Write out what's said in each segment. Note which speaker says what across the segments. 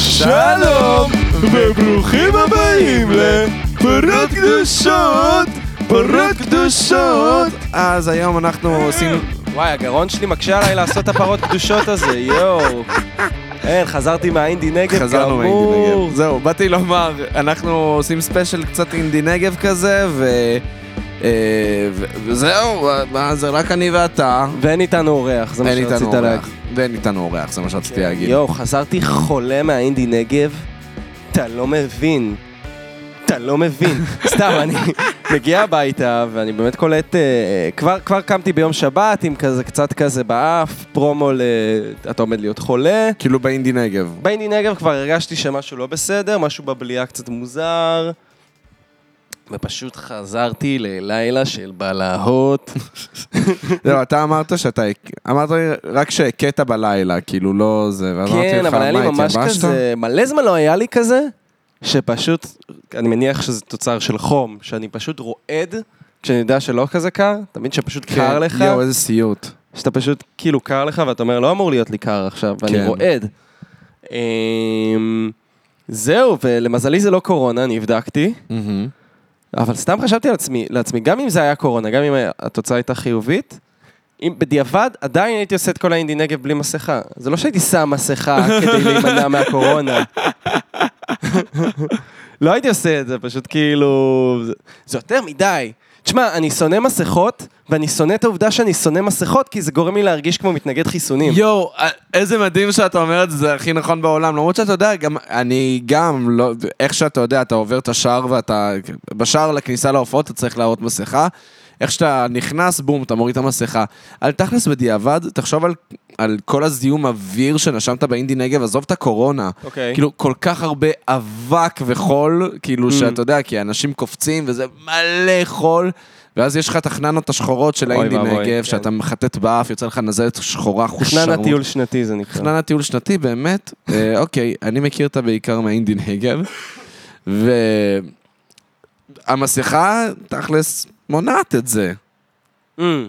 Speaker 1: שלום, וברוכים הבאים לפרות קדושות, פרות קדושות. אז היום
Speaker 2: אה,
Speaker 1: אנחנו עושים...
Speaker 2: וואי, הגרון שלי מקשה עליי לעשות את הפרות קדושות הזה, יואו. אין, חזרתי מהאינדי נגב,
Speaker 1: חזרנו
Speaker 2: כאמור.
Speaker 1: מאינדי נגב. זהו, באתי לומר, אנחנו עושים ספיישל קצת אינדי נגב כזה, ו... אה, ו- וזהו, מה, זה רק אני ואתה.
Speaker 2: ואין איתנו אורח, זה מה
Speaker 1: אין איתנו
Speaker 2: שרצית
Speaker 1: אורח.
Speaker 2: להגיד. כן.
Speaker 1: ואין איתנו אורח, זה מה שרציתי להגיד.
Speaker 2: יואו, חזרתי חולה מהאינדי נגב, אתה לא מבין. אתה לא מבין. סתם, אני מגיע הביתה, ואני באמת קולט... אה, כבר, כבר קמתי ביום שבת עם כזה, קצת כזה באף, פרומו ל... אתה עומד להיות חולה.
Speaker 1: כאילו באינדי נגב.
Speaker 2: באינדי נגב כבר הרגשתי שמשהו לא בסדר, משהו בבליעה קצת מוזר, ופשוט חזרתי ללילה של בלהות.
Speaker 1: לא, אתה אמרת שאתה, אמרת לי רק שהכית בלילה, כאילו לא זה, ואז אמרתי
Speaker 2: כן,
Speaker 1: לך,
Speaker 2: אבל היה לי
Speaker 1: מה,
Speaker 2: ממש
Speaker 1: התייבשת?
Speaker 2: כזה, מלא זמן לא היה לי כזה, שפשוט, אני מניח שזה תוצר של חום, שאני פשוט רועד. כשאני יודע שלא כזה קר, אתה מבין שפשוט
Speaker 1: כן,
Speaker 2: קר לך,
Speaker 1: יואו, איזה סיוט.
Speaker 2: שאתה פשוט כאילו קר לך ואתה אומר לא אמור להיות לי קר עכשיו, ואני
Speaker 1: כן.
Speaker 2: רועד. אמ, זהו, ולמזלי זה לא קורונה, נבדקתי. אבל סתם חשבתי על עצמי, לעצמי, גם אם זה היה קורונה, גם אם התוצאה הייתה חיובית, אם בדיעבד עדיין הייתי עושה את כל האינדי נגב בלי מסכה. זה לא שהייתי שם מסכה כדי להימנע מהקורונה. לא הייתי עושה את זה, פשוט כאילו... זה- זה יותר מדי. תשמע, אני שונא מסכות, ואני שונא את העובדה שאני שונא מסכות, כי זה גורם לי להרגיש כמו מתנגד חיסונים.
Speaker 1: יואו, אה, איזה מדהים שאתה אומר את זה, זה הכי נכון בעולם. למרות שאתה יודע, גם, אני גם, לא, איך שאתה יודע, אתה עובר את השער ואתה, בשער לכניסה להופעות אתה צריך להראות מסכה. איך שאתה נכנס, בום, אתה מוריד את המסכה. על תכלס בדיעבד, תחשוב על, על כל הזיהום אוויר שנשמת באינדי נגב, עזוב את הקורונה.
Speaker 2: אוקיי.
Speaker 1: כאילו, כל כך הרבה אבק וחול, כאילו,
Speaker 2: Mm.
Speaker 1: שאתה יודע, כי אנשים קופצים וזה מלא חול, ואז יש לך את החננות השחורות של
Speaker 2: אוי
Speaker 1: האינדי
Speaker 2: ואבוי,
Speaker 1: נגב,
Speaker 2: כן.
Speaker 1: שאתה מחטט באף, יוצא לך נזלת שחורה
Speaker 2: תכנן הטיול שנתי זה נקרא.
Speaker 1: תכנן הטיול שנתי, באמת. אה, אוקיי, אני מכיר אותה בעיקר מהאינדי נגב. והמסכה, תכלס, מונעת את זה.
Speaker 2: אמ,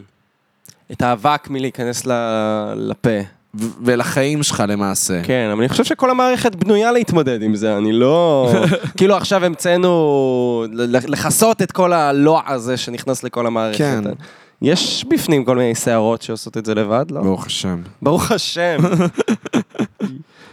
Speaker 2: את האבק מלהיכנס ל- לפה.
Speaker 1: ו- ולחיים שלך למעשה.
Speaker 2: כן, אבל אני חושב שכל המערכת בנויה להתמודד עם זה, אני לא... כאילו עכשיו המצאנו ל- לכסות את כל הלוע הזה שנכנס לכל המערכת.
Speaker 1: כן.
Speaker 2: יש בפנים כל מיני שערות שעושות את זה לבד, לא?
Speaker 1: ברוך השם.
Speaker 2: ברוך השם.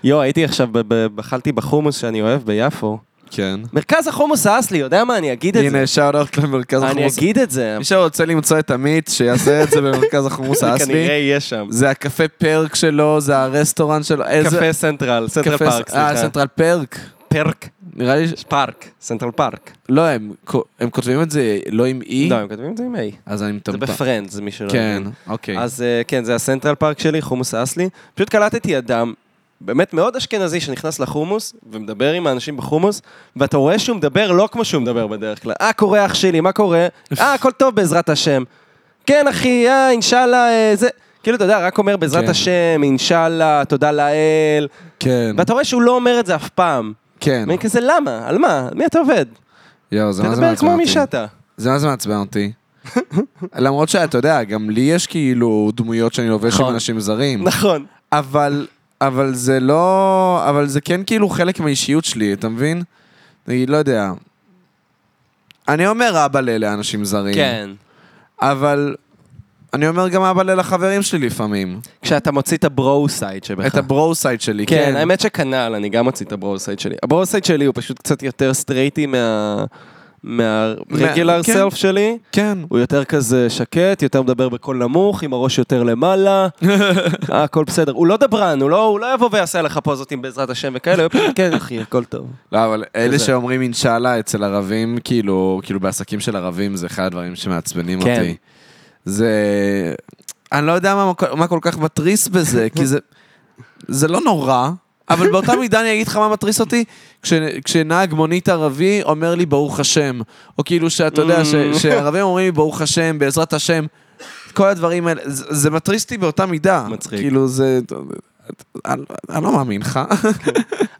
Speaker 2: יואו, הייתי עכשיו, ב- ב- בחלתי בחומוס שאני אוהב ביפו.
Speaker 1: כן.
Speaker 2: מרכז החומוס האס לי, יודע מה, אני אגיד את זה.
Speaker 1: הנה, שאוט אאוט למרכז
Speaker 2: אני
Speaker 1: החומוס.
Speaker 2: אגיד את זה.
Speaker 1: מי שרוצה למצוא את עמית, שיעשה את זה במרכז החומוס
Speaker 2: זה כנראה
Speaker 1: האסלי.
Speaker 2: יהיה שם.
Speaker 1: זה הקפה פרק שלו, זה הרסטורנט שלו. איזה-
Speaker 2: קפה סנטרל, סנטרל
Speaker 1: קפה-
Speaker 2: פארק,
Speaker 1: אה,
Speaker 2: סליחה.
Speaker 1: סנטרל פרק.
Speaker 2: פרק,
Speaker 1: נראה לי ש...
Speaker 2: פארק, סנטרל פארק.
Speaker 1: לא, הם כו- הם כותבים את זה לא עם אי,
Speaker 2: לא, הם כותבים את זה עם A.
Speaker 1: אז אני
Speaker 2: זה
Speaker 1: מטמטם.
Speaker 2: בפרנדס, מי שלא
Speaker 1: כן,
Speaker 2: הבין.
Speaker 1: אוקיי.
Speaker 2: אז אה, כן, זה הסנטרל פארק שלי, חומוס אסלי. פשוט קלטתי אדם, באמת מאוד אשכנזי, שנכנס לחומוס, ומדבר עם האנשים בחומוס, ואתה רואה שהוא מדבר לא כמו שהוא מדבר בדרך כלל. אה, קורה אח שלי, מה קורה? אה, הכל טוב בעזרת השם. כן, אחי, אה, אינשאללה, אה, זה... כאילו, אתה יודע, רק אומר בעזרת
Speaker 1: כן.
Speaker 2: השם, אינשאללה, תודה לאל.
Speaker 1: כן,
Speaker 2: ואתה רואה שהוא לא אומר את זה אף פעם.
Speaker 1: כן.
Speaker 2: ואני כזה, למה? על מה? על מי אתה עובד?
Speaker 1: יואו, זה מה זה
Speaker 2: תדבר
Speaker 1: מעצבן
Speaker 2: כמו
Speaker 1: אותי.
Speaker 2: מי שאתה.
Speaker 1: זה מה זה מעצבן אותי. למרות שאתה יודע, גם לי יש כאילו דמויות שאני לובש עם
Speaker 2: נכון.
Speaker 1: אנשים זרים.
Speaker 2: נכון.
Speaker 1: אבל, אבל זה לא... אבל זה כן כאילו חלק מהאישיות שלי, אתה מבין? נגיד, לא יודע. אני אומר אבא ל- לאנשים זרים.
Speaker 2: כן.
Speaker 1: אבל אני אומר גם אבא ל- לחברים שלי לפעמים.
Speaker 2: כשאתה מוציא את הברו סייד שבך.
Speaker 1: את הברו סייד שלי, כן.
Speaker 2: כן, האמת שכנ"ל, אני גם מוציא את הברו סייד שלי. הברו סייד שלי הוא פשוט קצת יותר סטרייטי מה... מהרגילר
Speaker 1: כן.
Speaker 2: סלף שלי.
Speaker 1: כן.
Speaker 2: הוא יותר כזה שקט, יותר מדבר בקול נמוך, עם הראש יותר למעלה. אה, הכל בסדר. הוא לא דברן, הוא לא, הוא לא יבוא ויעשה לך פוזותים בעזרת השם וכאלה, הוא פשוט, כן, אחי, הכל טוב.
Speaker 1: לא, אבל אלה
Speaker 2: כזה.
Speaker 1: שאומרים אינשאללה אצל ערבים, כאילו, כאילו בעסקים של ערבים זה אחד הדברים שמעצבנים
Speaker 2: כן.
Speaker 1: אותי. זה... אני לא יודע מה, מה כל כך מתריס בזה, כי זה... זה לא נורא, אבל באותה מידה אני אגיד לך מה מתריס אותי, כש, כשנהג מונית ערבי אומר לי ברוך השם, או כאילו שאתה יודע, ש,
Speaker 2: Mm.
Speaker 1: שערבים אומרים לי ברוך השם, בעזרת השם, כל הדברים האלה, זה, זה מתריס אותי באותה מידה.
Speaker 2: מצחיק.
Speaker 1: כאילו זה... אני, אני לא מאמין לך.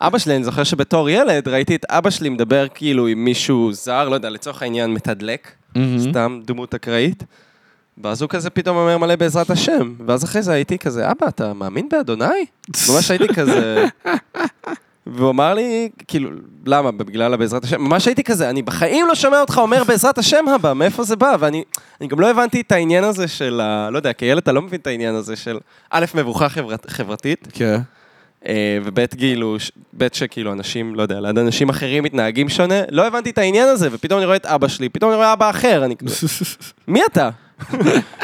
Speaker 2: אבא שלי, אני זוכר שבתור ילד ראיתי את אבא שלי מדבר כאילו עם מישהו זר, לא יודע, לצורך העניין מתדלק,
Speaker 1: Mm-hmm.
Speaker 2: סתם דמות אקראית. ואז הוא כזה פתאום אומר מלא בעזרת השם. ואז אחרי זה הייתי כזה, אבא, אתה מאמין באדוני? ממש הייתי כזה... והוא אמר לי, כאילו, למה? בגלל הבעזרת השם? ממש הייתי כזה, אני בחיים לא שומע אותך אומר בעזרת השם הבא, מאיפה זה בא? ואני אני גם לא הבנתי את העניין הזה של ה... לא יודע, כילד אתה לא מבין את העניין הזה של א', מבוכה חברת, חברתית,
Speaker 1: כן.
Speaker 2: אה, וב', כאילו, ש- ב', שכאילו אנשים, לא יודע, ליד אנשים אחרים מתנהגים שונה, לא הבנתי את העניין הזה, ופתאום אני רואה את אבא שלי, פתאום אני רואה אבא אחר, אני כאילו, מי אתה?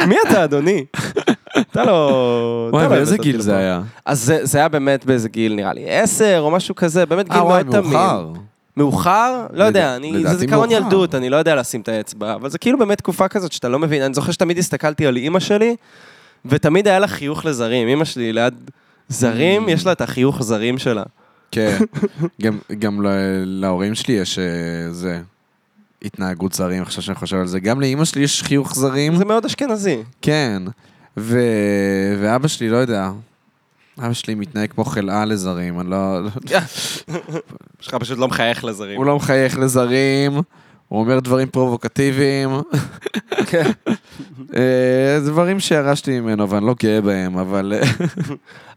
Speaker 2: מי אתה, אדוני? אתה לא... אתה
Speaker 1: וואי,
Speaker 2: לא
Speaker 1: באיזה
Speaker 2: הבאת
Speaker 1: גיל
Speaker 2: אותי
Speaker 1: זה
Speaker 2: לפה.
Speaker 1: היה?
Speaker 2: אז זה, זה היה באמת באיזה גיל, נראה לי, עשר או משהו כזה, באמת גיל
Speaker 1: אה,
Speaker 2: מאוד
Speaker 1: וואי,
Speaker 2: תמים.
Speaker 1: מאוחר.
Speaker 2: מאוחר? לא
Speaker 1: לדע-
Speaker 2: יודע, אני,
Speaker 1: לדעתי
Speaker 2: זה זיכרון
Speaker 1: מאוחר.
Speaker 2: ילדות, אני לא יודע לשים את האצבע, אבל זה כאילו באמת תקופה כזאת שאתה לא מבין. אני זוכר שתמיד הסתכלתי על אימא שלי, ותמיד היה לה חיוך לזרים. אימא שלי ליד
Speaker 1: Mm.
Speaker 2: זרים, יש לה את החיוך זרים שלה.
Speaker 1: כן. גם, גם ל- להורים שלי יש אה, זה, התנהגות זרים, עכשיו שאני חושב על זה. גם לאימא שלי יש חיוך זרים.
Speaker 2: זה מאוד אשכנזי.
Speaker 1: כן. ו... ואבא שלי, לא יודע. אבא שלי מתנהג כמו חלאה לזרים, אני לא... לא-
Speaker 2: שלך פשוט לא מחייך לזרים.
Speaker 1: הוא לא מחייך לזרים, הוא אומר דברים פרובוקטיביים. אה, זה דברים שירשתי ממנו ואני לא גאה בהם, אבל... אה,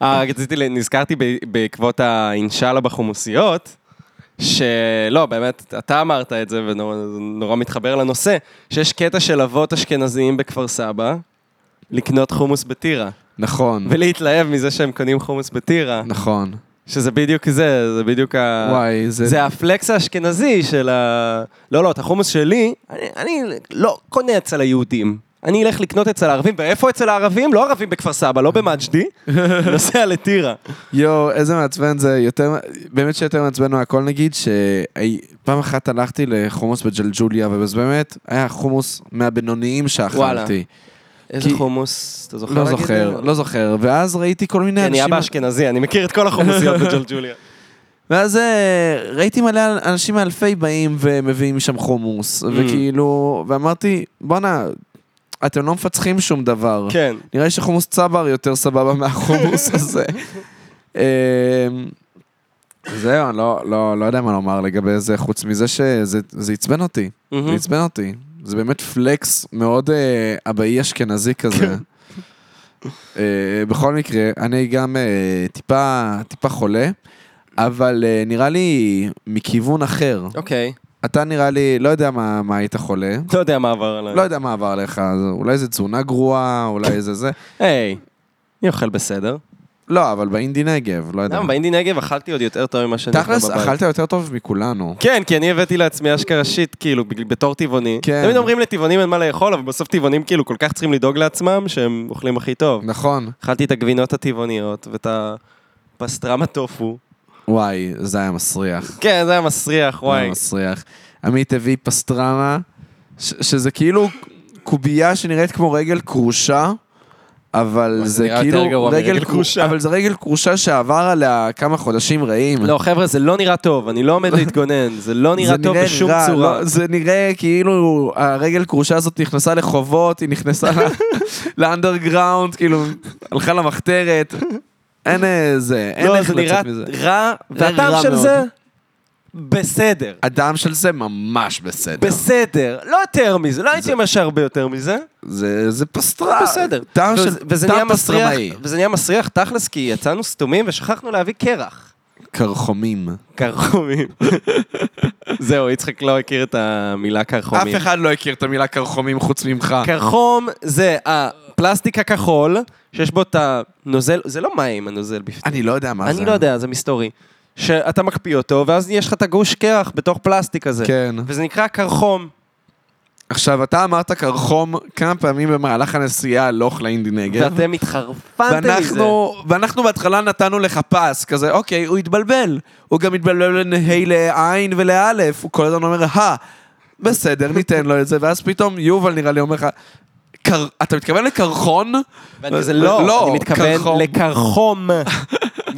Speaker 2: אה, רק רציתי, ל- נזכרתי ב- בעקבות האינשאללה בחומוסיות, שלא, באמת, אתה אמרת את זה ונורא זה נורא מתחבר לנושא, שיש קטע של אבות אשכנזיים בכפר סבא, לקנות חומוס בטירה,
Speaker 1: נכון,
Speaker 2: ולהתלהב מזה שהם קונים חומוס בטירה,
Speaker 1: נכון.
Speaker 2: שזה בדיוק זה, זה בדיוק ה...
Speaker 1: וואי, זה...
Speaker 2: אה, זה הפלקס האשכנזי של ה... לא, לא, את החומוס שלי, אני, אני לא קונה אצל היהודים. אני אלך לקנות אצל הערבים, ואיפה אצל הערבים? לא ערבים בכפר סבא, לא במג'די, נוסע לטירה.
Speaker 1: יואו, איזה מעצבן זה, יותר, באמת שיותר מעצבן מהכל נגיד, שפעם אחת הלכתי לחומוס בג'לג'וליה, וזה באמת היה חומוס מהבינוניים
Speaker 2: וואלה.
Speaker 1: שאכלתי.
Speaker 2: איזה
Speaker 1: כי-
Speaker 2: חומוס, אתה זוכר
Speaker 1: לא
Speaker 2: להגיד?
Speaker 1: זוכר, לא זוכר, ואז ראיתי כל מיני
Speaker 2: כי אני
Speaker 1: אנשים,
Speaker 2: אבא אשכנזי, אני מכיר את כל החומוסיות בג'לג'וליה.
Speaker 1: ואז אה, ראיתי מלא אנשים מאלפי באים ומביאים משם חומוס,
Speaker 2: Mm.
Speaker 1: וכאילו, ואמרתי, בואנה, אתם לא מפצחים שום דבר.
Speaker 2: כן.
Speaker 1: נראה לי שחומוס צבר יותר סבבה מהחומוס הזה. אמ, זהו, אני לא, לא, לא יודע מה לומר לגבי זה, חוץ מזה שזה זה עצבן אותי.
Speaker 2: Mhm.
Speaker 1: זה עצבן אותי. זה באמת פלקס מאוד אה, אבאי אשכנזי כזה. אה, בכל מקרה, אני גם אה, טיפה, טיפה חולה, אבל אה, נראה לי מכיוון אחר.
Speaker 2: אוקיי.
Speaker 1: אתה נראה לי, לא יודע מה, מה היית חולה.
Speaker 2: לא יודע מה עבר עליי.
Speaker 1: לא יודע מה עבר לך, אולי זה תזונה גרועה, אולי זה זה.
Speaker 2: היי, אני אוכל בסדר.
Speaker 1: לא, אבל באינדי נגב, לא יודע.
Speaker 2: למה, באינדי נגב אכלתי עוד יותר טוב ממה שאני אוכל בבית.
Speaker 1: תכלס, אכלת יותר טוב מכולנו.
Speaker 2: כן, כי אני הבאתי לעצמי אשכרה שיט, כאילו, בג- בתור טבעוני.
Speaker 1: כן.
Speaker 2: תמיד אומרים לטבעונים אין מה לאכול, אבל בסוף טבעונים כאילו כל כך צריכים לדאוג לעצמם, שהם אוכלים הכי טוב.
Speaker 1: נכון.
Speaker 2: אכלתי את הגבינות הטבעוניות ואת הפסטרמה טופו.
Speaker 1: וואי, זה היה מסריח.
Speaker 2: כן, זה היה מסריח,
Speaker 1: זה היה
Speaker 2: וואי.
Speaker 1: מסריח. עמית הביא פסטרמה, ש- שזה כאילו קובייה שנראית כמו רגל כרושה, אבל
Speaker 2: וואי, זה
Speaker 1: זה
Speaker 2: נראה יותר
Speaker 1: כאילו
Speaker 2: גרוע מרגל
Speaker 1: כרו-
Speaker 2: כרושה.
Speaker 1: אבל זה רגל כרושה שעבר עליה כמה חודשים רעים.
Speaker 2: לא, חבר'ה, זה לא נראה טוב, אני לא עומד להתגונן, זה לא
Speaker 1: זה
Speaker 2: נראה טוב בשום
Speaker 1: רע,
Speaker 2: צורה.
Speaker 1: לא, זה נראה כאילו הרגל כרושה הזאת נכנסה לחובות, היא נכנסה ל- לאנדרגראונד, כאילו, הלכה למחתרת. אין אה, זה, אין
Speaker 2: לא,
Speaker 1: איך
Speaker 2: זה
Speaker 1: לצאת
Speaker 2: נראה
Speaker 1: מזה.
Speaker 2: רע,
Speaker 1: רע
Speaker 2: והטעם של
Speaker 1: מאוד.
Speaker 2: זה, בסדר.
Speaker 1: הדם של זה ממש בסדר.
Speaker 2: בסדר, לא יותר מזה, לא הייתי אומר שהרבה יותר מזה,
Speaker 1: זה, זה פסטרה.
Speaker 2: בסדר.
Speaker 1: אה, טעם
Speaker 2: וזה-
Speaker 1: של,
Speaker 2: וזה נהיה
Speaker 1: טעם
Speaker 2: מסריח,
Speaker 1: פסטרמאי.
Speaker 2: וזה נהיה מסריח תכלס, כי יצאנו סתומים ושכחנו להביא קרח.
Speaker 1: קרחומים.
Speaker 2: קרחומים. זהו, יצחק לא הכיר את המילה קרחומים.
Speaker 1: אף אחד לא הכיר את המילה קרחומים חוץ ממך.
Speaker 2: קרחום זה הפלסטיק הכחול, שיש בו את הנוזל, זה לא מים הנוזל בפנים.
Speaker 1: אני לא יודע מה זה.
Speaker 2: אני לא יודע, זה מסתורי. שאתה מקפיא אותו, ואז יש לך את הגוש קרח בתוך פלסטיק הזה.
Speaker 1: כן.
Speaker 2: וזה נקרא קרחום.
Speaker 1: עכשיו, אתה אמרת קרחום כמה פעמים במהלך הנסיעה הלוך לאינדי נגב.
Speaker 2: ואתם התחרפנתם מזה.
Speaker 1: ואנחנו, ואנחנו בהתחלה נתנו לך פס, כזה, אוקיי, הוא התבלבל. הוא גם התבלבל בין ה' לעין ולאלף, הוא כל הזמן אומר, הא, בסדר, ניתן לו את זה, ואז פתאום יובל נראה לי אומר לך, "קר- אתה מתכוון לקרחון?
Speaker 2: ואני כזה, לא,
Speaker 1: לא,
Speaker 2: אני מתכוון
Speaker 1: קרחום."
Speaker 2: לקרחום.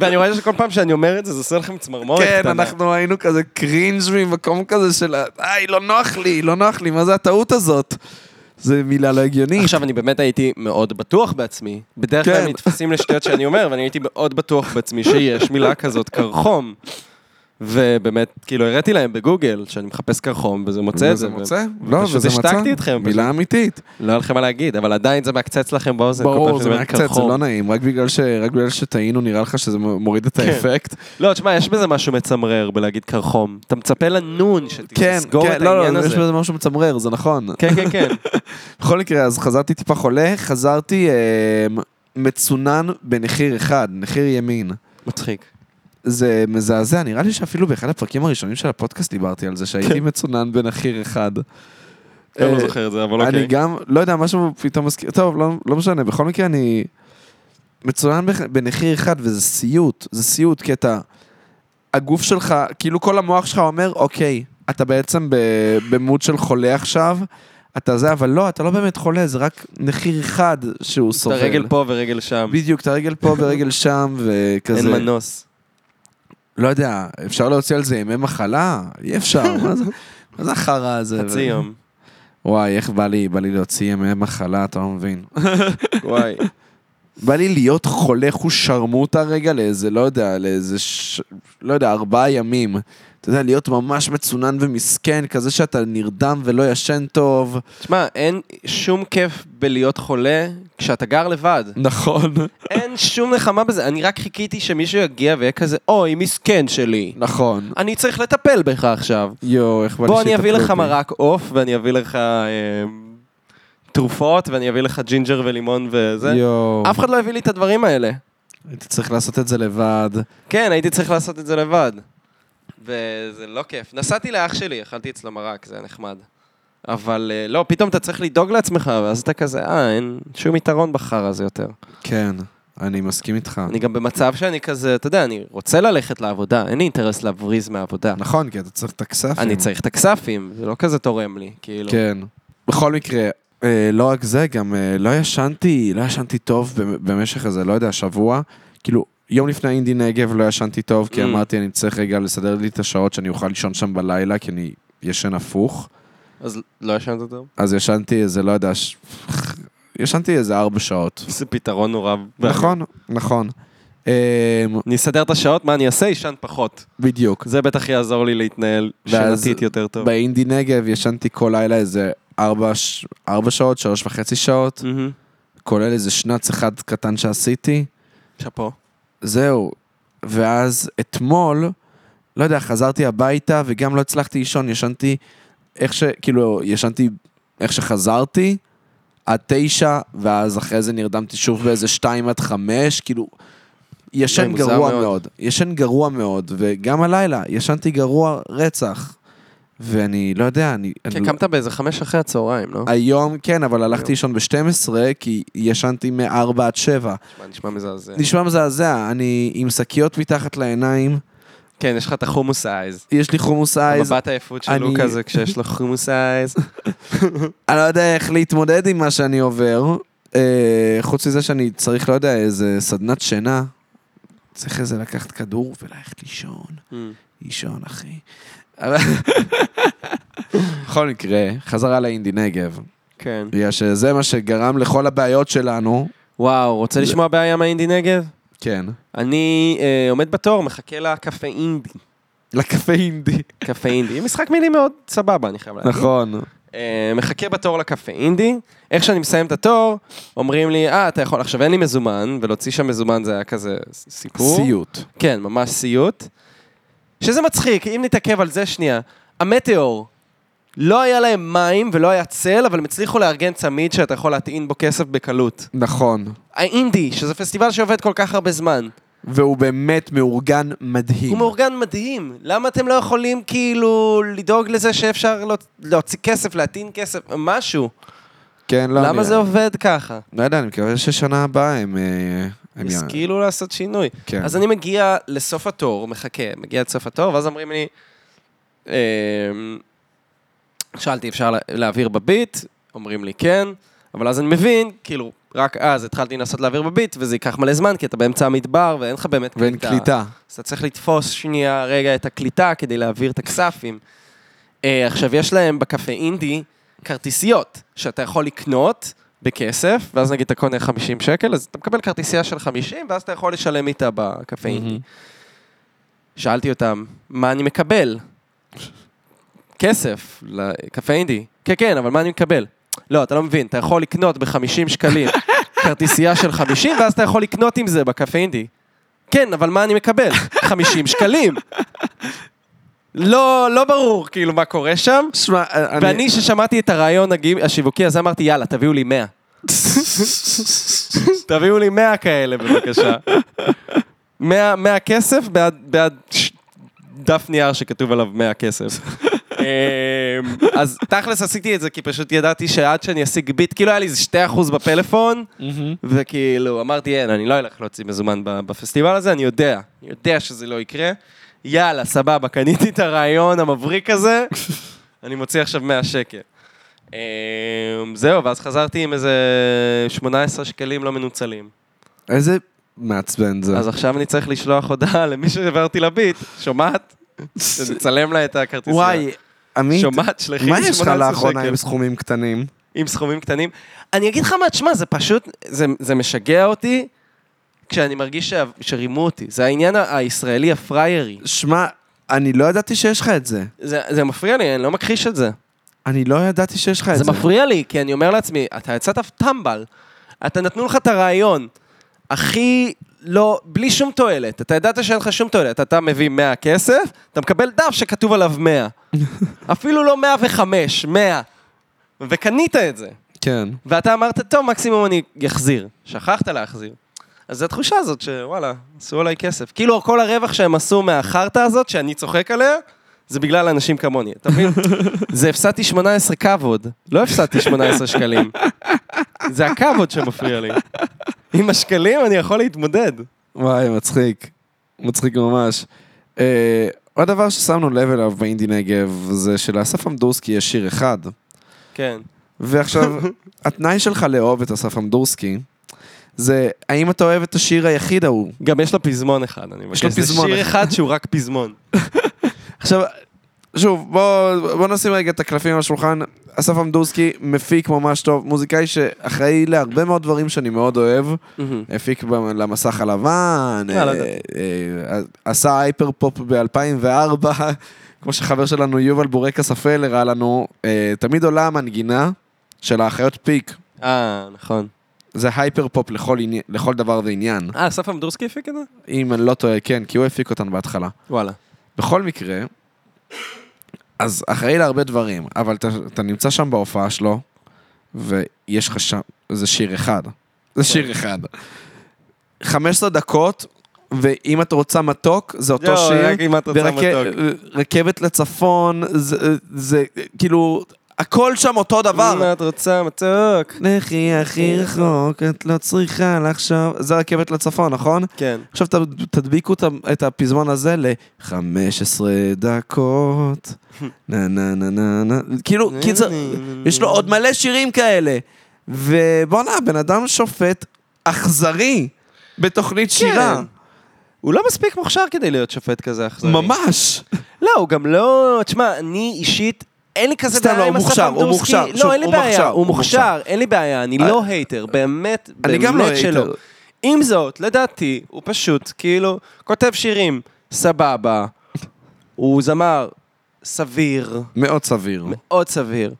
Speaker 2: ואני רואה שכל פעם שאני אומר את זה, זה עושה לכם צמרמורת
Speaker 1: כן,
Speaker 2: קטנה.
Speaker 1: אנחנו היינו כזה קרינג' ממקום כזה של, היי, לא נוח לי, לא נוח לי, מה זה הטעות הזאת? זה מילה לא הגיונית.
Speaker 2: עכשיו, אני באמת הייתי מאוד בטוח בעצמי. בדרך
Speaker 1: כן.
Speaker 2: כלל נתפסים לשטויות שאני אומר, ואני הייתי מאוד בטוח בעצמי שיש מילה כזאת, קרחום. ובאמת, כאילו, הראיתי להם בגוגל שאני מחפש קרחום, וזה מוצא את זה.
Speaker 1: וזה מוצא?
Speaker 2: ו-
Speaker 1: לא,
Speaker 2: ופשוט
Speaker 1: וזה מצא.
Speaker 2: השתקתי אתכם. פשוט.
Speaker 1: מילה אמיתית.
Speaker 2: לא היה לכם מה להגיד, אבל עדיין זה מעקצץ לכם באוזן. כל פעם
Speaker 1: ברור,
Speaker 2: שאני
Speaker 1: זה
Speaker 2: אומר
Speaker 1: מהקצת, זה
Speaker 2: קרחום.
Speaker 1: לא נעים. רק בגלל ש- רק בגלל שטעינו, נראה לך שזה מוריד את האפקט.
Speaker 2: לא, תשמע, יש בזה משהו מצמרר בלהגיד קרחום. אתה מצפה לנון
Speaker 1: כן,
Speaker 2: שתסגור
Speaker 1: כן,
Speaker 2: את
Speaker 1: לא,
Speaker 2: העניין
Speaker 1: לא, יש
Speaker 2: הזה.
Speaker 1: בזה משהו מצמרר, זה נכון.
Speaker 2: כן, כן, כן.
Speaker 1: בכל מקרה, אז חזרתי טיפה חולה, חזרתי אה, מצונן בנחיר אחד, נחיר ימין.
Speaker 2: מצחיק.
Speaker 1: זה מזעזע, נראה לי שאפילו באחד הפרקים הראשונים של הפודקאסט דיברתי על זה, שהייתי מצונן בנחיר אחד.
Speaker 2: אני
Speaker 1: אה,
Speaker 2: לא זוכר את זה, כן. אבל
Speaker 1: אני
Speaker 2: אוקיי.
Speaker 1: גם, לא יודע, משהו פתאום מזכיר, טוב, לא, לא משנה, בכל מקרה אני מצונן בח- בנחיר אחד, וזה סיוט, זה סיוט, כי אתה, הגוף שלך, כאילו כל המוח שלך אומר, אוקיי, אתה בעצם ב, במוד של חולה עכשיו, אתה זה, אבל לא, אתה לא באמת חולה, זה רק נחיר אחד שהוא
Speaker 2: את
Speaker 1: סובל.
Speaker 2: הרגל פה ורגל שם.
Speaker 1: בדיוק, את הרגל פה ורגל שם, וכזה.
Speaker 2: אין מנוס.
Speaker 1: לא יודע, אפשר להוציא על זה ימי מחלה? אי אפשר, מה זה? מה זה החרא הזה?
Speaker 2: חצי יום.
Speaker 1: וואי, איך בא לי, בא לי להוציא ימי מחלה, אתה לא מבין.
Speaker 2: וואי.
Speaker 1: בא לי להיות חולה חושרמוטה רגע לאיזה, לא יודע, לאיזה, ש... לא יודע, ארבעה ימים. אתה יודע, להיות ממש מצונן ומסכן, כזה שאתה נרדם ולא ישן טוב.
Speaker 2: תשמע, אין שום כיף בלהיות חולה כשאתה גר לבד.
Speaker 1: נכון.
Speaker 2: אין שום נחמה בזה. אני רק חיכיתי שמישהו יגיע ויהיה כזה, אוי, מסכן שלי.
Speaker 1: נכון.
Speaker 2: אני צריך לטפל בך עכשיו.
Speaker 1: יואו, איך בא לי
Speaker 2: בוא אני אביא
Speaker 1: שיטפלו
Speaker 2: לך
Speaker 1: בי.
Speaker 2: מרק עוף, ואני אביא לך אה, תרופות, ואני אביא לך ג'ינג'ר ולימון וזה.
Speaker 1: יואו.
Speaker 2: אף אחד לא הביא לי את הדברים האלה.
Speaker 1: הייתי צריך לעשות את זה לבד.
Speaker 2: כן, הייתי צריך לעשות את זה לבד. וזה לא כיף. נסעתי לאח שלי, אכלתי אצלו מרק, זה היה נחמד. אבל אה, לא, פתאום אתה צריך לדאוג לעצמך, ואז אתה כזה, אה, אין שום יתרון בחרא הזה יותר.
Speaker 1: כן, אני מסכים איתך.
Speaker 2: אני גם במצב שאני כזה, אתה יודע, אני רוצה ללכת לעבודה, אין לי אינטרס להבריז מהעבודה.
Speaker 1: נכון, כי אתה צריך את הכספים.
Speaker 2: אני צריך את הכספים, זה לא כזה תורם לי, כאילו.
Speaker 1: כן. בכל מקרה, אה, לא רק זה, גם אה, לא ישנתי, לא ישנתי טוב במ- במשך איזה, לא יודע, שבוע. כאילו, יום לפני אינדי נגב לא ישנתי טוב, כי
Speaker 2: Mm.
Speaker 1: אמרתי, אני צריך רגע לסדר לי את השעות שאני אוכל לישון שם בלילה, כי אני ישן הפוך.
Speaker 2: אז לא ישנת אותו?
Speaker 1: אז ישנתי איזה, לא יודע, ש... ישנתי איזה ארבע שעות.
Speaker 2: זה פתרון נורא.
Speaker 1: נכון, נכון. אה,
Speaker 2: אני אסדר את השעות, מה אני אעשה? ישן פחות.
Speaker 1: בדיוק.
Speaker 2: זה בטח יעזור לי להתנהל
Speaker 1: ואז-
Speaker 2: שנתית יותר טוב.
Speaker 1: באינדי נגב ישנתי כל לילה איזה ארבע, ש- ארבע שעות, שלוש וחצי שעות,
Speaker 2: מהמם.
Speaker 1: כולל איזה שנץ אחד קטן שעשיתי.
Speaker 2: שאפו.
Speaker 1: זהו. ואז אתמול, לא יודע, חזרתי הביתה וגם לא הצלחתי לישון, ישנתי איך ש... כאילו, ישנתי איך שחזרתי, עד תשע, ואז אחרי זה נרדמתי שוב באיזה שתיים עד חמש, כאילו... ישן
Speaker 2: לא, מוזר
Speaker 1: גרוע מאוד.
Speaker 2: מאוד.
Speaker 1: מאוד, ישן גרוע מאוד, וגם הלילה, ישנתי גרוע רצח. ואני לא יודע, אני...
Speaker 2: כן,
Speaker 1: אני...
Speaker 2: קמת באיזה חמש אחרי הצהריים, לא?
Speaker 1: היום, כן, אבל הלכתי לישון ב-12, כי ישנתי מ-4 עד 7.
Speaker 2: מה, נשמע מזעזע.
Speaker 1: נשמע מזעזע, אני עם שקיות מתחת לעיניים,
Speaker 2: כן, יש לך את החומוס אייז.
Speaker 1: יש לי חומוס אייז,
Speaker 2: המבט העייפות של
Speaker 1: אני-
Speaker 2: לוקה זה כשיש לו חומוס אייז.
Speaker 1: אני לא יודע איך להתמודד עם מה שאני עובר, אה, חוץ מזה שאני צריך, לא יודע, איזה סדנת שינה. צריך איזה לקחת כדור וללכת לישון,
Speaker 2: Mm.
Speaker 1: לישון אחי. אבל- בכל מקרה, חזרה לאינדי נגב,
Speaker 2: כן.
Speaker 1: בגלל שזה מה שגרם לכל הבעיות שלנו.
Speaker 2: וואו, רוצה לשמוע בעיה מהאינדי נגב?
Speaker 1: כן.
Speaker 2: אני אה, עומד בתור, מחכה לקפה אינדי.
Speaker 1: לקפה אינדי.
Speaker 2: קפה אינדי. משחק מילים מאוד סבבה, אני חייב להגיד.
Speaker 1: נכון.
Speaker 2: אה, מחכה בתור לקפה אינדי, איך שאני מסיים את התור, אומרים לי, אה, אתה יכול, עכשיו אין לי מזומן, ולהוציא שם מזומן זה היה כזה ס- סיפור.
Speaker 1: סיוט.
Speaker 2: כן, ממש סיוט. שזה מצחיק, אם נתעכב על זה שנייה. המטאור, לא היה להם מים ולא היה צל, אבל הם הצליחו לארגן צמיד שאתה יכול להטעין בו כסף בקלות.
Speaker 1: נכון.
Speaker 2: האינדי, שזה פסטיבל שעובד כל כך הרבה זמן.
Speaker 1: והוא באמת מאורגן מדהים.
Speaker 2: הוא מאורגן מדהים. למה אתם לא יכולים כאילו לדאוג לזה שאפשר להוצ- להוציא כסף, להטעין כסף, משהו?
Speaker 1: כן, לא,
Speaker 2: למה
Speaker 1: אני-
Speaker 2: זה עובד ככה?
Speaker 1: לא יודע, אני מקווה ששנה הבאה הם... אה, הם י-
Speaker 2: השכילו כאילו לעשות שינוי.
Speaker 1: כן.
Speaker 2: אז אני מגיע לסוף התור, מחכה, מגיע לסוף התור, ואז אומרים לי, אמ, שאלתי, אפשר לה- להעביר בביט? אומרים לי כן, אבל אז אני מבין, כאילו, רק אז התחלתי לנסות להעביר בביט, וזה ייקח מלא זמן, כי אתה באמצע המדבר, ואין לך באמת
Speaker 1: ואין קליטה.
Speaker 2: אז אתה צריך לתפוס שנייה רגע את הקליטה כדי להעביר את הכספים. אה, עכשיו, יש להם בקפה אינדי כרטיסיות שאתה יכול לקנות בכסף, ואז נגיד אתה קונה 50 שקל, אז אתה מקבל כרטיסייה של 50, ואז אתה יכול לשלם איתה בקפה אינדי. שאלתי אותם, מה אני מקבל? כסף, לקפה אינדי. כן, כן, אבל מה אני מקבל? לא, אתה לא מבין, אתה יכול לקנות ב-50 שקלים כרטיסייה של 50, ואז אתה יכול לקנות עם זה בקפה אינדי. כן, אבל מה אני מקבל? 50 שקלים. לא, לא ברור, כאילו, מה קורה שם.
Speaker 1: שמע, אה, אני...
Speaker 2: ואני, ששמעתי את הרעיון הגיב- השיווקי הזה, אמרתי, יאללה, תביאו לי 100. תביאו לי 100 כאלה, בבקשה. 100, 100 כסף בעד, בעד ש- דף נייר שכתוב עליו 100 כסף. אמ, אז תכלס עשיתי את זה, כי פשוט ידעתי שעד שאני אשיג ביט, כאילו היה לי איזה 2% בפלאפון, וכאילו אמרתי, אין, אני לא אלך להוציא מזומן ב- בפסטיבל הזה, אני יודע, אני יודע שזה לא יקרה. יאללה, סבבה, קניתי את הרעיון המבריק הזה, אני מוציא עכשיו 100 שקל. אמ, זהו, ואז חזרתי עם איזה 18 שקלים לא מנוצלים.
Speaker 1: איזה מעצבן זה.
Speaker 2: אז עכשיו אני צריך לשלוח הודעה למי שהעברתי לביט, שומעת? שנצלם לה את הכרטיסייה.
Speaker 1: וואי, עמית,
Speaker 2: שומעת, שלחי לי
Speaker 1: מה יש לך
Speaker 2: 18
Speaker 1: לאחרונה
Speaker 2: שקל.
Speaker 1: עם סכומים קטנים?
Speaker 2: עם סכומים קטנים. אני אגיד לך מה, תשמע, זה פשוט, זה, זה משגע אותי כשאני מרגיש ש, שרימו אותי. זה העניין ה- הישראלי הפריירי.
Speaker 1: שמע, אני לא ידעתי שיש לך את זה.
Speaker 2: זה, זה מפריע לי, אני לא מכחיש את זה.
Speaker 1: אני לא ידעתי שיש לך את
Speaker 2: זה
Speaker 1: זה.
Speaker 2: מפריע לי, כי אני אומר לעצמי, אתה יצאת טמבל. אתה נתנו לך את הרעיון. הכי לא, בלי שום תועלת. אתה ידעת שאין לך שום תועלת. אתה מביא 100 כסף, אתה מקבל דף שכתוב עליו 100. אפילו לא 105, 100. וקנית את זה.
Speaker 1: כן.
Speaker 2: ואתה אמרת, טוב, מקסימום אני אחזיר. שכחת להחזיר. אז זו התחושה הזאת שוואלה, עשו עליי כסף. כאילו כל הרווח שהם עשו מהחרטא הזאת, שאני צוחק עליה, זה בגלל אנשים כמוני, אתה מבין? זה הפסדתי 18 כבוד, לא הפסדתי 18 שקלים. זה הכבוד שמפריע לי. עם השקלים אני יכול להתמודד.
Speaker 1: וואי, מצחיק. מצחיק ממש. אה, עוד דבר ששמנו לב אליו באינדי נגב, זה שלאסף עמדורסקי יש שיר אחד.
Speaker 2: כן.
Speaker 1: ועכשיו, התנאי שלך לאהוב את אסף עמדורסקי, זה האם אתה אוהב את השיר היחיד ההוא.
Speaker 2: גם יש לו פזמון אחד, אני מבקש.
Speaker 1: לו פזמון
Speaker 2: זה שיר
Speaker 1: אחד.
Speaker 2: אחד שהוא רק פזמון.
Speaker 1: עכשיו, שוב, בוא, בוא נשים רגע את הקלפים על השולחן. אסף עמדורסקי מפיק ממש טוב, מוזיקאי שאחראי להרבה מאוד דברים שאני מאוד אוהב. הפיק ב- למסך הלבן,
Speaker 2: אה, לא
Speaker 1: אה,
Speaker 2: יודע.
Speaker 1: אה, עשה הייפר פופ ב-2004, כמו שחבר שלנו יובל בורקס אפל הראה לנו, אה, תמיד עולה המנגינה של האחיות פיק.
Speaker 2: אה, נכון.
Speaker 1: זה הייפר פופ לכל, עני... לכל דבר ועניין.
Speaker 2: אה, אסף עמדורסקי הפיק את זה?
Speaker 1: אם אני לא טועה, כן, כי הוא הפיק אותן בהתחלה.
Speaker 2: וואלה.
Speaker 1: בכל מקרה, אז אחראי להרבה דברים, אבל אתה, אתה נמצא שם בהופעה שלו, ויש לך שם, זה שיר אחד.
Speaker 2: כן.
Speaker 1: זה שיר אחד. 15 דקות, ואם את רוצה מתוק, זה אותו
Speaker 2: יואו,
Speaker 1: שיר.
Speaker 2: רק אם לא, את רוצה מתוק.
Speaker 1: רכבת לצפון, זה, זה כאילו, הכל שם אותו דבר.
Speaker 2: מה את רוצה, מתוק?
Speaker 1: לכי הכי רחוק, את לא צריכה לחשוב. זה רכבת לצפון, נכון?
Speaker 2: כן.
Speaker 1: עכשיו ת- תדביקו את ה- את הפזמון הזה ל-15 דקות, נה נה נה נה נה, כאילו, קיצר, יש לו עוד מלא שירים כאלה. ובואנה, בן אדם שופט אכזרי
Speaker 2: כן.
Speaker 1: בתוכנית שירה.
Speaker 2: הוא לא מספיק מוכשר כדי להיות שופט כזה אכזרי.
Speaker 1: ממש.
Speaker 2: לא, הוא גם לא... תשמע, אני אישית, אין לי כזה
Speaker 1: סתם,
Speaker 2: בעיה
Speaker 1: לא,
Speaker 2: עם
Speaker 1: הוא
Speaker 2: אסף
Speaker 1: מוכשר, הוא
Speaker 2: עמדורסקי.
Speaker 1: מוכשר. שוב,
Speaker 2: לא, אין לי
Speaker 1: הוא
Speaker 2: בעיה,
Speaker 1: מוכשר,
Speaker 2: הוא
Speaker 1: הוא
Speaker 2: מוכשר,
Speaker 1: מוכשר.
Speaker 2: אין לי בעיה, אני
Speaker 1: אה,
Speaker 2: לא הייטר, באמת,
Speaker 1: אני גם לא
Speaker 2: באמת שלא.
Speaker 1: הייטר.
Speaker 2: עם זאת, לדעתי, הוא פשוט, כאילו, כותב שירים, סבבה, הוא זמר, סביר,
Speaker 1: מאוד סביר.
Speaker 2: מאוד סביר,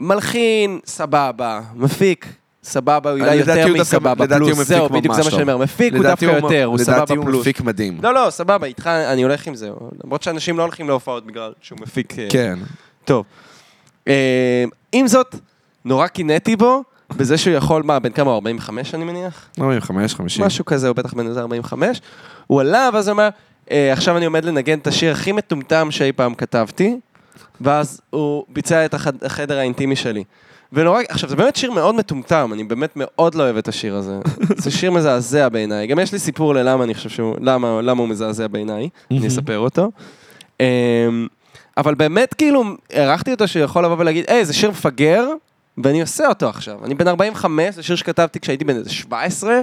Speaker 2: מלחין, סבבה, מפיק. סבבה, הוא אולי
Speaker 1: לדעתי
Speaker 2: יותר
Speaker 1: הוא דווקא-
Speaker 2: מסבבה
Speaker 1: לדעתי
Speaker 2: פלוס,
Speaker 1: הוא
Speaker 2: זהו,
Speaker 1: מפיק
Speaker 2: בדיוק זה
Speaker 1: ממש
Speaker 2: מה שאני
Speaker 1: טוב.
Speaker 2: אומר, מפיק הוא
Speaker 1: לדעתי
Speaker 2: דווקא יותר, הוא סבבה פלוס.
Speaker 1: לדעתי הוא מפיק מדהים.
Speaker 2: לא, לא, סבבה, איתך אני הולך עם זה. למרות שאנשים לא הולכים להופעות בגלל שהוא מפיק... אה,
Speaker 1: כן.
Speaker 2: טוב. אה, עם זאת, נורא קינאתי בו, בזה שהוא יכול, מה, בן כמה, הוא? 45 אני מניח?
Speaker 1: לא, 45, 50.
Speaker 2: משהו כזה, הוא בטח בן איזה 45. הוא עלה, ואז הוא אמר, "אה, עכשיו אני עומד לנגן את השיר הכי מטומטם שאי פעם כתבתי, ואז הוא ביצע את החד- החדר האינטימי שלי. ונורא, עכשיו זה באמת שיר מאוד מטומטם, אני באמת מאוד לא אוהב את השיר הזה. זה שיר מזעזע בעיניי, גם יש לי סיפור ללמה אני חושב שהוא, למה, למה הוא מזעזע בעיניי, אני אספר אותו. אמ, אבל באמת כאילו, הערכתי אותו שהוא יכול לבוא ולהגיד, היי, זה שיר מפגר, ואני עושה אותו עכשיו. אני בן 45, זה שיר שכתבתי כשהייתי בן איזה 17,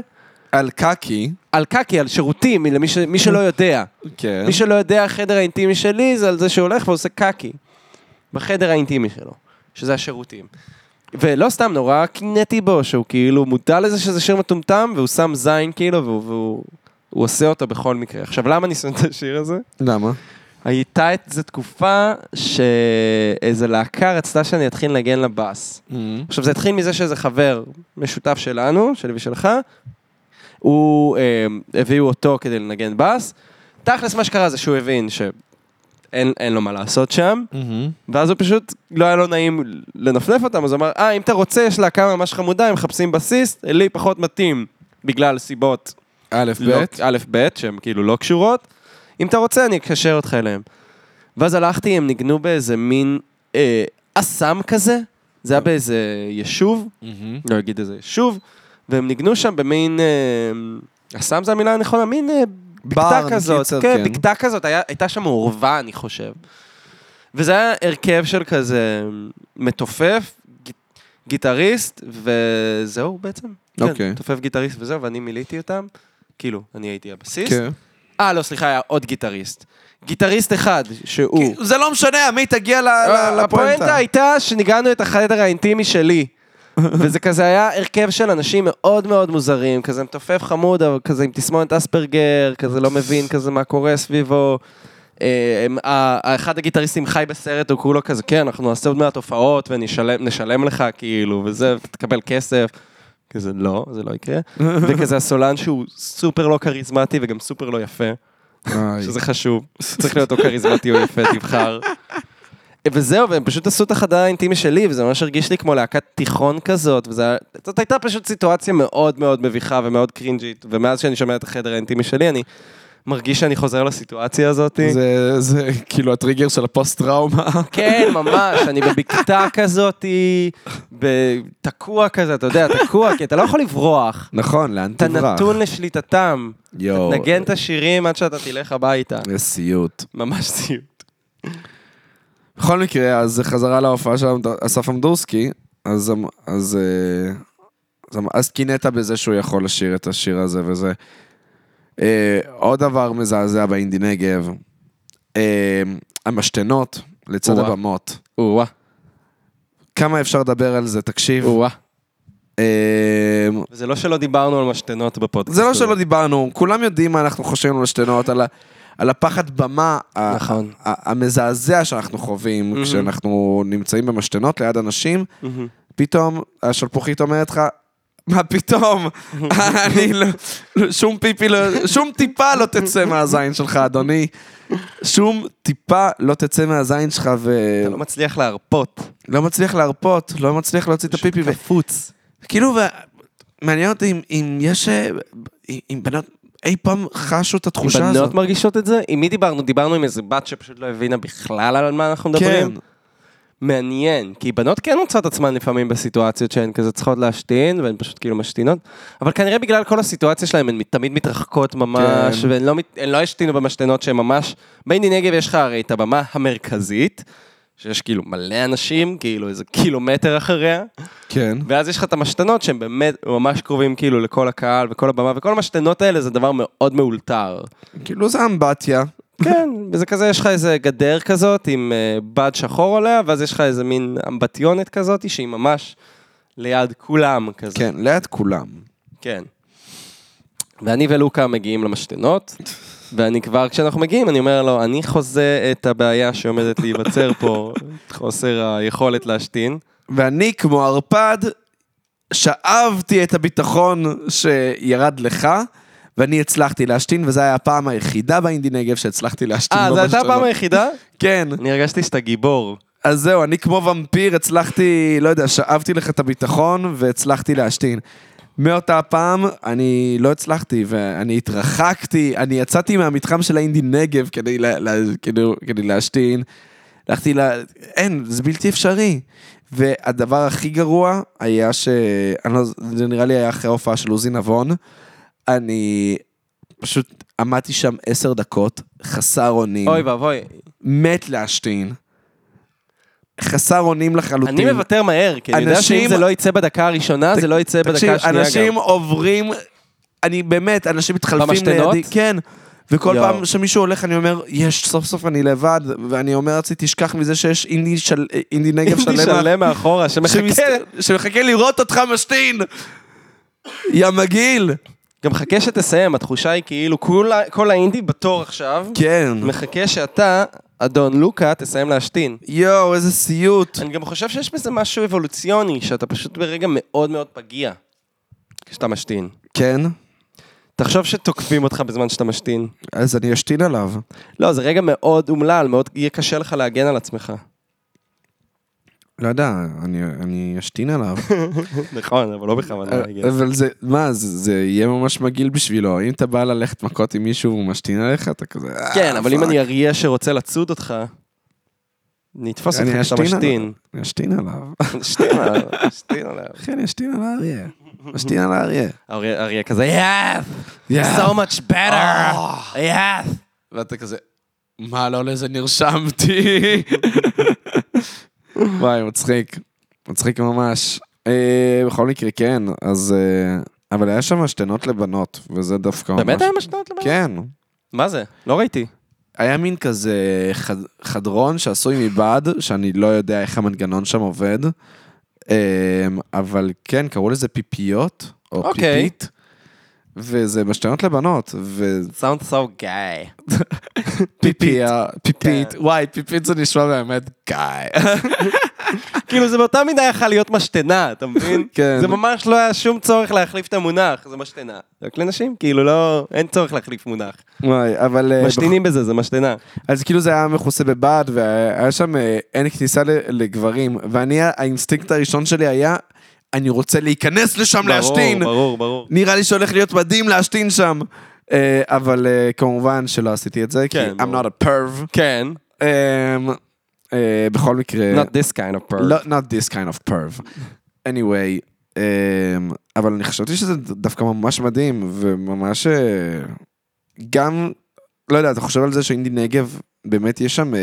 Speaker 1: על קקי.
Speaker 2: על קקי, על שירותים, למי ש... מי שלא יודע.
Speaker 1: כן.
Speaker 2: מי שלא יודע, החדר האינטימי שלי זה על זה שהולך ועושה קקי. בחדר האינטימי שלו, שזה השירותים. ולא סתם, נורא קינאתי בו, שהוא כאילו מודע לזה שזה שיר מטומטם, והוא שם זין כאילו, והוא... והוא... הוא עושה אותה בכל מקרה. עכשיו, למה אני שונא את השיר הזה?
Speaker 1: למה?
Speaker 2: הייתה איזו תקופה שאיזו להקה רצתה שאני אתחיל לנגן לבאס. עכשיו, זה התחיל מזה שאיזה חבר משותף שלנו, שלי ושלך, הוא, אה, הביאו אותו כדי לנגן בס. תכלס, מה שקרה זה שהוא הבין שאין אין לו מה לעשות שם, ואז הוא פשוט, לא היה לו נעים לנפנף אותם, אז הוא אמר, אה, אם אתה רוצה, יש להקה ממש חמודה, הם מחפשים בסיסט, לי פחות מתאים, בגלל סיבות
Speaker 1: א',
Speaker 2: לא-
Speaker 1: ב'.
Speaker 2: א', ב', שהן כאילו לא קשורות. אם אתה רוצה, אני אקשר אותך אליהם. ואז הלכתי, הם ניגנו באיזה מין אה, אסם כזה, זה היה באיזה יישוב,
Speaker 1: כן.
Speaker 2: לא אגיד איזה יישוב, והם ניגנו שם במין, אה, אסם זה המילה הנכונה, מין אה, בקתה
Speaker 1: בר,
Speaker 2: כזאת,
Speaker 1: קיצר,
Speaker 2: כן,
Speaker 1: כן.
Speaker 2: בקתה כזאת, היה, הייתה שם עורבה, אני חושב. וזה היה הרכב של כזה אה, מתופף, ג- גיטריסט, וזהו בעצם.
Speaker 1: אוקיי.
Speaker 2: כן, מתופף גיטריסט וזהו, ואני מילאתי אותם. כאילו, אני הייתי הבסיס.
Speaker 1: כן.
Speaker 2: אה, לא, סליחה, היה עוד גיטריסט. גיטריסט אחד, שהוא...
Speaker 1: זה לא משנה, עמית, תגיע ל- ל-
Speaker 2: אה, הפואנטה
Speaker 1: לפואנטה.
Speaker 2: הייתה שניגענו את החדר האינטימי שלי. וזה כזה היה הרכב של אנשים מאוד מאוד מוזרים, כזה מתופף חמוד, אבל כזה עם תסמונת אספרגר, כזה לא מבין כזה מה קורה סביבו. אה, הם- ה- אחד הגיטריסטים חי בסרט, הוא כולו כזה, כן, אנחנו נעשה עוד מעט הופעות ונשלם נשלם לך, כאילו, וזה, ותקבל כסף. כזה, לא, זה לא יקרה. וכזה הסולן שהוא סופר לא כריזמטי וגם סופר לא יפה.
Speaker 1: איי.
Speaker 2: שזה חשוב, צריך להיות או כריזמטי או יפה, תבחר. אה, וזהו, והם פשוט עשו את החדר האינטימי שלי, וזה ממש הרגיש לי כמו להקת תיכון כזאת, וזאת היה- זאת הייתה פשוט סיטואציה מאוד מאוד מביכה ומאוד קרינג'ית, ומאז שאני שומע את החדר האינטימי שלי, אני מרגיש שאני חוזר לסיטואציה הזאת.
Speaker 1: זה- זה כאילו הטריגר של הפוסט-טראומה.
Speaker 2: כן, ממש, אני בבקתה כזאת, ב- תקוע כזה, אתה יודע, תקוע, כי אתה לא יכול לברוח.
Speaker 1: נכון, לאן
Speaker 2: אתה
Speaker 1: תברח?
Speaker 2: נתון לשליטתם.
Speaker 1: יואו,
Speaker 2: נגן את השירים עד שאתה תלך הביתה.
Speaker 1: זה סיוט.
Speaker 2: ממש סיום.
Speaker 1: בכל מקרה, אז זה חזרה להופעה של אסף עמדורסקי, אז... אמ- אז אה, אז אמ- אז קינאת בזה שהוא יכול לשיר את השיר הזה וזה. אה, עוד דבר מזעזע באינדי נגב, אה, המשתנות לצד
Speaker 2: או-אה.
Speaker 1: הבמות.
Speaker 2: או-אה,
Speaker 1: כמה אפשר לדבר על זה, תקשיב.
Speaker 2: או-אה.
Speaker 1: אה,
Speaker 2: וזה לא שלא דיברנו על משתנות בפודקאסט.
Speaker 1: זה לא
Speaker 2: הזה.
Speaker 1: שלא דיברנו, כולם יודעים מה אנחנו חושבים על השתנות, על, ה- על הפחד במה ה-
Speaker 2: נכון.
Speaker 1: ה- המזעזע שאנחנו חווים
Speaker 2: Mhm.
Speaker 1: כשאנחנו נמצאים במשתנות ליד אנשים,
Speaker 2: מהמם.
Speaker 1: פתאום השלפוחית אומרת לך, מה פתאום? אני לא, לא- שום פיפי לא, שום טיפה לא תצא מהזין שלך, אדוני. שום טיפה לא תצא מהזין שלך
Speaker 2: אתה לא
Speaker 1: ולא
Speaker 2: מצליח להרפות.
Speaker 1: מצליח להרפות, לא מצליח להוציא את הפיפי. ו-
Speaker 2: קפוץ.
Speaker 1: כאילו, ו- מעניין אותי אם- אם יש, אה, אם- אם בנות אי פעם חשו את התחושה הזאת.
Speaker 2: בנות מרגישות את זה? עם מי דיברנו? דיברנו עם איזה בת שפשוט לא הבינה בכלל על מה אנחנו
Speaker 1: כן,
Speaker 2: מדברים. מעניין, כי בנות כן מוצאות עצמן לפעמים בסיטואציות שהן כזה צריכות להשתין, והן פשוט כאילו משתינות, אבל כנראה בגלל כל הסיטואציה שלהן הן תמיד מתרחקות ממש,
Speaker 1: כן.
Speaker 2: והן לא, מת- הן לא השתינו במשתנות שהן ממש... באינדי נגב יש לך הרי את הבמה המרכזית, שיש כאילו מלא אנשים, כאילו איזה קילומטר אחריה,
Speaker 1: כן.
Speaker 2: ואז יש לך את המשתנות שהם באמת ממש קרובים כאילו לכל הקהל וכל הבמה, וכל המשתנות האלה זה דבר מאוד מאולתר.
Speaker 1: כאילו זה אמבטיה.
Speaker 2: כן, וזה כזה, יש לך איזה גדר כזאת עם אה, בד שחור עליה, ואז יש לך איזה מין אמבטיונת כזאת שהיא ממש ליד כולם כזה.
Speaker 1: כן, ליד כולם.
Speaker 2: כן. ואני ולוקה מגיעים למשתנות, ואני כבר, כשאנחנו מגיעים, אני אומר לו, אני חוזה את הבעיה שעומדת להיווצר פה, את חוסר היכולת להשתין.
Speaker 1: ואני כמו ערפד, שאבתי את הביטחון שירד לך, ואני הצלחתי להשתין, וזו הייתה הפעם היחידה באינדי נגב שהצלחתי להשתין.
Speaker 2: אה, זו
Speaker 1: ממש
Speaker 2: הייתה
Speaker 1: שלא.
Speaker 2: הפעם היחידה?
Speaker 1: כן,
Speaker 2: אני הרגשתי שאתה גיבור.
Speaker 1: אז זהו, אני כמו ומפיר הצלחתי, לא יודע, שאבתי לך את הביטחון והצלחתי להשתין. מאותה הפעם אני לא הצלחתי ואני התרחקתי, אני יצאתי מהמתחם של האינדי נגב כדי, לה, לה, כדי, כדי להשתין. הלכתי ל... אין, זה בלתי אפשרי. והדבר הכי גרוע היה ש... אני לא, זה נראה לי היה אחרי ההופעה של עוזי נבון. אני פשוט עמדתי שם עשר דקות, חסר אונים,
Speaker 2: אוי ואבוי,
Speaker 1: מת להשתין. חסר אונים לחלוטין.
Speaker 2: אני מוותר מהר, כי אני יודע שאם
Speaker 1: אנשים-
Speaker 2: זה לא יצא בדקה הראשונה, זה לא יצא בדקה
Speaker 1: תקשיב,
Speaker 2: השנייה גם.
Speaker 1: אנשים עוברים, אני באמת, אנשים מתחלפים
Speaker 2: במשתנות?
Speaker 1: לידי, כן. וכל
Speaker 2: יואו.
Speaker 1: פעם שמישהו הולך, אני אומר, יש, סוף סוף אני לבד, ואני אומר לעצמי, תשכח מזה שיש אינדי, של... אינדי נגב
Speaker 2: הייתי
Speaker 1: שלם,
Speaker 2: שלם מאחורה, שמחכה.
Speaker 1: שמסת- שמחכה לראות אותך משתין. יא מגעיל.
Speaker 2: גם חכה שתסיים, התחושה היא כאילו כל, ה- כל האינדי בתור עכשיו,
Speaker 1: כן.
Speaker 2: מחכה שאתה, אדון לוקה, תסיים להשתין.
Speaker 1: יואו, איזה סיוט.
Speaker 2: אני גם חושב שיש בזה משהו אבולוציוני, שאתה פשוט ברגע מאוד מאוד פגיע כשאתה משתין.
Speaker 1: כן?
Speaker 2: תחשוב שתוקפים אותך בזמן שאתה משתין.
Speaker 1: אז אני אשתין עליו.
Speaker 2: לא, זה רגע מאוד אומלל, מאוד יהיה קשה לך להגן על עצמך.
Speaker 1: לא יודע, אני, אני אשתין עליו.
Speaker 2: נכון, אבל לא בכוונה להגן.
Speaker 1: אה, אבל זה, מה, זה, זה יהיה ממש מגעיל בשבילו. אם אתה בא ללכת מכות עם מישהו והוא משתין עליך, אתה כזה... "אה,
Speaker 2: כן, אבל אם
Speaker 1: פאק."
Speaker 2: אני אריה שרוצה לצוד אותך, נתפוס אותך
Speaker 1: אני
Speaker 2: כשאתה
Speaker 1: אשתין
Speaker 2: משתין.
Speaker 1: עליו. אני אשתין עליו.
Speaker 2: אשתין עליו, אשתין עליו.
Speaker 1: אחי, אני אשתין על האריה. אשתין על האריה.
Speaker 2: אריה אריה כזה, יאף!
Speaker 1: יאף.
Speaker 2: So much better!
Speaker 1: Oh.
Speaker 2: יאף!
Speaker 1: ואתה כזה, מה, לא לזה נרשמתי? וואי, מצחיק. מצחיק ממש. אה, בכל מקרה, כן, אז... אה, אבל היה שם משתנות לבנות, וזה דווקא ממש...
Speaker 2: באמת היה משתנות לבנות?
Speaker 1: כן.
Speaker 2: מה זה? לא ראיתי.
Speaker 1: היה מין כזה חד, חדרון שעשוי מבד, שאני לא יודע איך המנגנון שם עובד, אה, אבל כן, קראו לזה פיפיות, או okay.
Speaker 2: אוקיי.
Speaker 1: פיפית, וזה משתנות לבנות, ו...
Speaker 2: Sound so gay.
Speaker 1: פיפיה, פיפית, כן. וואי, פיפית זה נשמע באמת גיא.
Speaker 2: כאילו זה באותה מידה יכול להיות משתנה, אתה מבין?
Speaker 1: כן.
Speaker 2: זה ממש לא היה שום צורך להחליף את המונח, זה משתנה. רק לנשים, כאילו לא, אין צורך להחליף מונח.
Speaker 1: וואי, אבל... אה,
Speaker 2: משתינים בזה, זה משתנה.
Speaker 1: בח- אז כאילו זה היה מכוסה בבד, והיה שם אה, אין כניסה ל- לגברים, ואני, האינסטינקט הראשון שלי היה, אני רוצה להיכנס לשם להשתין.
Speaker 2: ברור, ברור, ברור.
Speaker 1: נראה לי שהולך להיות מדהים להשתין שם. אה, אבל אה, כמובן שלא עשיתי את זה, כי
Speaker 2: כן,
Speaker 1: I'm
Speaker 2: ברור.
Speaker 1: not a perv.
Speaker 2: כן.
Speaker 1: אה, אה, בכל מקרה...
Speaker 2: Not this kind of
Speaker 1: לא,
Speaker 2: person.
Speaker 1: not this kind of perv. anyway, um, אבל אני חשבתי שזה דווקא ממש מדהים, וממש... אה, גם, לא יודע, אתה חושב על זה שאינדי נגב, באמת יש שם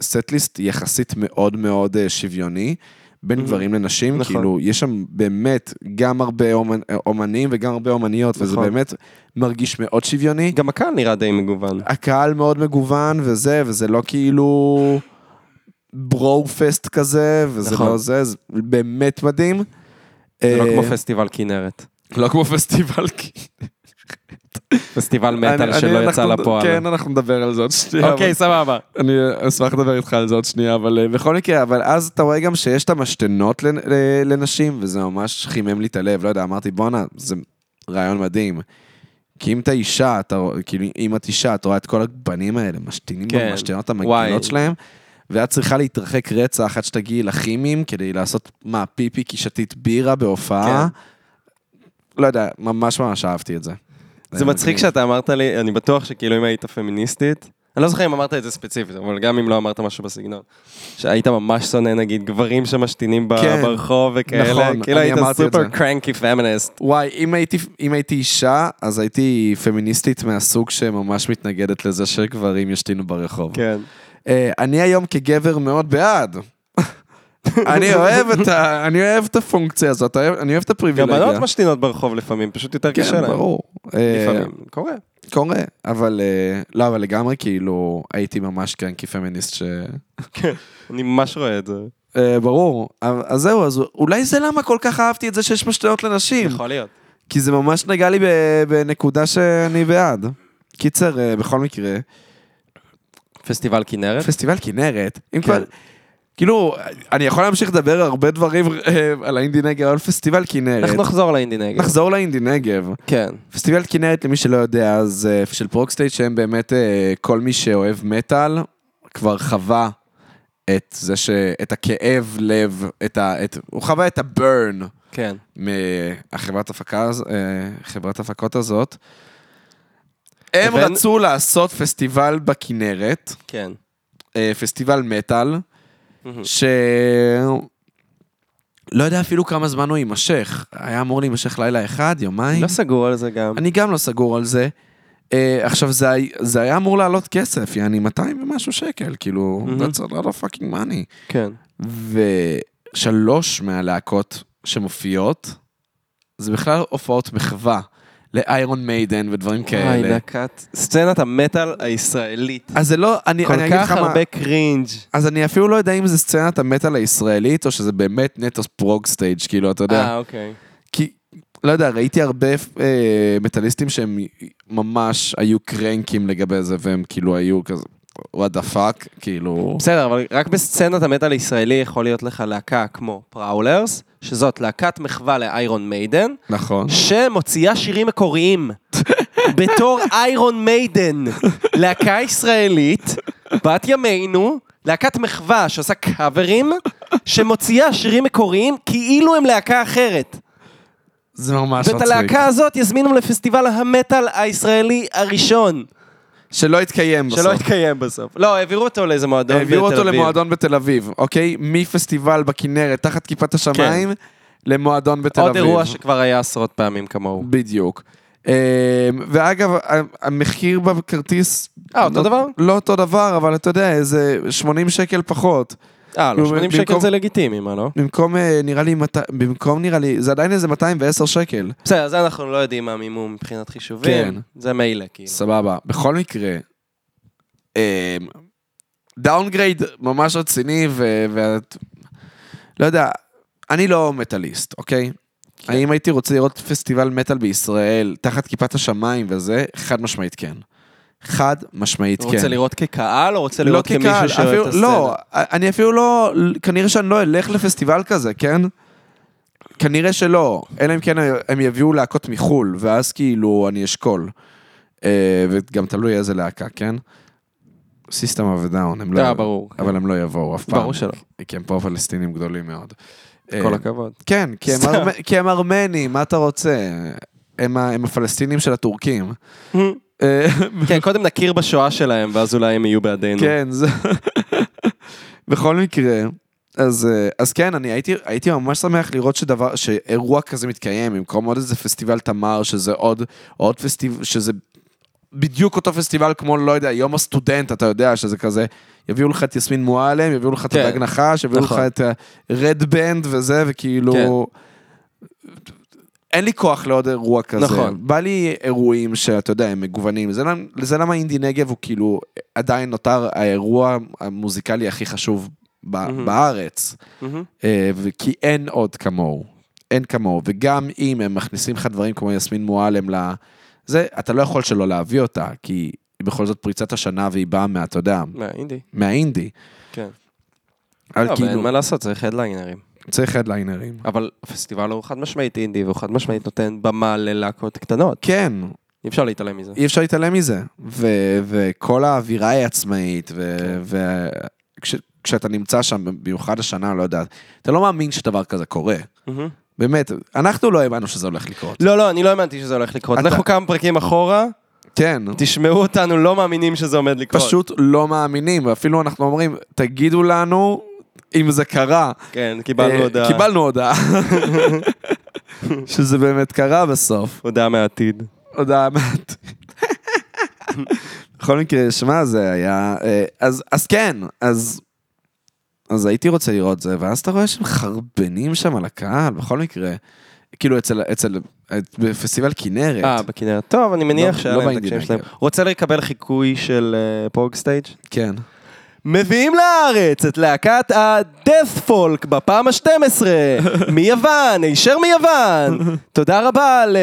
Speaker 1: סט-ליסט יחסית מאוד מאוד אה, שוויוני. בין גברים לנשים,
Speaker 2: Mhm. נכון.
Speaker 1: כאילו, יש שם באמת גם הרבה אומנ- אה, אומנים וגם הרבה אומניות, וזה
Speaker 2: נכון.
Speaker 1: באמת מרגיש מאוד שוויוני.
Speaker 2: גם הקהל נראה די מגוון.
Speaker 1: הקהל מאוד מגוון וזה, וזה לא כאילו ברו פסט כזה, וזה
Speaker 2: נכון.
Speaker 1: לא זה, זה באמת מדהים. אה,
Speaker 2: זה לא כמו פסטיבל כנרת.
Speaker 1: לא כמו פסטיבל. כי-
Speaker 2: פסטיבל
Speaker 1: אני-
Speaker 2: מטאל
Speaker 1: אני-
Speaker 2: שלא יצא
Speaker 1: אנחנו-
Speaker 2: לפועל.
Speaker 1: כן, אנחנו נדבר על זה עוד שנייה.
Speaker 2: אוקיי, סבבה.
Speaker 1: אבל- אני אשמח לדבר איתך על זה עוד שנייה, אבל אה, בכל מקרה, אבל אז אתה רואה גם שיש את המשתנות לנ- ל- לנשים, וזה ממש חימם לי את הלב, לא יודע, אמרתי, בואנה, זה רעיון מדהים. כי אם אתה אישה, אתה, רוא- כאילו, אם את אישה, את רואה את כל הבנים האלה משתינים
Speaker 2: כן.
Speaker 1: במשתנות
Speaker 2: וואי.
Speaker 1: המגנות שלהם, ואת צריכה להתרחק רצח עד שתגיעי לכימיים כדי לעשות, מה, פיפי כי שתית בירה בהופעה? לא יודע, ממש ממש אהבתי את זה.
Speaker 2: כן.
Speaker 1: אה,
Speaker 2: זה מצחיק
Speaker 1: מגניב.
Speaker 2: שאתה אמרת לי, אני בטוח שכאילו אם היית פמיניסטית, אני לא זוכר אם אמרת את זה ספציפית, אבל גם אם לא אמרת משהו בסגנון, שהיית ממש שונא נגיד גברים שמשתינים ב-
Speaker 1: כן.
Speaker 2: ברחוב
Speaker 1: נכון,
Speaker 2: וכאלה, כאילו
Speaker 1: אני
Speaker 2: היית
Speaker 1: אמרתי את
Speaker 2: סופר
Speaker 1: זה.
Speaker 2: קרנקי פמיניסט.
Speaker 1: וואי, אם הייתי, אם הייתי אישה, אז הייתי פמיניסטית מהסוג שממש מתנגדת לזה שגברים ישתינו ברחוב. כן.
Speaker 2: כן.
Speaker 1: Uh, אני היום כגבר מאוד בעד. אני אוהב את ה... אני אוהב את הפונקציה הזאת, אני אוהב- אני אוהב את
Speaker 2: גם
Speaker 1: הפריבילגיה.
Speaker 2: בנות משתינות ברחוב לפעמים, פשוט יותר קשה
Speaker 1: כאילו, כן,
Speaker 2: להם.
Speaker 1: ברור. אה,
Speaker 2: לפעמים, קורה.
Speaker 1: קורה, אבל... אה, לא, אבל לגמרי, כאילו, הייתי ממש קרנקי פמיניסט ש...
Speaker 2: אני ממש רואה את זה.
Speaker 1: אה, ברור. אז זהו, אז אולי זה למה כל כך אהבתי את זה שיש משתנות לנשים.
Speaker 2: יכול להיות.
Speaker 1: כי זה ממש נגע לי ב- בנקודה שאני בעד. קיצר, אה, בכל מקרה,
Speaker 2: פסטיבל כנרת?
Speaker 1: פסטיבל כנרת, אם כבר... כאילו, אני יכול להמשיך לדבר הרבה דברים אה, על האינדי נגב, אבל פסטיבל
Speaker 2: אנחנו
Speaker 1: כנרת.
Speaker 2: נחזור לאינדי נגב.
Speaker 1: נחזור לאינדי נגב.
Speaker 2: כן.
Speaker 1: פסטיבל כנרת, למי שלא יודע, אז אה, של פרוקסטייט, שהם באמת, אה, כל מי שאוהב מטאל, כבר חווה את זה ש... את הכאב לב, את ה... את... הוא חווה את הברן.
Speaker 2: כן.
Speaker 1: מהחברת הפקה, הז- אה, חברת הפקות הזאת. הם
Speaker 2: לבין-
Speaker 1: רצו לעשות פסטיבל בכנרת,
Speaker 2: כן.
Speaker 1: אה, פסטיבל מטאל,
Speaker 2: מהמם.
Speaker 1: ש... לא יודע אפילו כמה זמן הוא יימשך. היה אמור להימשך לילה אחד, יומיים.
Speaker 2: לא סגור על זה גם.
Speaker 1: אני גם לא סגור על זה. אה, עכשיו, זה, הי- זה היה אמור לעלות כסף, יעני 200 ומשהו שקל, כאילו,
Speaker 2: מהמם.
Speaker 1: that's a lot of fucking money.
Speaker 2: כן.
Speaker 1: ושלוש מהלהקות שמופיעות, זה בכלל הופעות מחווה לאיירון מיידן ודברים
Speaker 2: וואי,
Speaker 1: כאלה.
Speaker 2: להקת סצנת המטאל הישראלית.
Speaker 1: אז זה לא, אני, אני
Speaker 2: כל
Speaker 1: אגיד
Speaker 2: כך
Speaker 1: לך מה,
Speaker 2: הרבה קרינג'.
Speaker 1: אז אני אפילו לא יודע אם זה סצנת המטאל הישראלית, או שזה באמת נטו פרוג סטייג', כאילו, אתה יודע.
Speaker 2: אה, אוקיי.
Speaker 1: כי לא יודע, ראיתי הרבה אה, מטאליסטים שהם ממש היו קרנקים לגבי זה, והם כאילו היו כזה, what the fuck, כאילו...
Speaker 2: בסדר, אבל רק בסצנת המטאל הישראלי יכול להיות לך להקה כמו פראולרס, שזאת להקת מחווה לאיירון מיידן,
Speaker 1: נכון.
Speaker 2: שמוציאה שירים מקוריים בתור איירון מיידן, להקה ישראלית, בת ימינו, להקת מחווה שעושה קאברים, שמוציאה שירים מקוריים כאילו הם להקה אחרת.
Speaker 1: זה ממש
Speaker 2: ואת
Speaker 1: מצחיק.
Speaker 2: הלהקה הזאת יזמינו לפסטיבל המטאל הישראלי הראשון,
Speaker 1: שלא התקיים בסוף.
Speaker 2: שלא התקיים בסוף. לא, העבירו אותו לאיזה מועדון בתל אביב.
Speaker 1: העבירו אותו למועדון בתל אביב, אוקיי? מפסטיבל בכנרת, תחת כיפת השמיים, למועדון בתל
Speaker 2: עוד
Speaker 1: אביב.
Speaker 2: אירוע שכבר היה עשרות פעמים כמוהו.
Speaker 1: בדיוק. אמ, ואגב, ה- המחיר בכרטיס...
Speaker 2: אה, אותו
Speaker 1: לא-
Speaker 2: דבר?
Speaker 1: לא אותו דבר, אבל אתה יודע, איזה 80 שקל פחות.
Speaker 2: אה, לא,
Speaker 1: נו,
Speaker 2: 80
Speaker 1: במקום-
Speaker 2: שקל זה לגיטימי, מה לא?
Speaker 1: במקום, אה, נראה לי, מת- במקום, נראה לי, זה עדיין איזה 210 שקל.
Speaker 2: בסדר, זה אנחנו לא יודעים מה מימום מבחינת חישובים.
Speaker 1: כן.
Speaker 2: זה מילא, כאילו.
Speaker 1: סבבה. בכל מקרה, אמ, דאונגרייד ממש רציני, ו- ואת... לא יודע, אני לא מטאליסט, אוקיי?
Speaker 2: כן.
Speaker 1: האם הייתי רוצה לראות פסטיבל מטאל בישראל תחת כיפת השמיים וזה? חד משמעית כן. חד משמעית כן.
Speaker 2: רוצה לראות כקהל או רוצה
Speaker 1: לא
Speaker 2: לראות כמישהו
Speaker 1: כקהל,
Speaker 2: שאוהב את
Speaker 1: אפילו,
Speaker 2: הסצנה?
Speaker 1: לא, אני אפילו לא, כנראה שאני לא אלך לפסטיבל כזה, כן? כנראה שלא, אלא אם כן הם יביאו להקות מחול, ואז כאילו אני אשקול. אה, וגם תלוי איזה להקה, כן? סיסטם אוף דאון, הם לא...
Speaker 2: אה, ברור.
Speaker 1: אבל הם לא יבואו אף פעם.
Speaker 2: ברור שלא.
Speaker 1: כי הם פה פלסטינים גדולים מאוד.
Speaker 2: כל
Speaker 1: אה,
Speaker 2: הכבוד.
Speaker 1: כן, כי הם,
Speaker 2: סתם.
Speaker 1: ארמ... כי הם ארמנים, מה אתה רוצה? הם, ה... הם הפלסטינים של הטורקים. אה,
Speaker 2: כן, קודם נכיר בשואה שלהם, ואז אולי הם יהיו בעדינו.
Speaker 1: כן, זה... בכל מקרה, אז, אה, אז כן, אני הייתי, הייתי ממש שמח לראות שדבר, שאירוע כזה מתקיים, במקום עוד איזה פסטיבל תמר, שזה עוד, עוד פסטיבל, שזה בדיוק אותו פסטיבל כמו, לא יודע, יום הסטודנט, אתה יודע, שזה כזה, יביאו לך את יסמין מועלם, יביאו לך את
Speaker 2: כן.
Speaker 1: הדג נחש, יביאו
Speaker 2: נכון. כן.
Speaker 1: לך את אה, רד בנד וזה, וכאילו... אין לי כוח לעוד אירוע כזה.
Speaker 2: נכון.
Speaker 1: בא לי אירועים שאתה יודע, הם מגוונים. זה למ- זה למה אינדי נגב הוא כאילו עדיין נותר האירוע המוזיקלי הכי חשוב ב-
Speaker 2: מהמם.
Speaker 1: בארץ.
Speaker 2: מהמם.
Speaker 1: אה, וכי אין עוד כמוהו. אין כמוהו. וגם אם הם מכניסים לך דברים כמו יסמין מועלם ל... זה, אתה לא יכול שלא להביא אותה, כי היא בכל זאת פריצת השנה והיא באה מה, אתה יודע,
Speaker 2: מה, אינדי.
Speaker 1: מהאינדי.
Speaker 2: כן.
Speaker 1: אבל
Speaker 2: לא, אבל אין
Speaker 1: כאילו,
Speaker 2: מה לעשות, צריך הדליינרים.
Speaker 1: צריך הדליינרים.
Speaker 2: אבל הפסטיבל הוא חד משמעית אינדי, והוא חד משמעית נותן במה ללהקות קטנות.
Speaker 1: כן,
Speaker 2: אי אפשר להתעלם מזה.
Speaker 1: אי אפשר להתעלם מזה. ו- וכל האווירה היא עצמאית,
Speaker 2: כן.
Speaker 1: וכשאתה נמצא שם, במיוחד השנה, לא יודע, אתה לא מאמין שדבר כזה קורה.
Speaker 2: מהמם.
Speaker 1: באמת, אנחנו לא האמנו שזה הולך לקרות.
Speaker 2: לא, לא, אני לא האמנתי שזה הולך לקרות.
Speaker 1: אתה-
Speaker 2: לכו כמה פרקים אחורה,
Speaker 1: כן,
Speaker 2: תשמעו אותנו לא מאמינים שזה עומד לקרות.
Speaker 1: פשוט לא מאמינים, ואפילו אנחנו אומרים, תגידו לנו אם זה קרה.
Speaker 2: כן, קיבלנו
Speaker 1: אה,
Speaker 2: הודעה.
Speaker 1: קיבלנו הודעה. שזה באמת קרה בסוף.
Speaker 2: הודעה מהעתיד.
Speaker 1: הודעה מעט. בכל מקרה, שמע, זה היה... אה, אז, אז כן, אז... אז הייתי רוצה לראות זה, ואז אתה רואה שהם חרבנים שם על הקהל, בכל מקרה. כאילו אצל, אצל, את- בפסטיבל כנרת.
Speaker 2: אה, בכנרת. טוב, אני מניח
Speaker 1: כן. לא-
Speaker 2: שהיה
Speaker 1: לא
Speaker 2: להם את
Speaker 1: באינדי
Speaker 2: הקשיים
Speaker 1: נגב.
Speaker 2: שלהם. רוצה לקבל חיקוי של פורג סטייג'?
Speaker 1: כן.
Speaker 2: מביאים לארץ את להקת ה-death folk בפעם ה-12, מיוון, הישר מיוון. תודה רבה ל...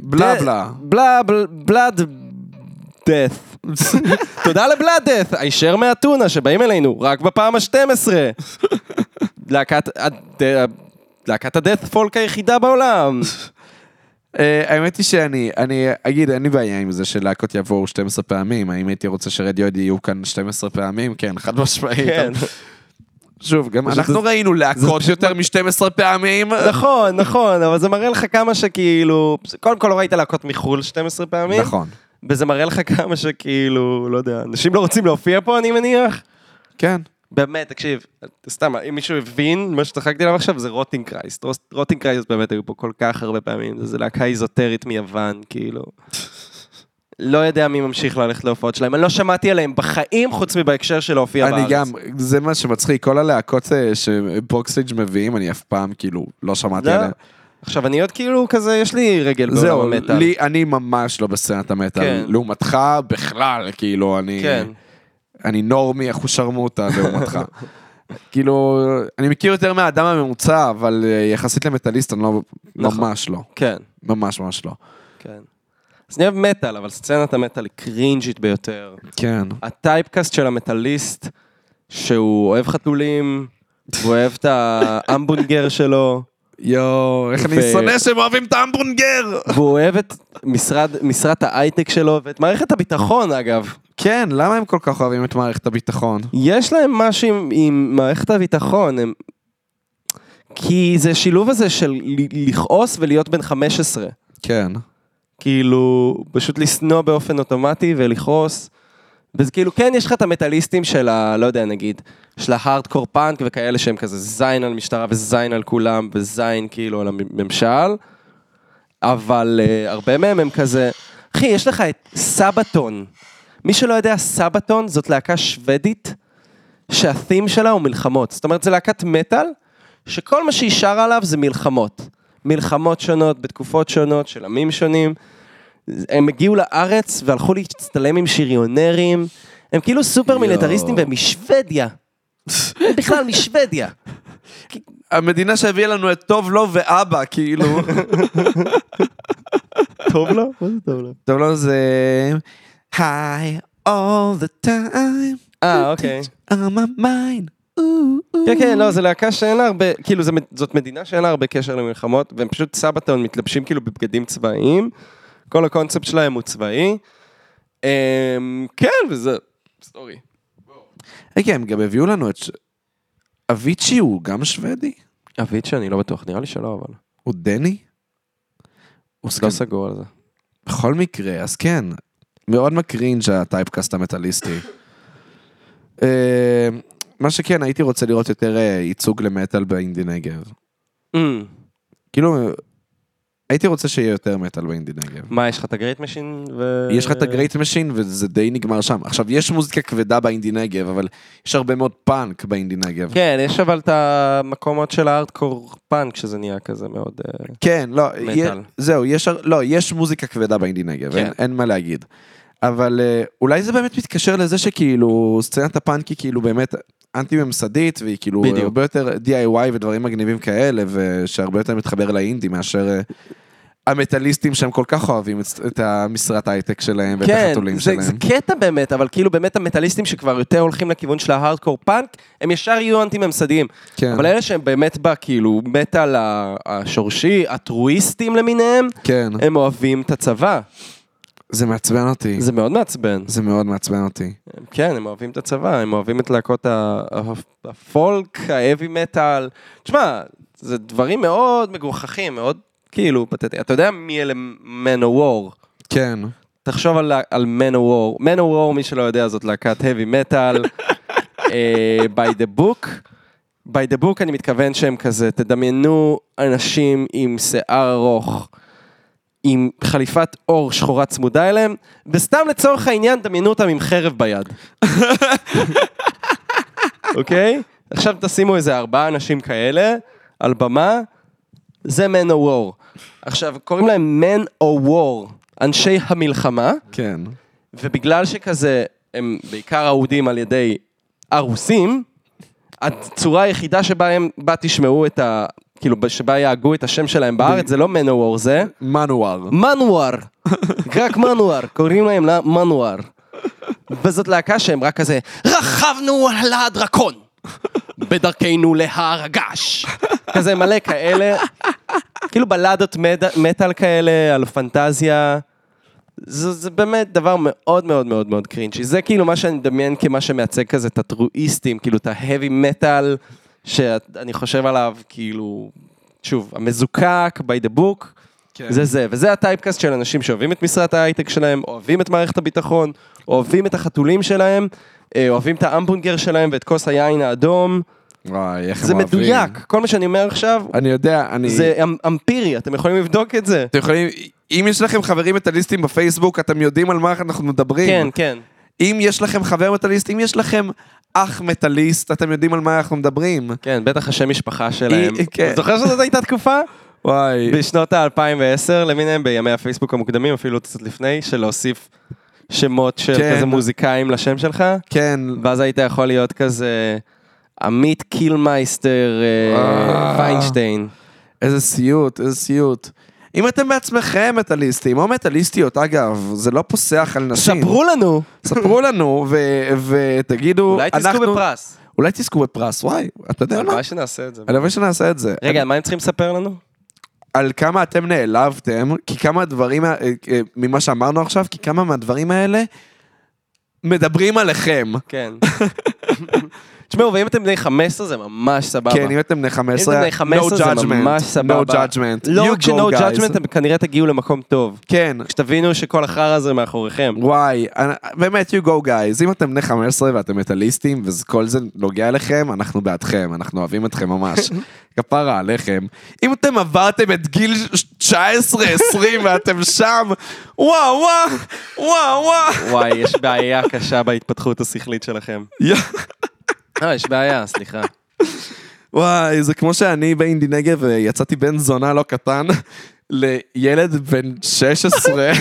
Speaker 1: בלה בלה.
Speaker 2: בלה בל- בלאד death. תודה לבלאד death, הישר מאתונה שבאים אלינו, רק בפעם ה-12. להקת ה- להקת ה-death folk היחידה בעולם.
Speaker 1: אה, האמת היא שאני, אני אגיד, אין לי בעיה עם זה שלהקות יבואו 12 פעמים, האם הייתי רוצה שרדיואד יהיו כאן 12 פעמים? כן, חד משמעית.
Speaker 2: כן.
Speaker 1: שוב, גם
Speaker 2: פשוט
Speaker 1: אנחנו ראינו להקות יותר מ-12 פעמים.
Speaker 2: נכון, נכון, אבל זה מראה לך כמה שכאילו, קודם כל לא ראית להקות מחו"ל 12 פעמים,
Speaker 1: נכון.
Speaker 2: וזה מראה לך כמה שכאילו, לא יודע, אנשים לא רוצים להופיע פה אני מניח.
Speaker 1: כן.
Speaker 2: באמת, תקשיב, סתם, אם מישהו הבין, מה שצחקתי עליו עכשיו זה רוטינג קרייסט. רוס- רוטינג קרייסט באמת היו פה כל כך הרבה פעמים, זו להקה איזוטרית מיוון, כאילו. לא יודע מי ממשיך ללכת להופעות שלהם, אני לא שמעתי עליהם בחיים חוץ מבהקשר של להופיע בארץ.
Speaker 1: אני גם, זה מה שמצחיק, כל הלהקות אה, שבוקסליג' מביאים, אני אף פעם כאילו לא שמעתי
Speaker 2: לא.
Speaker 1: עליהן.
Speaker 2: עכשיו, אני עוד כאילו כזה, יש לי רגל בעולם
Speaker 1: זהו,
Speaker 2: המטאל.
Speaker 1: לי, אני ממש לא בסצנת המטאל.
Speaker 2: כן.
Speaker 1: לעומתך, בכלל, כאילו, אני
Speaker 2: כן.
Speaker 1: אני נורמי אחושרמוטה לעומתך. כאילו, אני מכיר יותר מהאדם הממוצע, אבל אה, יחסית למטאליסט אני לא,
Speaker 2: נכון.
Speaker 1: ממש לא.
Speaker 2: כן,
Speaker 1: ממש ממש לא.
Speaker 2: כן. אז אני אוהב מטאל, אבל סצנת המטאל היא קרינג'ית ביותר.
Speaker 1: כן.
Speaker 2: הטייפקאסט של המטאליסט, שהוא אוהב חתולים, הוא אוהב את ההמבונגר שלו,
Speaker 1: יואו, איך אני
Speaker 2: ו-
Speaker 1: שונא שהם אוהבים את ההמבורגר!
Speaker 2: והוא אוהב את משרד, משרת ההייטק שלו, ואת מערכת הביטחון אגב.
Speaker 1: כן, למה הם כל כך אוהבים את מערכת הביטחון?
Speaker 2: יש להם משהו עם, עם מערכת הביטחון, הם... כי זה שילוב הזה של ל- לכעוס ולהיות בן 15.
Speaker 1: כן.
Speaker 2: כאילו, פשוט לשנוא באופן אוטומטי ולכעוס. וזה כאילו, כן, יש לך את המטאליסטים של ה... לא יודע, נגיד, של ההארדקור פאנק וכאלה שהם כזה זין על משטרה וזין על כולם וזין כאילו על הממשל, אבל uh, הרבה מהם הם כזה... אחי, יש לך את סבתון. מי שלא יודע, סבתון זאת להקה שוודית שהתים שלה הוא מלחמות. זאת אומרת, זו להקת מטאל שכל מה שהיא שרה עליו זה מלחמות. מלחמות שונות, בתקופות שונות, של עמים שונים. הם הגיעו לארץ והלכו להצטלם עם שריונרים. הם כאילו סופר מיליטריסטים והם משוודיה. הם בכלל משוודיה.
Speaker 1: המדינה שהביאה לנו את טוב לו ואבא, כאילו.
Speaker 2: טוב לו? מה זה טוב לו?
Speaker 1: טוב לו זה... היי, all the time,
Speaker 2: אה, אוקיי.
Speaker 1: on my mind.
Speaker 2: כן, כן, לא, זו להקה שאין לה הרבה, כאילו זה, מד- זאת מדינה שאין לה הרבה קשר למלחמות, והם פשוט סבתון מתלבשים כאילו בבגדים צבאיים, כל הקונספט שלהם הוא צבאי. אמ, כן, וזה... סורי.
Speaker 1: רגע, הם גם הביאו לנו את... ש- אביצ'י הוא גם שוודי?
Speaker 2: אביצ'ה, אני לא בטוח, נראה לי שלא, אבל...
Speaker 1: הוא דני? הוא
Speaker 2: לא
Speaker 1: סגן.
Speaker 2: סגור על זה.
Speaker 1: בכל מקרה, אז כן. מאוד מקרינג' הטייפקאסט המטאליסטי. אה, מה שכן, הייתי רוצה לראות יותר אה, ייצוג למטאל באינדי נגב.
Speaker 2: Mm.
Speaker 1: כאילו, הייתי רוצה שיהיה יותר מטאל באינדי נגב.
Speaker 2: מה, יש לך את הגרייט משין ו...
Speaker 1: יש לך את הגרייט משין וזה די נגמר שם. עכשיו, יש מוזיקה כבדה באינדי נגב, אבל יש הרבה מאוד פאנק באינדי נגב.
Speaker 2: כן, יש אבל את המקומות של הארדקור פאנק, שזה נהיה כזה מאוד... אה,
Speaker 1: כן, לא,
Speaker 2: מטאל.
Speaker 1: יה, זהו, יש, הר- לא, יש מוזיקה כבדה באינדי נגב,
Speaker 2: כן.
Speaker 1: אין, אין מה להגיד. אבל אה, אולי זה באמת מתקשר לזה שכאילו, סצנת הפאנק היא כאילו באמת אנטי-ממסדית, והיא כאילו
Speaker 2: בדיוק.
Speaker 1: הרבה יותר DIY ודברים מגניבים כאלה, ושהרבה יותר מתחבר לאינדי מאשר אה, המטאליסטים שהם כל כך אוהבים את, את המשרת הייטק שלהם ואת
Speaker 2: כן,
Speaker 1: החתולים
Speaker 2: זה,
Speaker 1: שלהם.
Speaker 2: זה קטע באמת, אבל כאילו באמת המטאליסטים שכבר יותר הולכים לכיוון של ההארדקור פאנק, הם ישר יהיו אנטי-ממסדיים.
Speaker 1: כן.
Speaker 2: אבל אלה שהם באמת בה, כאילו, מטאל ה- השורשי, הטרואיסטים למיניהם,
Speaker 1: כן,
Speaker 2: הם אוהבים את הצבא.
Speaker 1: זה מעצבן אותי. זה...
Speaker 2: זה מאוד מעצבן.
Speaker 1: זה מאוד מעצבן אותי.
Speaker 2: הם- כן, הם אוהבים את הצבא, הם אוהבים את להקות ה- ה- הפולק, ההאבי מטאל. תשמע, זה דברים מאוד מגוחכים, מאוד כאילו פתטי. אתה יודע מי אלה מנוור?
Speaker 1: כן.
Speaker 2: תחשוב על, על מנוור. מנוור, מי שלא יודע, זאת להקת heavy metal, אה, by the book. by the book אני מתכוון שהם כזה, תדמיינו אנשים עם שיער ארוך, עם חליפת אור שחורה צמודה אליהם, וסתם לצורך העניין דמיינו אותם עם חרב ביד. אוקיי? עכשיו תשימו איזה ארבעה אנשים כאלה על במה, זה Man o War. עכשיו, קוראים להם Man o War, אנשי המלחמה,
Speaker 1: כן.
Speaker 2: ובגלל שכזה הם בעיקר אהודים על ידי הרוסים, הצורה היחידה שבה הם, בה תשמעו את ה... כאילו, שבה יהגו את השם שלהם בארץ, זה לא Man o War, זה...
Speaker 1: מנואר.
Speaker 2: מנואר, רק מנואר, קוראים להם לה- מנואר. וזאת להקה שהם רק כזה, רכבנו על הדרקון, בדרכנו להר הגעש. כזה מלא כאלה, כאילו בלדות מד- מטאל כאלה, על פנטזיה. זה, זה באמת דבר מאוד מאוד מאוד מאוד קרינג'י. זה כאילו מה שאני מדמיין כמה שמייצג כזה את הטרואיסטים, כאילו את ההאבי מטאל, שאני חושב עליו, כאילו, שוב, המזוקק, by the book.
Speaker 1: כן.
Speaker 2: זה זה, וזה הטייפקאסט של אנשים שאוהבים את משרת ההייטק שלהם, אוהבים את מערכת הביטחון, אוהבים את החתולים שלהם, אה, אוהבים את ההמבונגר שלהם ואת כוס היין האדום.
Speaker 1: וואי, איך הם
Speaker 2: זה
Speaker 1: אוהבים.
Speaker 2: מדויק, כל מה שאני אומר עכשיו,
Speaker 1: אני יודע, אני...
Speaker 2: זה אמ- אמפירי, אתם יכולים לבדוק את זה.
Speaker 1: אתם יכולים, אם יש לכם חברים מטאליסטים בפייסבוק, אתם יודעים על מה אנחנו מדברים.
Speaker 2: כן, כן.
Speaker 1: אם יש לכם חבר מטאליסט, אם יש לכם אח מטאליסט, אתם יודעים על מה אנחנו מדברים.
Speaker 2: כן, בטח השם משפחה שלהם.
Speaker 1: אה, כן.
Speaker 2: זוכר שזאת הייתה תקופה?
Speaker 1: וואי.
Speaker 2: בשנות ה-2010 למיניהם, בימי הפייסבוק המוקדמים, אפילו קצת לפני, של להוסיף שמות של
Speaker 1: כן.
Speaker 2: כזה מוזיקאים לשם שלך.
Speaker 1: כן,
Speaker 2: ואז היית יכול להיות כזה עמית קילמייסטר אה,
Speaker 1: אה.
Speaker 2: ויינשטיין.
Speaker 1: איזה סיוט, איזה סיוט. אם אתם בעצמכם מטאליסטים, או מטאליסטיות, אגב, זה לא פוסח על נשים.
Speaker 2: ספרו לנו.
Speaker 1: ספרו לנו, ו- ותגידו,
Speaker 2: אולי תזכו
Speaker 1: אנחנו-
Speaker 2: בפרס.
Speaker 1: אולי תזכו בפרס, וואי, אתה יודע מה?
Speaker 2: הלוואי שנעשה את זה.
Speaker 1: הלוואי שנעשה את זה.
Speaker 2: רגע, מה הם צריכים לספר לנו?
Speaker 1: על כמה אתם נעלבתם, כי כמה הדברים, ה- אה, אה, ממה שאמרנו עכשיו, כי כמה מהדברים האלה מדברים עליכם.
Speaker 2: כן. תשמעו, ואם אתם בני 15 זה ממש סבבה.
Speaker 1: כן, אם אתם בני 15,
Speaker 2: אם אתם בני 15
Speaker 1: no
Speaker 2: זה
Speaker 1: judgment,
Speaker 2: ממש
Speaker 1: No
Speaker 2: סבבה.
Speaker 1: judgment. You
Speaker 2: לא רק
Speaker 1: go,
Speaker 2: ש-No
Speaker 1: guys.
Speaker 2: judgment, אתם כנראה תגיעו למקום טוב.
Speaker 1: כן,
Speaker 2: כשתבינו שכל החרא הזה מאחוריכם.
Speaker 1: וואי, אני- באמת, you go guys, אם אתם בני 15 ואתם מטאליסטים וכל זה נוגע אליכם, אנחנו בעדכם, אנחנו אוהבים אתכם ממש. כפרה עליכם. אם אתם עברתם את גיל 19-20 ואתם שם, וואו וואו, וואו וואו.
Speaker 2: וואי, יש בעיה קשה בהתפתחות השכלית שלכם.
Speaker 1: יא-
Speaker 2: אה, יש בעיה, סליחה.
Speaker 1: וואי, זה כמו שאני באינדי נגב ויצאתי בן זונה לא קטן לילד בן 16.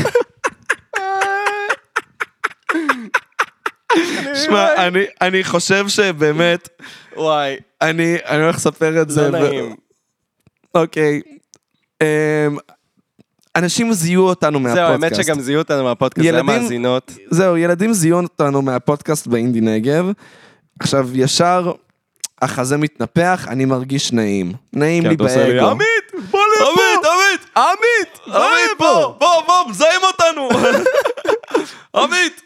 Speaker 1: שמע, אני- אני חושב שבאמת,
Speaker 2: וואי,
Speaker 1: אני אני הולך לספר את זה.
Speaker 2: לא
Speaker 1: ו-
Speaker 2: נעים.
Speaker 1: אוקיי. אמ, אנשים זיהו אותנו
Speaker 2: זהו,
Speaker 1: מהפודקאסט.
Speaker 2: האמת שגם זיהו אותנו מהפודקאסט, זה
Speaker 1: ילדים-
Speaker 2: המאזינות.
Speaker 1: זהו, ילדים זיהו אותנו מהפודקאסט באינדי נגב. עכשיו, ישר החזה מתנפח, אני מרגיש נעים. נעים לי
Speaker 2: כן, אתה עושה לי,
Speaker 1: באגו.
Speaker 2: עמית, בוא לפה!
Speaker 1: עמית, עמית, עמית, עמית, בוא, בוא, בוא, מזהם אותנו. עמית.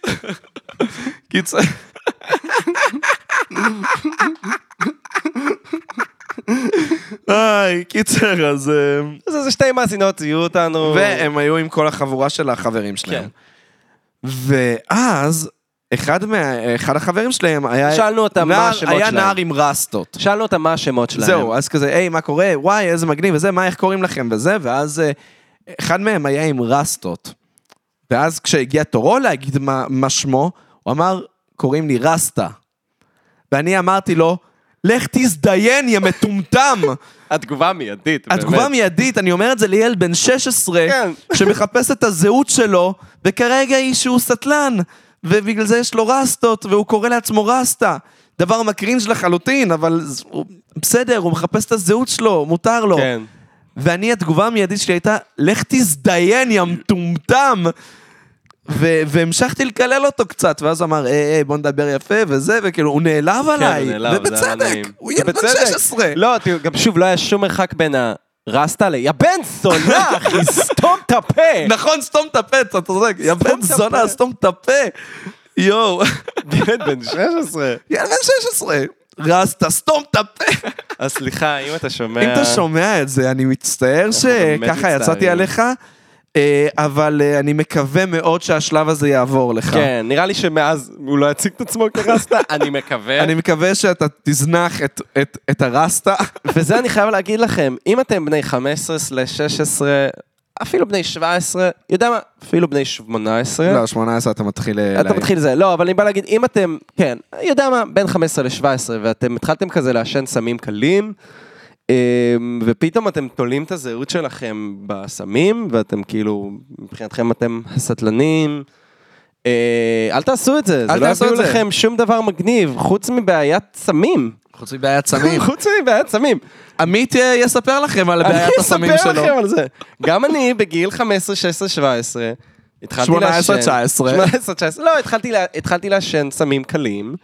Speaker 1: קיצר. היי, קיצר, אז... אמ,
Speaker 2: אז איזה שתי מאזינות זיהו אותנו.
Speaker 1: והם היו עם כל החבורה של החברים שלהם. ואז, אחד מה- אחד החברים שלהם היה...
Speaker 2: שאלנו אותם מה
Speaker 1: נער-
Speaker 2: השמות
Speaker 1: היה
Speaker 2: שלהם.
Speaker 1: נער עם רסטות.
Speaker 2: שאלנו אותם מה השמות שלהם.
Speaker 1: זהו, אז כזה, היי, מה קורה? וואי, איזה מגניב וזה, מה, איך קוראים לכם וזה, ואז אה, אחד מהם היה עם רסטות. ואז כשהגיע תורו להגיד מה, מה שמו, הוא אמר, קוראים לי רסטה. ואני אמרתי לו, לך תזדיין, יא מטומטם.
Speaker 2: התגובה מיידית, באמת.
Speaker 1: התגובה מיידית, אני אומר את זה לילד בן 16,
Speaker 2: כן.
Speaker 1: שמחפש את הזהות שלו, וכרגע היא שהוא סטלן, ובגלל זה יש לו רסטות, והוא קורא לעצמו רסטה. דבר מקרינג' לחלוטין, אבל ז- הוא- בסדר, הוא מחפש את הזהות שלו, מותר לו.
Speaker 2: כן.
Speaker 1: ואני, התגובה המיידית שלי הייתה, לך תזדיין, יא מטומטם! ו- והמשכתי לקלל אותו קצת, ואז הוא אמר, היי, היי, בוא נדבר יפה, וזה, וכאילו, הוא נעלב
Speaker 2: כן,
Speaker 1: עליי.
Speaker 2: הוא נעלב, זה היה
Speaker 1: ובצדק,
Speaker 2: נעים.
Speaker 1: הוא ילד בן
Speaker 2: ובצדק.
Speaker 1: 16.
Speaker 2: לא, תראו, גם שוב, לא היה שום מרחק בין הרסטה ל... יא בן זונה, אחי, סתום את הפה!
Speaker 1: נכון, סתום את הפה, אתה צודק. יא בן
Speaker 2: את
Speaker 1: זונה,
Speaker 2: הפה.
Speaker 1: סתום את הפה. יואו,
Speaker 2: ילד בן 16.
Speaker 1: יא בן 16. רסטה, סתום את הפה.
Speaker 2: אז סליחה, אם אתה שומע...
Speaker 1: אם אתה שומע את זה, אני מצטער
Speaker 2: באמת
Speaker 1: שככה יצאתי
Speaker 2: מצטערים.
Speaker 1: עליך, אה, אבל אה, אני מקווה מאוד שהשלב הזה יעבור לך.
Speaker 2: כן, נראה לי שמאז הוא לא יציג את עצמו כרסטה, אני מקווה.
Speaker 1: אני מקווה שאתה תזנח את- את- את הרסטה.
Speaker 2: וזה אני חייב להגיד לכם, אם אתם בני 15/16, אפילו בני 17, יודע מה? אפילו בני 18.
Speaker 1: לא, 18 אתה מתחיל... אה,
Speaker 2: כן. אתה
Speaker 1: להעיד.
Speaker 2: מתחיל זה, לא, אבל אני בא להגיד, אם אתם, כן, יודע מה, בין 15 ל-17, ואתם התחלתם כזה לעשן סמים קלים, אמ, ופתאום אתם תולים את הזהות שלכם בסמים, ואתם כאילו, מבחינתכם אתם הסטלנים. אה, אל תעשו את זה, זה
Speaker 1: אל
Speaker 2: לא
Speaker 1: תעשו
Speaker 2: יביאו
Speaker 1: את זה.
Speaker 2: לכם שום דבר מגניב, חוץ מבעיית סמים.
Speaker 1: חוץ מבעיית סמים.
Speaker 2: חוץ מבעיית סמים.
Speaker 1: עמית אה, יספר לכם על בעיית הסמים שלו.
Speaker 2: אני אספר לכם על זה. גם אני בגיל 15, 16, 17, התחלתי
Speaker 1: 18,
Speaker 2: לעשן.
Speaker 1: 19.
Speaker 2: 18, 19. לא, התחלתי לה- התחלתי לעשן סמים קלים,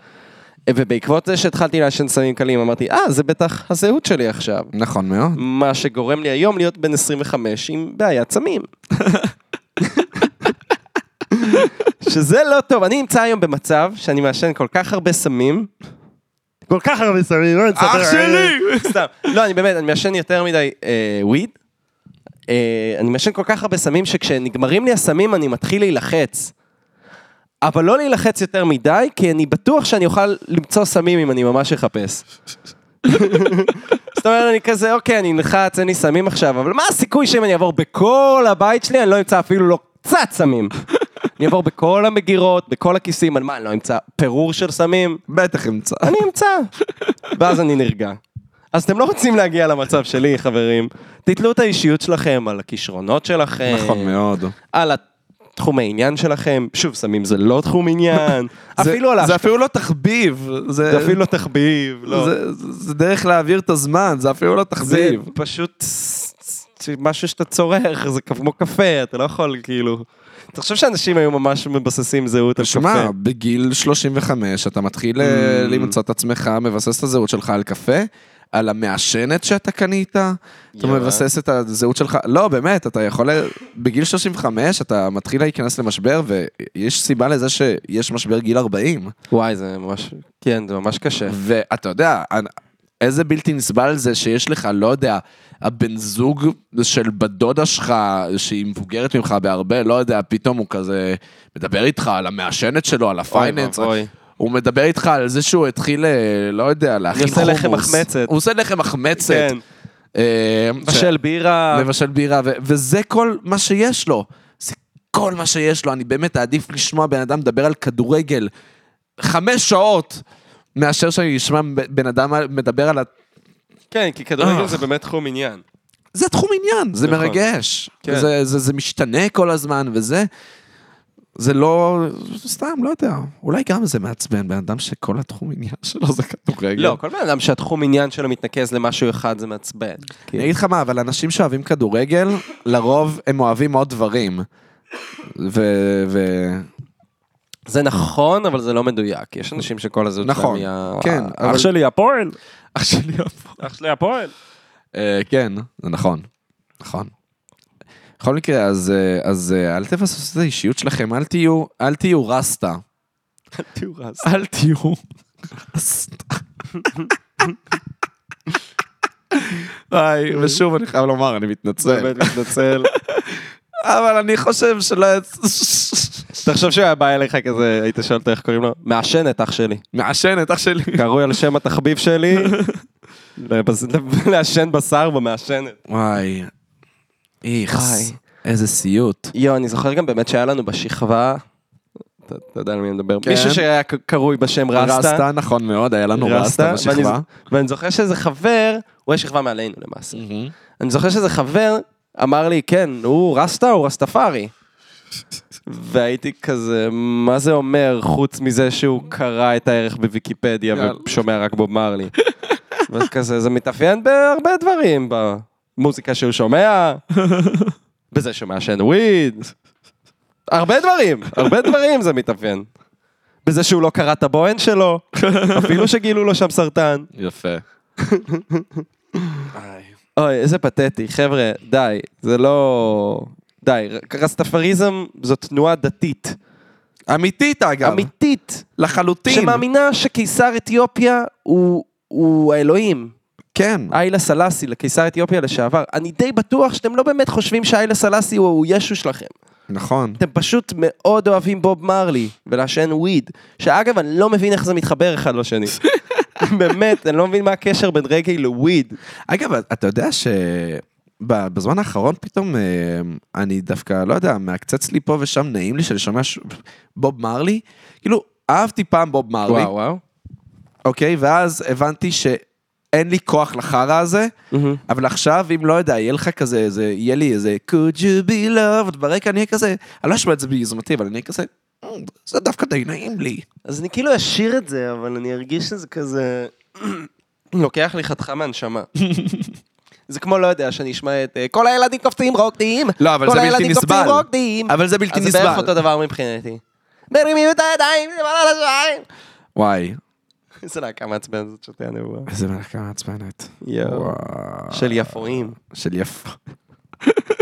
Speaker 2: ובעקבות זה שהתחלתי לעשן סמים קלים אמרתי, אה, זה בטח הזהות שלי עכשיו.
Speaker 1: נכון מאוד.
Speaker 2: מה שגורם לי היום להיות בן 25 עם בעיית סמים. שזה לא טוב, אני נמצא היום במצב שאני מעשן כל כך הרבה סמים. כל כך הרבה סמים, לא נספר.
Speaker 1: אח שלי!
Speaker 2: סתם. לא, אני באמת, אני מעשן יותר מדי אה, וויד. אה, אני מעשן כל כך הרבה סמים שכשנגמרים לי הסמים אני מתחיל להילחץ. אבל לא להילחץ יותר מדי, כי אני בטוח שאני אוכל למצוא סמים אם אני ממש אחפש. זאת אומרת, אני כזה, אוקיי, אני נלחץ, אין לי סמים עכשיו, אבל מה הסיכוי שאם אני אעבור בכל הבית שלי, אני לא אמצא אפילו לא קצת סמים. אני אעבור בכל המגירות, בכל הכיסים, על מה, אני לא אמצא פירור של סמים?
Speaker 1: בטח אמצא.
Speaker 2: אני אמצא. ואז אני נרגע. אז אתם לא רוצים להגיע למצב שלי,
Speaker 1: אה.
Speaker 2: חברים. תתלו את האישיות שלכם על הכישרונות שלכם.
Speaker 1: נכון מאוד.
Speaker 2: על תחום העניין שלכם, שוב, סמים זה לא תחום עניין,
Speaker 1: זה-
Speaker 2: אפילו על
Speaker 1: זה
Speaker 2: האשכרה,
Speaker 1: אפילו לא תחביב.
Speaker 2: זה אפילו לא תחביב, לא.
Speaker 1: זה- זה- זה דרך להעביר את הזמן, זה אפילו לא
Speaker 2: זה
Speaker 1: תחביב.
Speaker 2: פשוט משהו שאתה צורך, זה כמו קפה, אתה לא יכול כאילו. אתה חושב שאנשים היו ממש מבססים זהות על
Speaker 1: שמע,
Speaker 2: קפה?
Speaker 1: בגיל 35 אתה מתחיל אה,
Speaker 2: Mm.
Speaker 1: למצוא את עצמך, מבסס את הזהות שלך על קפה, על המעשנת שאתה קנית, אתה
Speaker 2: יאללה.
Speaker 1: מבסס את הזהות שלך, לא באמת, אתה יכול, ל- בגיל 35 אתה מתחיל להיכנס למשבר, ויש סיבה לזה שיש משבר גיל 40.
Speaker 2: וואי, זה ממש, כן, זה ממש קשה.
Speaker 1: ואתה יודע, אנ- איזה בלתי נסבל זה שיש לך, לא יודע, הבן זוג של בת דודה שלך, שהיא מבוגרת ממך בהרבה, לא יודע, פתאום הוא כזה מדבר איתך על המעשנת שלו, על הפייננס,
Speaker 2: אוי ואבוי.
Speaker 1: הוא מדבר איתך על זה שהוא התחיל, אה, לא יודע, להכין
Speaker 2: עושה
Speaker 1: חומוס.
Speaker 2: לחם מחמצת.
Speaker 1: הוא עושה לחם מחמצת.
Speaker 2: כן,
Speaker 1: אה, ש-
Speaker 2: בשל בירה,
Speaker 1: לבשל בירה, ו- וזה כל מה שיש לו. זה כל מה שיש לו. אני באמת אעדיף לשמוע בן אדם מדבר על כדורגל חמש שעות, מאשר שאני אשמע ב- בן אדם מדבר על... ה...
Speaker 2: כן, כי כדורגל
Speaker 1: אה.
Speaker 2: זה באמת תחום עניין.
Speaker 1: זה תחום עניין, זה
Speaker 2: נכון.
Speaker 1: מרגש.
Speaker 2: כן.
Speaker 1: זה, זה, זה משתנה כל הזמן, וזה... זה לא... סתם, לא יודע. אולי גם זה מעצבן, בן אדם שכל התחום עניין שלו זה כדורגל.
Speaker 2: לא, כל בן אדם שהתחום עניין שלו מתנקז למשהו אחד זה מעצבן.
Speaker 1: אני אגיד לך מה, אבל אנשים שאוהבים כדורגל, לרוב הם אוהבים עוד דברים. ו... ו...
Speaker 2: זה נכון, אבל זה לא מדויק. יש אנשים שכל הזהות
Speaker 1: נכון,
Speaker 2: שלהם היא... ה-
Speaker 1: כן, אבל-
Speaker 2: אח שלי הפועל.
Speaker 1: אח שלי הפוך.
Speaker 2: אח שלי הפועל.
Speaker 1: אה, כן, זה נכון. נכון. בכל מקרה, אז, אה, אז אה, אל תבססו את האישיות שלכם, אל תהיו, אל תהיו רסטה.
Speaker 2: תיאורס.
Speaker 1: אל תהיו רסטה. היי, ושוב אני חייב לומר, אני מתנצל.
Speaker 2: באמת מתנצל.
Speaker 1: אבל אני חושב שלא...
Speaker 2: אתה חושב שהוא היה בא אליך כזה, היית שואל אותו איך קוראים לו? מעשנת, אח שלי.
Speaker 1: מעשנת, אח שלי.
Speaker 2: קרוי על שם התחביב שלי. לבס- לעשן בשר במעשנת.
Speaker 1: וואי. איכס.
Speaker 2: וואי.
Speaker 1: איזה סיוט.
Speaker 2: יואו, אני זוכר גם באמת שהיה לנו בשכבה, אתה אתה יודע על מי אני מדבר,
Speaker 1: כן.
Speaker 2: מישהו שהיה ק- קרוי בשם רסטה.
Speaker 1: רסטה, נכון מאוד, היה לנו רסטה
Speaker 2: ואני
Speaker 1: בשכבה.
Speaker 2: ז- ואני זוכר שאיזה חבר, הוא היה שכבה מעלינו למעשה. אני זוכר שאיזה חבר אמר לי, כן, הוא רסטה, הוא רסטפארי. והייתי כזה, מה זה אומר חוץ מזה שהוא קרא את הערך בוויקיפדיה
Speaker 1: יאללה.
Speaker 2: ושומע רק בוב מרלי. ואז כזה, זה מתאפיין בהרבה דברים, במוזיקה שהוא שומע, בזה שהוא מעשן וויד, הרבה דברים, הרבה דברים זה מתאפיין. בזה שהוא לא קרא את הבוהן שלו, אפילו שגילו לו שם סרטן.
Speaker 1: יפה.
Speaker 2: אוי, איזה פתטי, חבר'ה, די, זה לא... די, רסטפריזם זו תנועה דתית,
Speaker 1: אמיתית אגב,
Speaker 2: אמיתית,
Speaker 1: לחלוטין.
Speaker 2: שמאמינה שקיסר אתיופיה הוא, הוא האלוהים.
Speaker 1: כן.
Speaker 2: איילה סלאסי, לקיסר אתיופיה לשעבר. אני די בטוח שאתם לא באמת חושבים שאיילה סלאסי הוא, הוא ישו שלכם.
Speaker 1: נכון.
Speaker 2: אתם פשוט מאוד אוהבים בוב מרלי ולעשן וויד, שאגב, אני לא מבין איך זה מתחבר אחד לשני. באמת, אני לא מבין מה הקשר בין רגעי לוויד.
Speaker 1: אגב, אתה יודע שבזמן האחרון פתאום אה, אני דווקא, לא יודע, מעקצץ לי פה ושם, נעים לי שאני שומע ש- בוב מרלי. כאילו, אהבתי פעם בוב מרלי,
Speaker 2: וואו.
Speaker 1: אוקיי? ואז הבנתי שאין לי כוח לחרא הזה,
Speaker 2: אוקיי?
Speaker 1: אבל עכשיו, אם לא יודע, יהיה לך כזה, איזה- יהיה לי איזה could you be loved ברקע, אני אהיה כזה, אני לא אשמע את זה ביוזמתי, אבל אני אהיה כזה, "אה, זה דווקא די נעים לי.
Speaker 2: אז אני כאילו אשיר את זה, אבל אני ארגיש שזה כזה... לוקח לי חתיכה מהנשמה. זה כמו, לא יודע, שאני אשמע את אה, כל הילדים קופצים רוקדים,
Speaker 1: לא, אבל
Speaker 2: כל
Speaker 1: זה בלתי
Speaker 2: הילדים קופצים
Speaker 1: נסבל.
Speaker 2: רוקדים.
Speaker 1: אבל זה בלתי
Speaker 2: אז זה בערך
Speaker 1: נסבל.
Speaker 2: אותו דבר מבחינתי. מרימים את הידיים, זה מעלה לשמיים.
Speaker 1: וואי,
Speaker 2: איזה להקה מעצבנת זאת שותי הנבואה.
Speaker 1: איזה מלאכה מעצבנת.
Speaker 2: יואו.
Speaker 1: וואו.
Speaker 2: של יפואים.
Speaker 1: של יפה.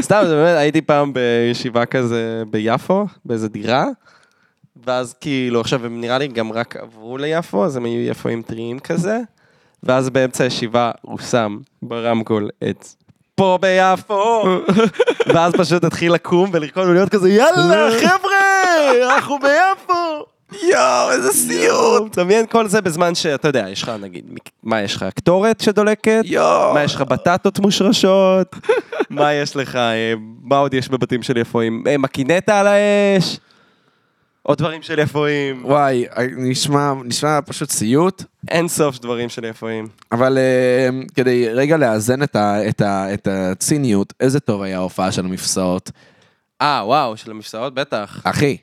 Speaker 2: סתם, זה באמת, הייתי פעם בישיבה כזה ביפו, באיזה דירה, ואז כאילו, עכשיו הם נראה לי גם רק עברו ליפו, אז הם היו יפואים טריים כזה, ואז באמצע הישיבה הוא שם ברמקול את פה ביפו, ואז פשוט התחיל לקום ולרקוד ולהיות כזה, יאללה, חבר'ה, אנחנו ביפו.
Speaker 1: יואו, איזה סיוט!
Speaker 2: תמיין כל זה בזמן שאתה יודע, יש לך נגיד, מה יש לך, קטורת שדולקת?
Speaker 1: יואו!
Speaker 2: מה יש לך בטטות מושרשות? מה יש לך, אה, מה עוד יש בבתים של יפואים? אה, מקינטה על האש? עוד דברים של יפואים?
Speaker 1: וואי, אה, נשמע, נשמע פשוט סיוט,
Speaker 2: אין סוף דברים של יפואים.
Speaker 1: אבל uh, כדי רגע לאזן את, ה, את, ה, את הציניות, איזה טוב היה ההופעה של המפסעות.
Speaker 2: אה, וואו, של המפסעות בטח.
Speaker 1: אחי,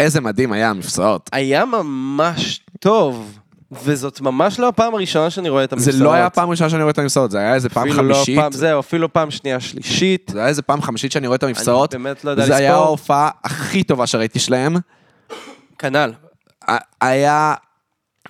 Speaker 1: איזה מדהים היה המפסעות.
Speaker 2: היה ממש טוב, וזאת ממש לא הפעם הראשונה שאני רואה את
Speaker 1: זה
Speaker 2: המפסעות.
Speaker 1: לא היה פעם ראשונה שאני רואה את המפסעות, זה היה איזה פעם
Speaker 2: אפילו לא
Speaker 1: חמישית.
Speaker 2: פעם, זהו, אפילו פעם שנייה שלישית.
Speaker 1: זה היה איזה פעם חמישית שאני רואה את המפסעות.
Speaker 2: אני באמת לא יודע
Speaker 1: זה היה
Speaker 2: לספור.
Speaker 1: ההופעה הכי טובה שראיתי שלהם.
Speaker 2: כנ"ל.
Speaker 1: ה- היה...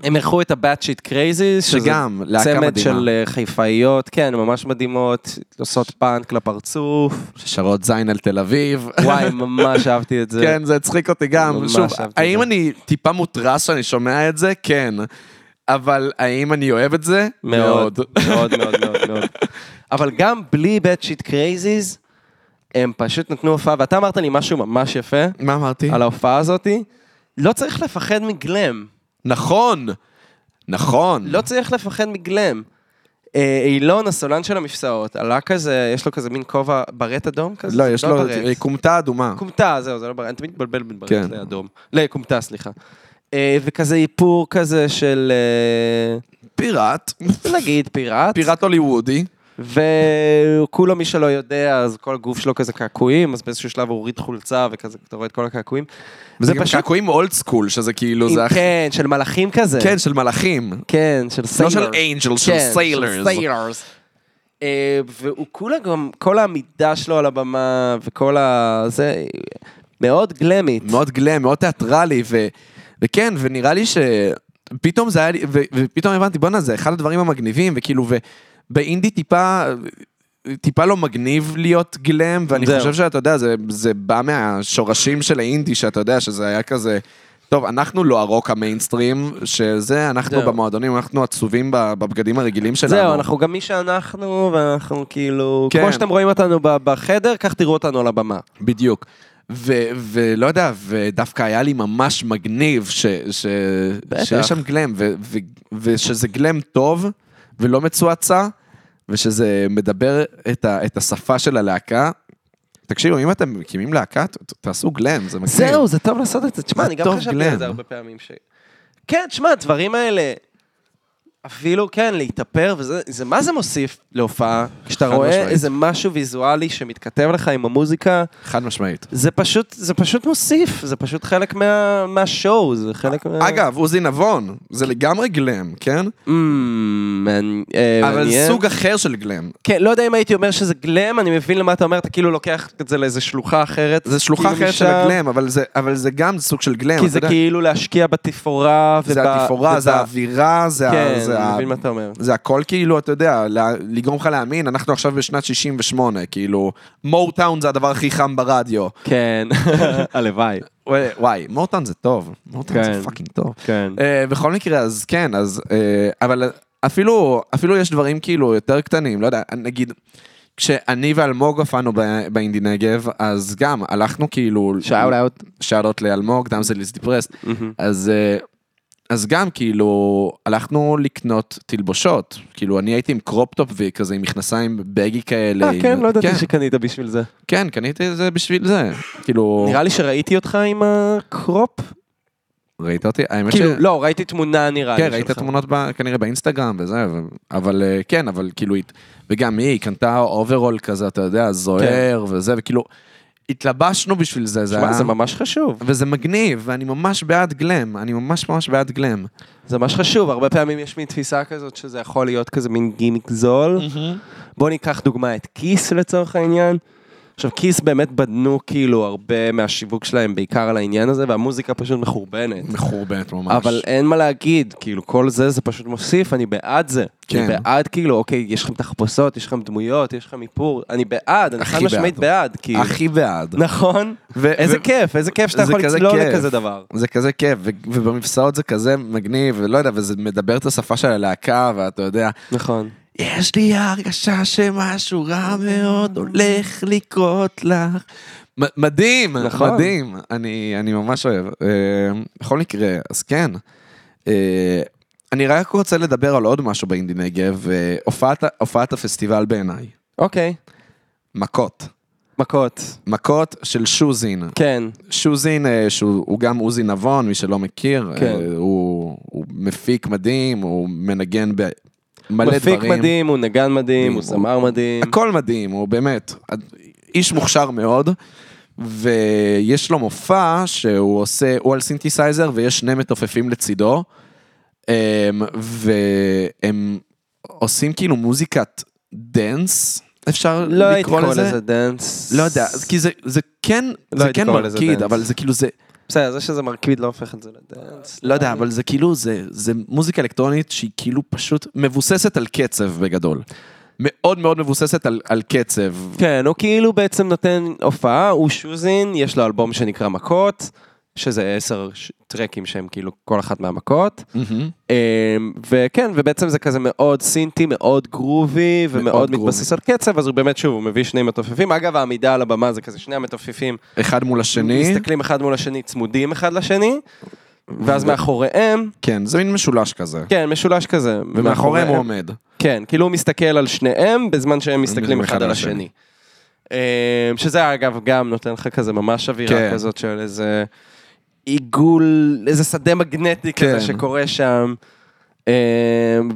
Speaker 2: הם אירחו את הבאט שיט קרייזי,
Speaker 1: שגם, להקה
Speaker 2: צמד
Speaker 1: מדהימה.
Speaker 2: של אה, חיפאיות, כן, ממש מדהימות, עושות פאנק לפרצוף.
Speaker 1: שרות זין על תל אביב.
Speaker 2: וואי, ממש אהבתי את זה. לא,
Speaker 1: כן, זה הצחיק אותי גם.
Speaker 2: ממש
Speaker 1: שוב,
Speaker 2: אהבתי את
Speaker 1: האם
Speaker 2: זה.
Speaker 1: אני טיפה מותרס שאני שומע את זה? כן. אבל האם אני אוהב את זה?
Speaker 2: מאוד, מאוד, מאוד, מאוד, מאוד. אבל גם בלי bad shit crazies, הם פשוט נתנו הופעה, ואתה אמרת לי משהו ממש יפה
Speaker 1: מה אמרתי?
Speaker 2: על ההופעה הזאתי, לא צריך לפחד מגלם,
Speaker 1: נכון. נכון.
Speaker 2: לא צריך לפחד מגלם. אה, אילון, הסולן של המפסעות, עלה כזה, יש לו כזה מין כובע ברט אדום כזה?
Speaker 1: לא, יש לו
Speaker 2: ברט.
Speaker 1: כומתה אדומה.
Speaker 2: כומתה, זהו, זה לא ברט, אני תמיד מתבלבל בין ברט
Speaker 1: כן.
Speaker 2: לאדום. לא, כומתה, סליחה. אה, וכזה איפור כזה של,
Speaker 1: פיראט.
Speaker 2: אה, נגיד, פיראט.
Speaker 1: פיראט הוליוודי.
Speaker 2: וכולו מי שלא יודע, אז כל הגוף שלו כזה קעקועים, אז באיזשהו שלב הוא הוריד חולצה וכזה, אתה רואה את כל הקעקועים.
Speaker 1: וזה
Speaker 2: זה
Speaker 1: גם
Speaker 2: פשוט-
Speaker 1: קעקועים אולד סקול, שזה כאילו,
Speaker 2: עם-
Speaker 1: זה הכי...
Speaker 2: כן, של מלאכים כזה.
Speaker 1: כן, של מלאכים.
Speaker 2: כן, של כן,
Speaker 1: לא
Speaker 2: סיילרס.
Speaker 1: של אינג'ל, של סיילרס.
Speaker 2: סיילרס. אה, והוא כולה גם, כל העמידה שלו על הבמה וכל ה... זה מאוד גלמית.
Speaker 1: מאוד גלם, מאוד תיאטרלי, ו... וכן, ונראה לי שפתאום זה היה לי, ו... ופתאום הבנתי, בואנה, זה אחד הדברים המגניבים, וכאילו, ובאינדי טיפה, טיפה לא מגניב להיות גלם, ואני
Speaker 2: זהו.
Speaker 1: חושב שאתה יודע, זה, זה בא מהשורשים של האינדי, שאתה יודע, שזה היה כזה... טוב, אנחנו לא הרוק המיינסטרים, שזה, אנחנו
Speaker 2: זהו.
Speaker 1: במועדונים, אנחנו עצובים ב- בבגדים הרגילים שלנו.
Speaker 2: זהו, אנחנו גם מי שאנחנו, ואנחנו כאילו...
Speaker 1: כן.
Speaker 2: כמו שאתם רואים אותנו ב- בחדר, כך תראו אותנו על הבמה.
Speaker 1: בדיוק. ו- ולא יודע, ודווקא היה לי ממש מגניב ש- ש-
Speaker 2: בטח.
Speaker 1: שיש שם גלם, ו- ו- ושזה גלם טוב ולא מצועצע, ושזה מדבר את, ה- את השפה של הלהקה. תקשיבו, אם אתם מקימים להקה, ת- ת- תעשו גלם, זה מגניב.
Speaker 2: זהו, זה טוב לעשות את זה. תשמע,
Speaker 1: כן. זה
Speaker 2: אני גם
Speaker 1: טוב
Speaker 2: חשבתי
Speaker 1: גלם.
Speaker 2: על זה הרבה פעמים. ש... כן, תשמע, הדברים האלה, אפילו, כן, להתאפר, וזה, זה מה זה מוסיף להופעה? כשאתה
Speaker 1: חד
Speaker 2: רואה
Speaker 1: משמעית.
Speaker 2: איזה משהו ויזואלי שמתכתב לך עם המוזיקה,
Speaker 1: חד משמעית.
Speaker 2: זה פשוט, זה פשוט מוסיף, זה פשוט חלק מה, מהשואו, זה חלק מה...
Speaker 1: אגב, עוזי נבון, זה לגמרי גלם, כן?
Speaker 2: Mm, מעניין. אה,
Speaker 1: אבל
Speaker 2: מעניין.
Speaker 1: סוג אחר של גלם.
Speaker 2: כן, לא יודע אם הייתי אומר שזה גלם, אני מבין למה אתה אומר, אתה כאילו לוקח את זה לאיזה שלוחה אחרת.
Speaker 1: זה שלוחה
Speaker 2: כאילו
Speaker 1: אחרת של
Speaker 2: משם.
Speaker 1: הגלם, אבל זה- אבל זה גם סוג של גלם.
Speaker 2: כי
Speaker 1: אתה
Speaker 2: זה
Speaker 1: יודע.
Speaker 2: כאילו להשקיע בתפאורה.
Speaker 1: זה
Speaker 2: וב-
Speaker 1: התפאורה, זה
Speaker 2: וב-
Speaker 1: האווירה, זה ה-
Speaker 2: כן,
Speaker 1: זה
Speaker 2: אני
Speaker 1: ה-
Speaker 2: מבין מה אתה אומר.
Speaker 1: זה הכל כאילו, אתה יודע, לה- לגרום לך להאמין, אנחנו עכשיו בשנת 68, כאילו, מוטאון זה הדבר הכי חם ברדיו.
Speaker 2: כן, הלוואי.
Speaker 1: וואי, וואי, מוטאון זה טוב, מוטאון
Speaker 2: כן.
Speaker 1: זה פאקינג טוב.
Speaker 2: כן.
Speaker 1: אה, בכל מקרה, אז כן, אז, אה, אבל אפילו, אפילו יש דברים כאילו יותר קטנים, לא יודע, נגיד, כשאני ואלמוג הופענו ב- באינדי נגב, אז גם הלכנו כאילו...
Speaker 2: שאול היה עוד...
Speaker 1: שאלות לאלמוג, דאמזל איז דיפרס, אז, אה, אז גם כאילו הלכנו לקנות תלבושות, כאילו אני הייתי עם קרופטופ וכזה עם מכנסיים בגי כאלה.
Speaker 2: אה,
Speaker 1: עם-
Speaker 2: כן, לא ידעתי
Speaker 1: כן,
Speaker 2: שקנית בשביל זה.
Speaker 1: כן, קניתי את זה בשביל זה, כאילו,
Speaker 2: נראה לי שראיתי אותך עם הקרופ.
Speaker 1: ראית אותי? האמת
Speaker 2: כאילו,
Speaker 1: ש...
Speaker 2: לא, ראיתי תמונה נראה לי
Speaker 1: כן, ראית
Speaker 2: שלך.
Speaker 1: תמונות ב- כנראה באינסטגרם וזה, ו- אבל אה, כן, אבל כאילו, הת- וגם היא קנתה אוברול כזה, אתה יודע, זוהר וזה, וכאילו, התלבשנו בשביל זה, זה
Speaker 2: תשמע,
Speaker 1: היה...
Speaker 2: כן. זה ממש חשוב.
Speaker 1: וזה מגניב, ואני ממש בעד גלם, אני ממש ממש בעד גלם.
Speaker 2: זה ממש חשוב, הרבה פעמים יש מין תפיסה כזאת שזה יכול להיות כזה מין גימיק זול.
Speaker 1: Mm.
Speaker 2: בואו ניקח דוגמה את כיס לצורך העניין. עכשיו, כיס באמת בנו כאילו הרבה מהשיווק שלהם בעיקר על העניין הזה, והמוזיקה פשוט מחורבנת.
Speaker 1: מחורבנת ממש.
Speaker 2: אבל אין מה להגיד, כאילו כל זה זה פשוט מוסיף, אני בעד זה.
Speaker 1: כן.
Speaker 2: אני בעד כאילו, אוקיי, יש לכם תחפושות, יש לכם דמויות, יש לכם איפור, אני בעד, אני
Speaker 1: הכי
Speaker 2: חד משמעית בעד, כאילו.
Speaker 1: הכי בעד.
Speaker 2: נכון?
Speaker 1: ו-
Speaker 2: איזה
Speaker 1: ו-
Speaker 2: כיף, איזה כיף שאתה
Speaker 1: זה
Speaker 2: יכול
Speaker 1: כזה
Speaker 2: לצלול
Speaker 1: כיף.
Speaker 2: לכזה דבר.
Speaker 1: זה כזה כיף, ו- ובמפסעות זה כזה מגניב, ולא יודע, וזה מדבר את השפה של הלהקה, ואתה יודע,
Speaker 2: נכון.
Speaker 1: יש לי הרגשה שמשהו רע מאוד הולך לקרות לך. מ- מדהים,
Speaker 2: נכון.
Speaker 1: מדהים, אני, אני ממש אוהב. אה, בכל מקרה, אז כן. אה, אני רק רוצה לדבר על עוד משהו באינדי נגב, אה, הופעת, הופעת הפסטיבל בעיניי.
Speaker 2: אוקיי,
Speaker 1: מכות.
Speaker 2: מכות,
Speaker 1: מכות של שוזין.
Speaker 2: כן.
Speaker 1: שוזין, אה, שהוא הוא גם עוזי נבון, מי שלא מכיר,
Speaker 2: כן.
Speaker 1: אה, הוא, הוא מפיק מדהים, הוא מנגן במלא דברים.
Speaker 2: מפיק מדהים, הוא נגן מדהים, הוא זמר מדהים.
Speaker 1: הכל מדהים, הוא באמת, איש מוכשר מאוד. ויש לו מופע שהוא עושה, הוא על סינתסייזר ויש שני מתופפים לצידו, אמ, והם עושים כאילו מוזיקת דנס, אפשר
Speaker 2: לא הייתי
Speaker 1: לקרוא
Speaker 2: קורא
Speaker 1: לזה?
Speaker 2: לזה דאנס.
Speaker 1: לא יודע, כי זה, זה כן,
Speaker 2: לא
Speaker 1: זה
Speaker 2: הייתי
Speaker 1: כן
Speaker 2: קורא לזה
Speaker 1: מרקיד,
Speaker 2: דנס.
Speaker 1: אבל זה כאילו זה,
Speaker 2: בסדר, זה שזה מרקיד לא הופך את זה לדאנס.
Speaker 1: לא יודע, אבל זה כאילו, זה, זה מוזיקה אלקטרונית שהיא כאילו פשוט מבוססת על קצב בגדול. מאוד מאוד מבוססת על, על קצב.
Speaker 2: כן, הוא כאילו בעצם נותן הופעה, הוא שוזין, יש לו אלבום שנקרא מכות, שזה עשר ש- טרקים שהם כאילו כל אחת מהמכות. אמ, וכן, ובעצם זה כזה מאוד סינטי, מאוד גרובי,
Speaker 1: מאוד
Speaker 2: ומאוד
Speaker 1: גרובי.
Speaker 2: מתבסס על קצב, אז הוא באמת, שוב, הוא מביא שני מתופפים. אגב, העמידה על הבמה זה כזה שני המתופפים
Speaker 1: אחד מול השני.
Speaker 2: מסתכלים אחד מול השני, צמודים אחד לשני, ואז מאחוריהם,
Speaker 1: כן, זה מין משולש כזה.
Speaker 2: כן, משולש כזה.
Speaker 1: ומאחוריהם הוא עומד.
Speaker 2: כן, כאילו הוא מסתכל על שניהם בזמן שהם מסתכלים אחד על השני. אמ, שזה אגב גם נותן לך כזה ממש אווירה
Speaker 1: כן.
Speaker 2: כזאת של איזה עיגול, איזה שדה מגנטי
Speaker 1: כן.
Speaker 2: כזה שקורה שם. אמ,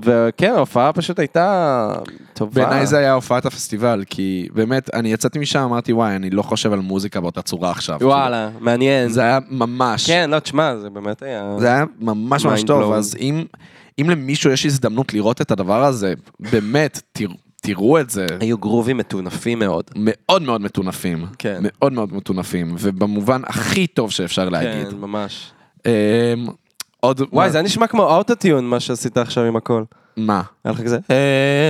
Speaker 2: וכן, ההופעה פשוט הייתה טובה.
Speaker 1: בעיניי זה היה הופעת הפסטיבל, כי באמת, אני יצאתי משם, אמרתי, וואי, אני לא חושב על מוזיקה באותה צורה עכשיו.
Speaker 2: וואלה, מעניין.
Speaker 1: כאילו, זה היה ממש,
Speaker 2: כן, לא, תשמע, זה באמת היה...
Speaker 1: זה היה ממש ממש
Speaker 2: Mind
Speaker 1: טוב,
Speaker 2: blown.
Speaker 1: אז אם, אם למישהו יש הזדמנות לראות את הדבר הזה, באמת, תר- תראו את זה.
Speaker 2: היו גרובים מטונפים מאוד.
Speaker 1: מאוד מאוד מטונפים.
Speaker 2: כן.
Speaker 1: מאוד מאוד מטונפים, ובמובן הכי טוב שאפשר להגיד.
Speaker 2: כן, ממש.
Speaker 1: אמ, עוד...
Speaker 2: וואי, זה היה נשמע כמו אוטוטיון מה שעשית עכשיו עם הכל.
Speaker 1: מה?
Speaker 2: היה לך כזה,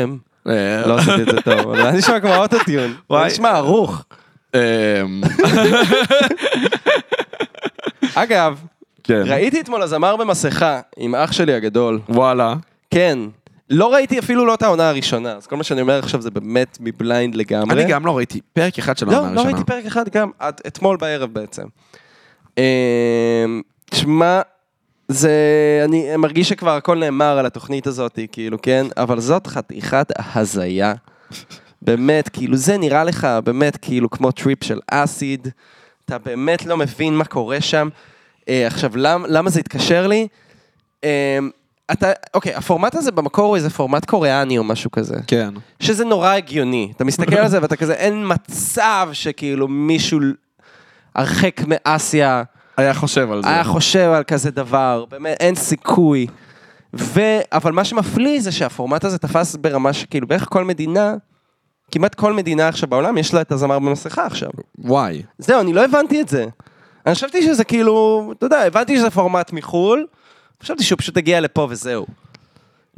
Speaker 2: אמ...
Speaker 1: אה,
Speaker 2: לא עשיתי את זה טוב, אבל זה היה נשמע כמו אוטוטיון. זה
Speaker 1: וואי.
Speaker 2: נשמע ערוך.
Speaker 1: אמ,
Speaker 2: אגב,
Speaker 1: כן.
Speaker 2: ראיתי אתמול הזמר במסכה עם אח שלי הגדול.
Speaker 1: וואלה.
Speaker 2: כן. לא ראיתי אפילו לא את העונה הראשונה, אז כל מה שאני אומר עכשיו זה באמת מבליינד לגמרי.
Speaker 1: אני גם לא ראיתי פרק אחד של העונה
Speaker 2: לא, לא
Speaker 1: הראשונה.
Speaker 2: ראיתי פרק אחד גם, עד אתמול בערב בעצם. אמ, תשמע, זה, אני מרגיש שכבר הכל נאמר על התוכנית הזאת, כאילו, כן? אבל זאת חתיכת הזיה. באמת, כאילו, זה נראה לך באמת כאילו כמו טריפ של אסיד. אתה באמת לא מבין מה קורה שם. אה, עכשיו, למ, למה זה התקשר לי? אה, אתה, אוקיי, הפורמט הזה במקור הוא איזה פורמט קוריאני או משהו כזה.
Speaker 1: כן.
Speaker 2: שזה נורא הגיוני. אתה מסתכל על זה ואתה כזה, אין מצב שכאילו מישהו הרחק מאסיה
Speaker 1: היה חושב על זה.
Speaker 2: היה חושב על כזה דבר, באמת, אין סיכוי. ו... אבל מה שמפליא זה שהפורמט הזה תפס ברמה שכאילו בערך כל מדינה, כמעט כל מדינה עכשיו בעולם, יש לה את הזמר במסכה עכשיו.
Speaker 1: וואי.
Speaker 2: זהו, אני לא הבנתי את זה. אני חשבתי שזה כאילו, אתה יודע, הבנתי שזה פורמט מחו"ל, חשבתי שהוא פשוט הגיע לפה וזהו.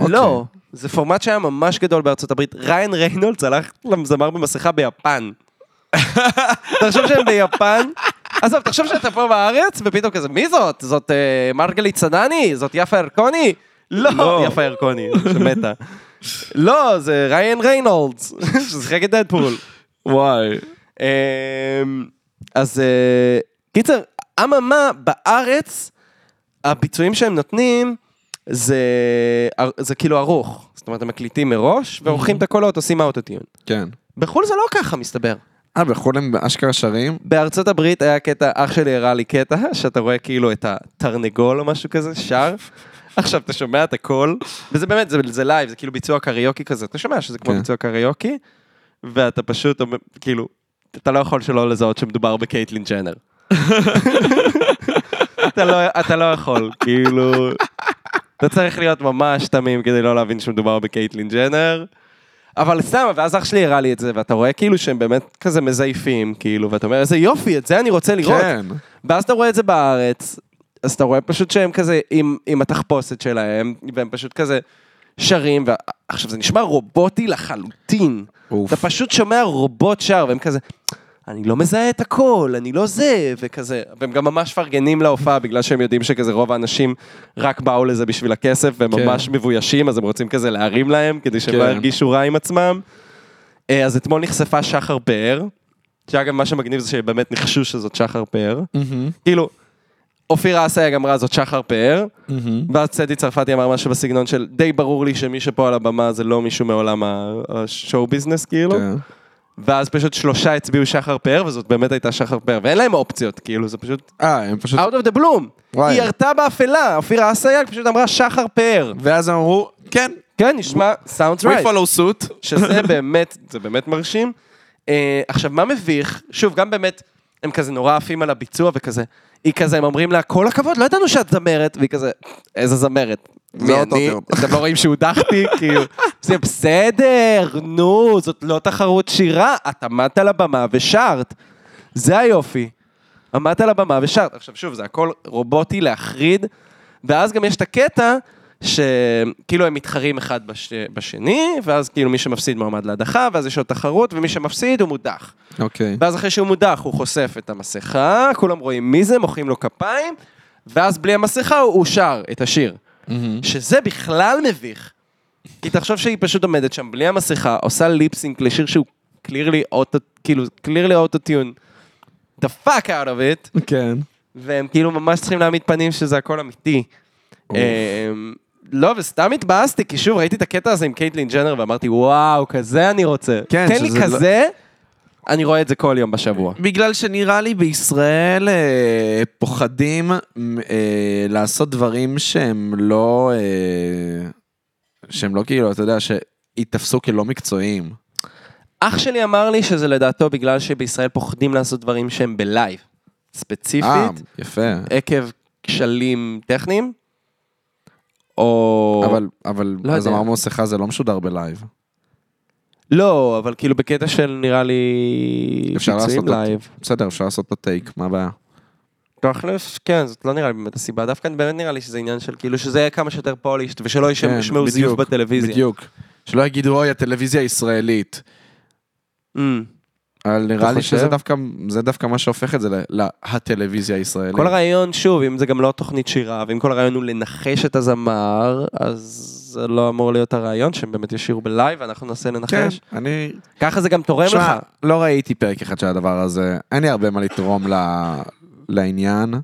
Speaker 1: אוקיי.
Speaker 2: לא, זה פורמט שהיה ממש גדול בארצות הברית. ריין ריינולדס הלך למזמר במסכה ביפן. תחשוב שהם ביפן. עזוב, תחשוב שאתה פה בארץ, ופתאום כזה, מי זאת? זאת אה, מרגלית צדני? זאת יפה ירקוני? לא,
Speaker 1: לא.
Speaker 2: יפה ירקוני, שמתה. לא, זה ריין ריינולדס, ששיחק את דדפול.
Speaker 1: וואי.
Speaker 2: אמ, אז אה, קיצר, אממה, בארץ, הביצועים שהם נותנים, זה, זה כאילו ערוך. זאת אומרת, הם מקליטים מראש, ועורכים את הקולות, עושים אאוטוטיון.
Speaker 1: כן.
Speaker 2: בחו"ל זה לא ככה, מסתבר.
Speaker 1: אה, בחו"ל הם אשכרה שרים?
Speaker 2: בארצות הברית היה קטע, אח שלי הראה לי קטע, שאתה רואה כאילו את התרנגול או משהו כזה, שר. עכשיו, אתה שומע את הכל, וזה באמת, זה, זה לייב, זה כאילו ביצוע קריוקי כזה, אתה שומע שזה כמו
Speaker 1: כן.
Speaker 2: ביצוע קריוקי, ואתה פשוט, אומר- כאילו, אתה לא יכול שלא לזהות שמדובר בקייטלין ג'נר. אתה, לא, אתה לא יכול, כאילו, אתה צריך להיות ממש תמים כדי לא להבין שמדובר בקייטלין ג'נר. אבל סתם, ואז אח שלי הראה לי את זה, ואתה רואה כאילו שהם באמת כזה מזייפים, כאילו, ואתה אומר, איזה יופי, את זה אני רוצה לראות.
Speaker 1: כן.
Speaker 2: ואז אתה רואה את זה בארץ, אז אתה רואה פשוט שהם כזה עם, עם התחפושת שלהם, והם פשוט כזה שרים, ועכשיו זה נשמע רובוטי לחלוטין.
Speaker 1: אוף.
Speaker 2: אתה פשוט שומע רובוט שר, והם כזה, אני לא מזהה את הכל, אני לא זה, וכזה. והם גם ממש מפרגנים להופעה, בגלל שהם יודעים שכזה רוב האנשים רק באו לזה בשביל הכסף, והם
Speaker 1: כן.
Speaker 2: ממש מבוישים, אז הם רוצים כזה להרים להם, כדי שהם לא
Speaker 1: כן.
Speaker 2: ירגישו רע עם עצמם. אה, אז אתמול נחשפה שחר פאר, שאגב, מה שמגניב זה שבאמת ניחשו שזאת שחר פאר.
Speaker 1: מהמם,
Speaker 2: כאילו, אופירה אסייג אמרה זאת שחר פאר,
Speaker 1: מהמם.
Speaker 2: ואז צדי צרפתי אמר משהו בסגנון של די ברור לי שמי שפה על הבמה זה לא מישהו מעולם ה- השואו ביזנס כאילו,
Speaker 1: כן.
Speaker 2: ואז פשוט שלושה הצביעו שחר פאר, וזאת באמת הייתה שחר פאר, ואין להם אופציות, כאילו, זה פשוט
Speaker 1: אה, הם פשוט...
Speaker 2: out of the bloom.
Speaker 1: וואי.
Speaker 2: היא ירתה באפלה, אופירה אסייג פשוט אמרה שחר פאר.
Speaker 1: ואז הם אמרו, כן,
Speaker 2: כן, נשמע, sounds
Speaker 1: we
Speaker 2: right.
Speaker 1: follow suit.
Speaker 2: שזה באמת, זה באמת מרשים. אה, עכשיו, מה מביך? שוב, גם באמת, הם כזה נורא עפים על הביצוע וכזה, היא כזה, הם אומרים לה, כל הכבוד, לא ידענו שאת זמרת, והיא כזה, איזה זמרת?
Speaker 3: זה
Speaker 2: מי
Speaker 3: אותו
Speaker 2: אני?
Speaker 3: טרם.
Speaker 2: אתם לא רואים שהודחתי, כאילו, זה בסדר, נו, זאת לא תחרות שירה, את עמדת על הבמה ושרת. זה היופי. עמדת על הבמה ושרת. עכשיו שוב, זה הכל רובוטי להחריד, ואז גם יש את הקטע שכאילו הם מתחרים אחד בש... בשני, ואז כאילו מי שמפסיד מועמד להדחה, ואז יש עוד תחרות, ומי שמפסיד הוא מודח.
Speaker 1: אוקיי.
Speaker 2: ואז אחרי שהוא מודח, הוא חושף את המסכה, כולם רואים מי זה, מוחאים לו כפיים, ואז בלי המסכה הוא, הוא שר את השיר. שזה בכלל מביך. כי תחשוב שהיא פשוט עומדת שם בלי המסכה, עושה ליפסינק לשיר שהוא קלירלי אוטו, כאילו, קלירלי אוטוטיון. The fuck out of it.
Speaker 1: כן.
Speaker 2: והם כאילו ממש צריכים להעמיד פנים שזה הכל אמיתי. אמ, לא, וסתם התבאסתי, כי שוב, ראיתי את הקטע הזה עם קייטלין ג'נר ואמרתי, וואו, כזה אני רוצה.
Speaker 1: כן,
Speaker 2: תן לי
Speaker 1: שזה לא-
Speaker 2: כזה, אני רואה את זה כל יום בשבוע.
Speaker 1: בגלל שנראה לי בישראל אה, פוחדים מ- אה, לעשות דברים שהם לא, אה, שהם לא כאילו, אתה יודע, שייתפסו כלא מקצועיים.
Speaker 2: אח שלי אמר לי שזה לדעתו בגלל שבישראל פוחדים לעשות דברים שהם בלייב.
Speaker 1: אה,
Speaker 2: ספציפית,
Speaker 1: יפה.
Speaker 2: עקב כשלים טכניים, או...
Speaker 1: אבל, אבל,
Speaker 2: לא
Speaker 1: אז
Speaker 2: יודע.
Speaker 1: אמרנו שיחה זה לא משודר בלייב.
Speaker 2: לא, אבל כאילו בקטע של נראה לי...
Speaker 1: אפשר לעשות
Speaker 2: ביצועים
Speaker 1: אותו.
Speaker 2: לייב.
Speaker 1: בסדר, אפשר לעשות לו טייק, מה הבעיה?
Speaker 2: תכלס, כן, זאת לא נראה לי באמת הסיבה. דווקא באמת נראה לי שזה עניין של כאילו שזה יהיה כמה שיותר פולישט, ושלא ישמעו-
Speaker 1: כן,
Speaker 2: ישמעו זיוף
Speaker 1: בדיוק,
Speaker 2: בטלוויזיה.
Speaker 1: בדיוק. שלא יגידו, אוי, הטלוויזיה הישראלית.
Speaker 2: Mm.
Speaker 1: אבל נראה לי
Speaker 2: חושב?
Speaker 1: שזה דווקא, זה דווקא מה שהופך את זה ל- להטלוויזיה הישראלית.
Speaker 2: כל הרעיון, שוב, אם זה גם לא תוכנית שירה, ואם כל הרעיון הוא לנחש את הזמר, אז זה לא אמור להיות הרעיון שהם באמת ישירו בלייב, ואנחנו ננסה
Speaker 1: כן,
Speaker 2: לנחש.
Speaker 1: אני...
Speaker 2: ככה זה גם תורם לך.
Speaker 1: שמע, לא ראיתי פרק אחד של הדבר הזה, אין לי הרבה מה לתרום ל- לעניין.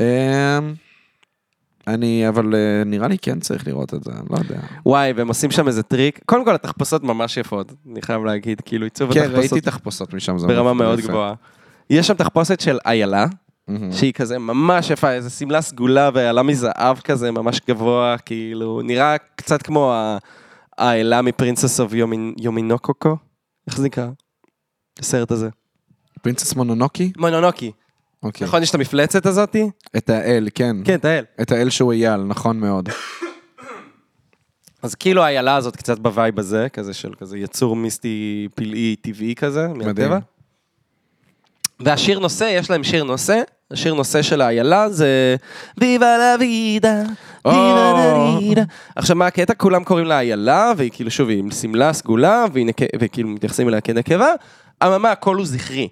Speaker 1: אמ, אני, אבל אה, נראה לי כן צריך לראות את זה, אני לא יודע.
Speaker 2: וואי, והם עושים שם איזה טריק. קודם כל, התחפושות ממש יפות, אני חייב להגיד, כאילו עיצוב
Speaker 1: כן, ראיתי
Speaker 2: התחפושות
Speaker 1: תחפושות משם, זה
Speaker 2: ברמה מאוד
Speaker 1: יפה.
Speaker 2: גבוהה. יש שם תחפושת של איילה,
Speaker 1: מהמם.
Speaker 2: שהיא כזה ממש יפה, איזה שמלה סגולה ואיילה מזהב כזה, ממש גבוה, כאילו, נראה קצת כמו ה- האיילה מפרינסס אוף יומינוקוקו, איך זה נקרא? הסרט הזה.
Speaker 1: פרינצס מונונוקי?
Speaker 2: מונונוקי,
Speaker 1: אוקיי.
Speaker 2: נכון? יש את המפלצת הזאתי?
Speaker 1: את האל, כן.
Speaker 2: כן, את האל.
Speaker 1: את האל שהוא אייל, נכון מאוד.
Speaker 2: אז כאילו האיילה הזאת קצת בווייב הזה, כזה של כזה יצור מיסטי פלאי טבעי כזה, מהטבע. והשיר נושא, יש להם שיר נושא, השיר נושא של האיילה זה ויבה לה וידה,
Speaker 1: או.
Speaker 2: ויבה לה וידה. עכשיו מה הקטע? כולם קוראים לה איילה, והיא כאילו שוב, היא עם שמלה סגולה, והיא נק- וכאילו מתייחסים אליה כנקבה, אממה הכל הוא זכרי.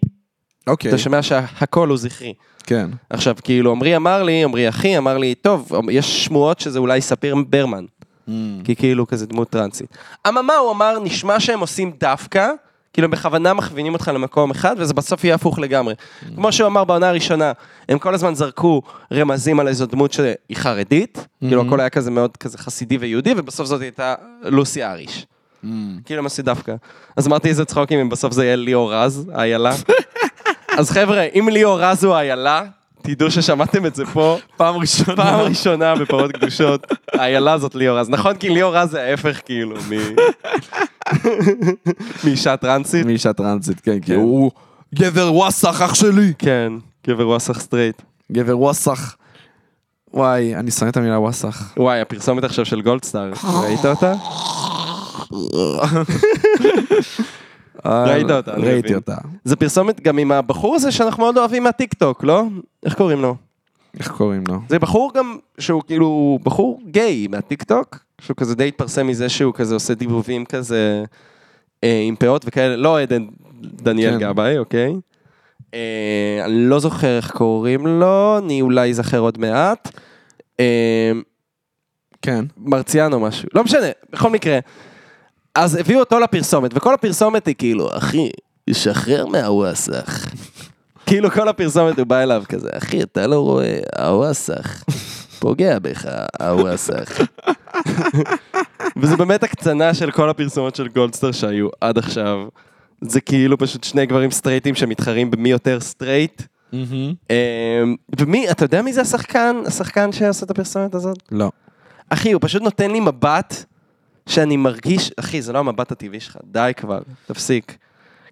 Speaker 1: אוקיי,
Speaker 2: אתה שומע שהכל הוא זכרי.
Speaker 1: כן.
Speaker 2: עכשיו כאילו עמרי אמר לי, עמרי אחי אמר לי, טוב, יש שמועות שזה אולי ספיר ברמן. כי כאילו כזה דמות טרנסית. אממה, הוא אמר, נשמע שהם עושים דווקא, כאילו הם בכוונה מכווינים אותך למקום אחד, וזה בסוף יהיה הפוך לגמרי. כמו שהוא אמר בעונה הראשונה, הם כל הזמן זרקו רמזים על איזו דמות שהיא חרדית, כאילו הכל היה כזה מאוד כזה חסידי ויהודי, ובסוף זאת הייתה לוסי אריש. כאילו הם עשו דווקא. אז אמרתי איזה צחוקים אם בסוף זה יהיה ליאור רז, איילה. אז חבר'ה, אם ליאור רז הוא איילה, תדעו ששמעתם את זה פה.
Speaker 1: פעם ראשונה.
Speaker 2: פעם ראשונה בפרות קדושות, האיילה זאת ליאור רז. נכון, כי ליאור רז זה ההפך כאילו מ- מאישה טרנסית.
Speaker 1: מאישה טרנסית, כן, כי הוא גבר וואסך, אח שלי.
Speaker 2: כן, גבר ווסח סטרייט.
Speaker 1: גבר וואסך. וואי, אני שונא את המילה וואסך.
Speaker 2: וואי, הפרסומת עכשיו של גולדסטאר, ראית אותה? ראית אותה, אני
Speaker 1: ראיתי
Speaker 2: מבין.
Speaker 1: אותה.
Speaker 2: זה פרסומת גם עם הבחור הזה שאנחנו מאוד אוהבים מהטיקטוק, לא? איך קוראים לו?
Speaker 1: איך קוראים לו?
Speaker 2: זה בחור גם שהוא כאילו בחור גיי מהטיקטוק, שהוא כזה די התפרסם מזה שהוא כזה עושה דיבובים כזה אה, עם פאות וכאלה, לא עדן דניאל
Speaker 1: כן.
Speaker 2: גבאי, אוקיי? אה, אני לא זוכר איך קוראים לו, אני אולי אזכר עוד מעט. אה,
Speaker 1: כן.
Speaker 2: מרציאנו משהו, לא משנה, בכל מקרה. אז הביאו אותו לפרסומת, וכל הפרסומת היא כאילו, אחי, שחרר מהווסח. כאילו כל הפרסומת הוא בא אליו כזה, אחי, אתה לא רואה, הווסח פוגע בך, הווסח. וזה באמת הקצנה של כל הפרסומות של גולדסטאר שהיו עד עכשיו. זה כאילו פשוט שני גברים סטרייטים שמתחרים במי יותר סטרייט. אמ, ומי, אתה יודע מי זה השחקן? השחקן שעשה את הפרסומת הזאת?
Speaker 1: לא.
Speaker 2: אחי, הוא פשוט נותן לי מבט שאני מרגיש, אחי, זה לא המבט הטבעי שלך, די כבר, תפסיק.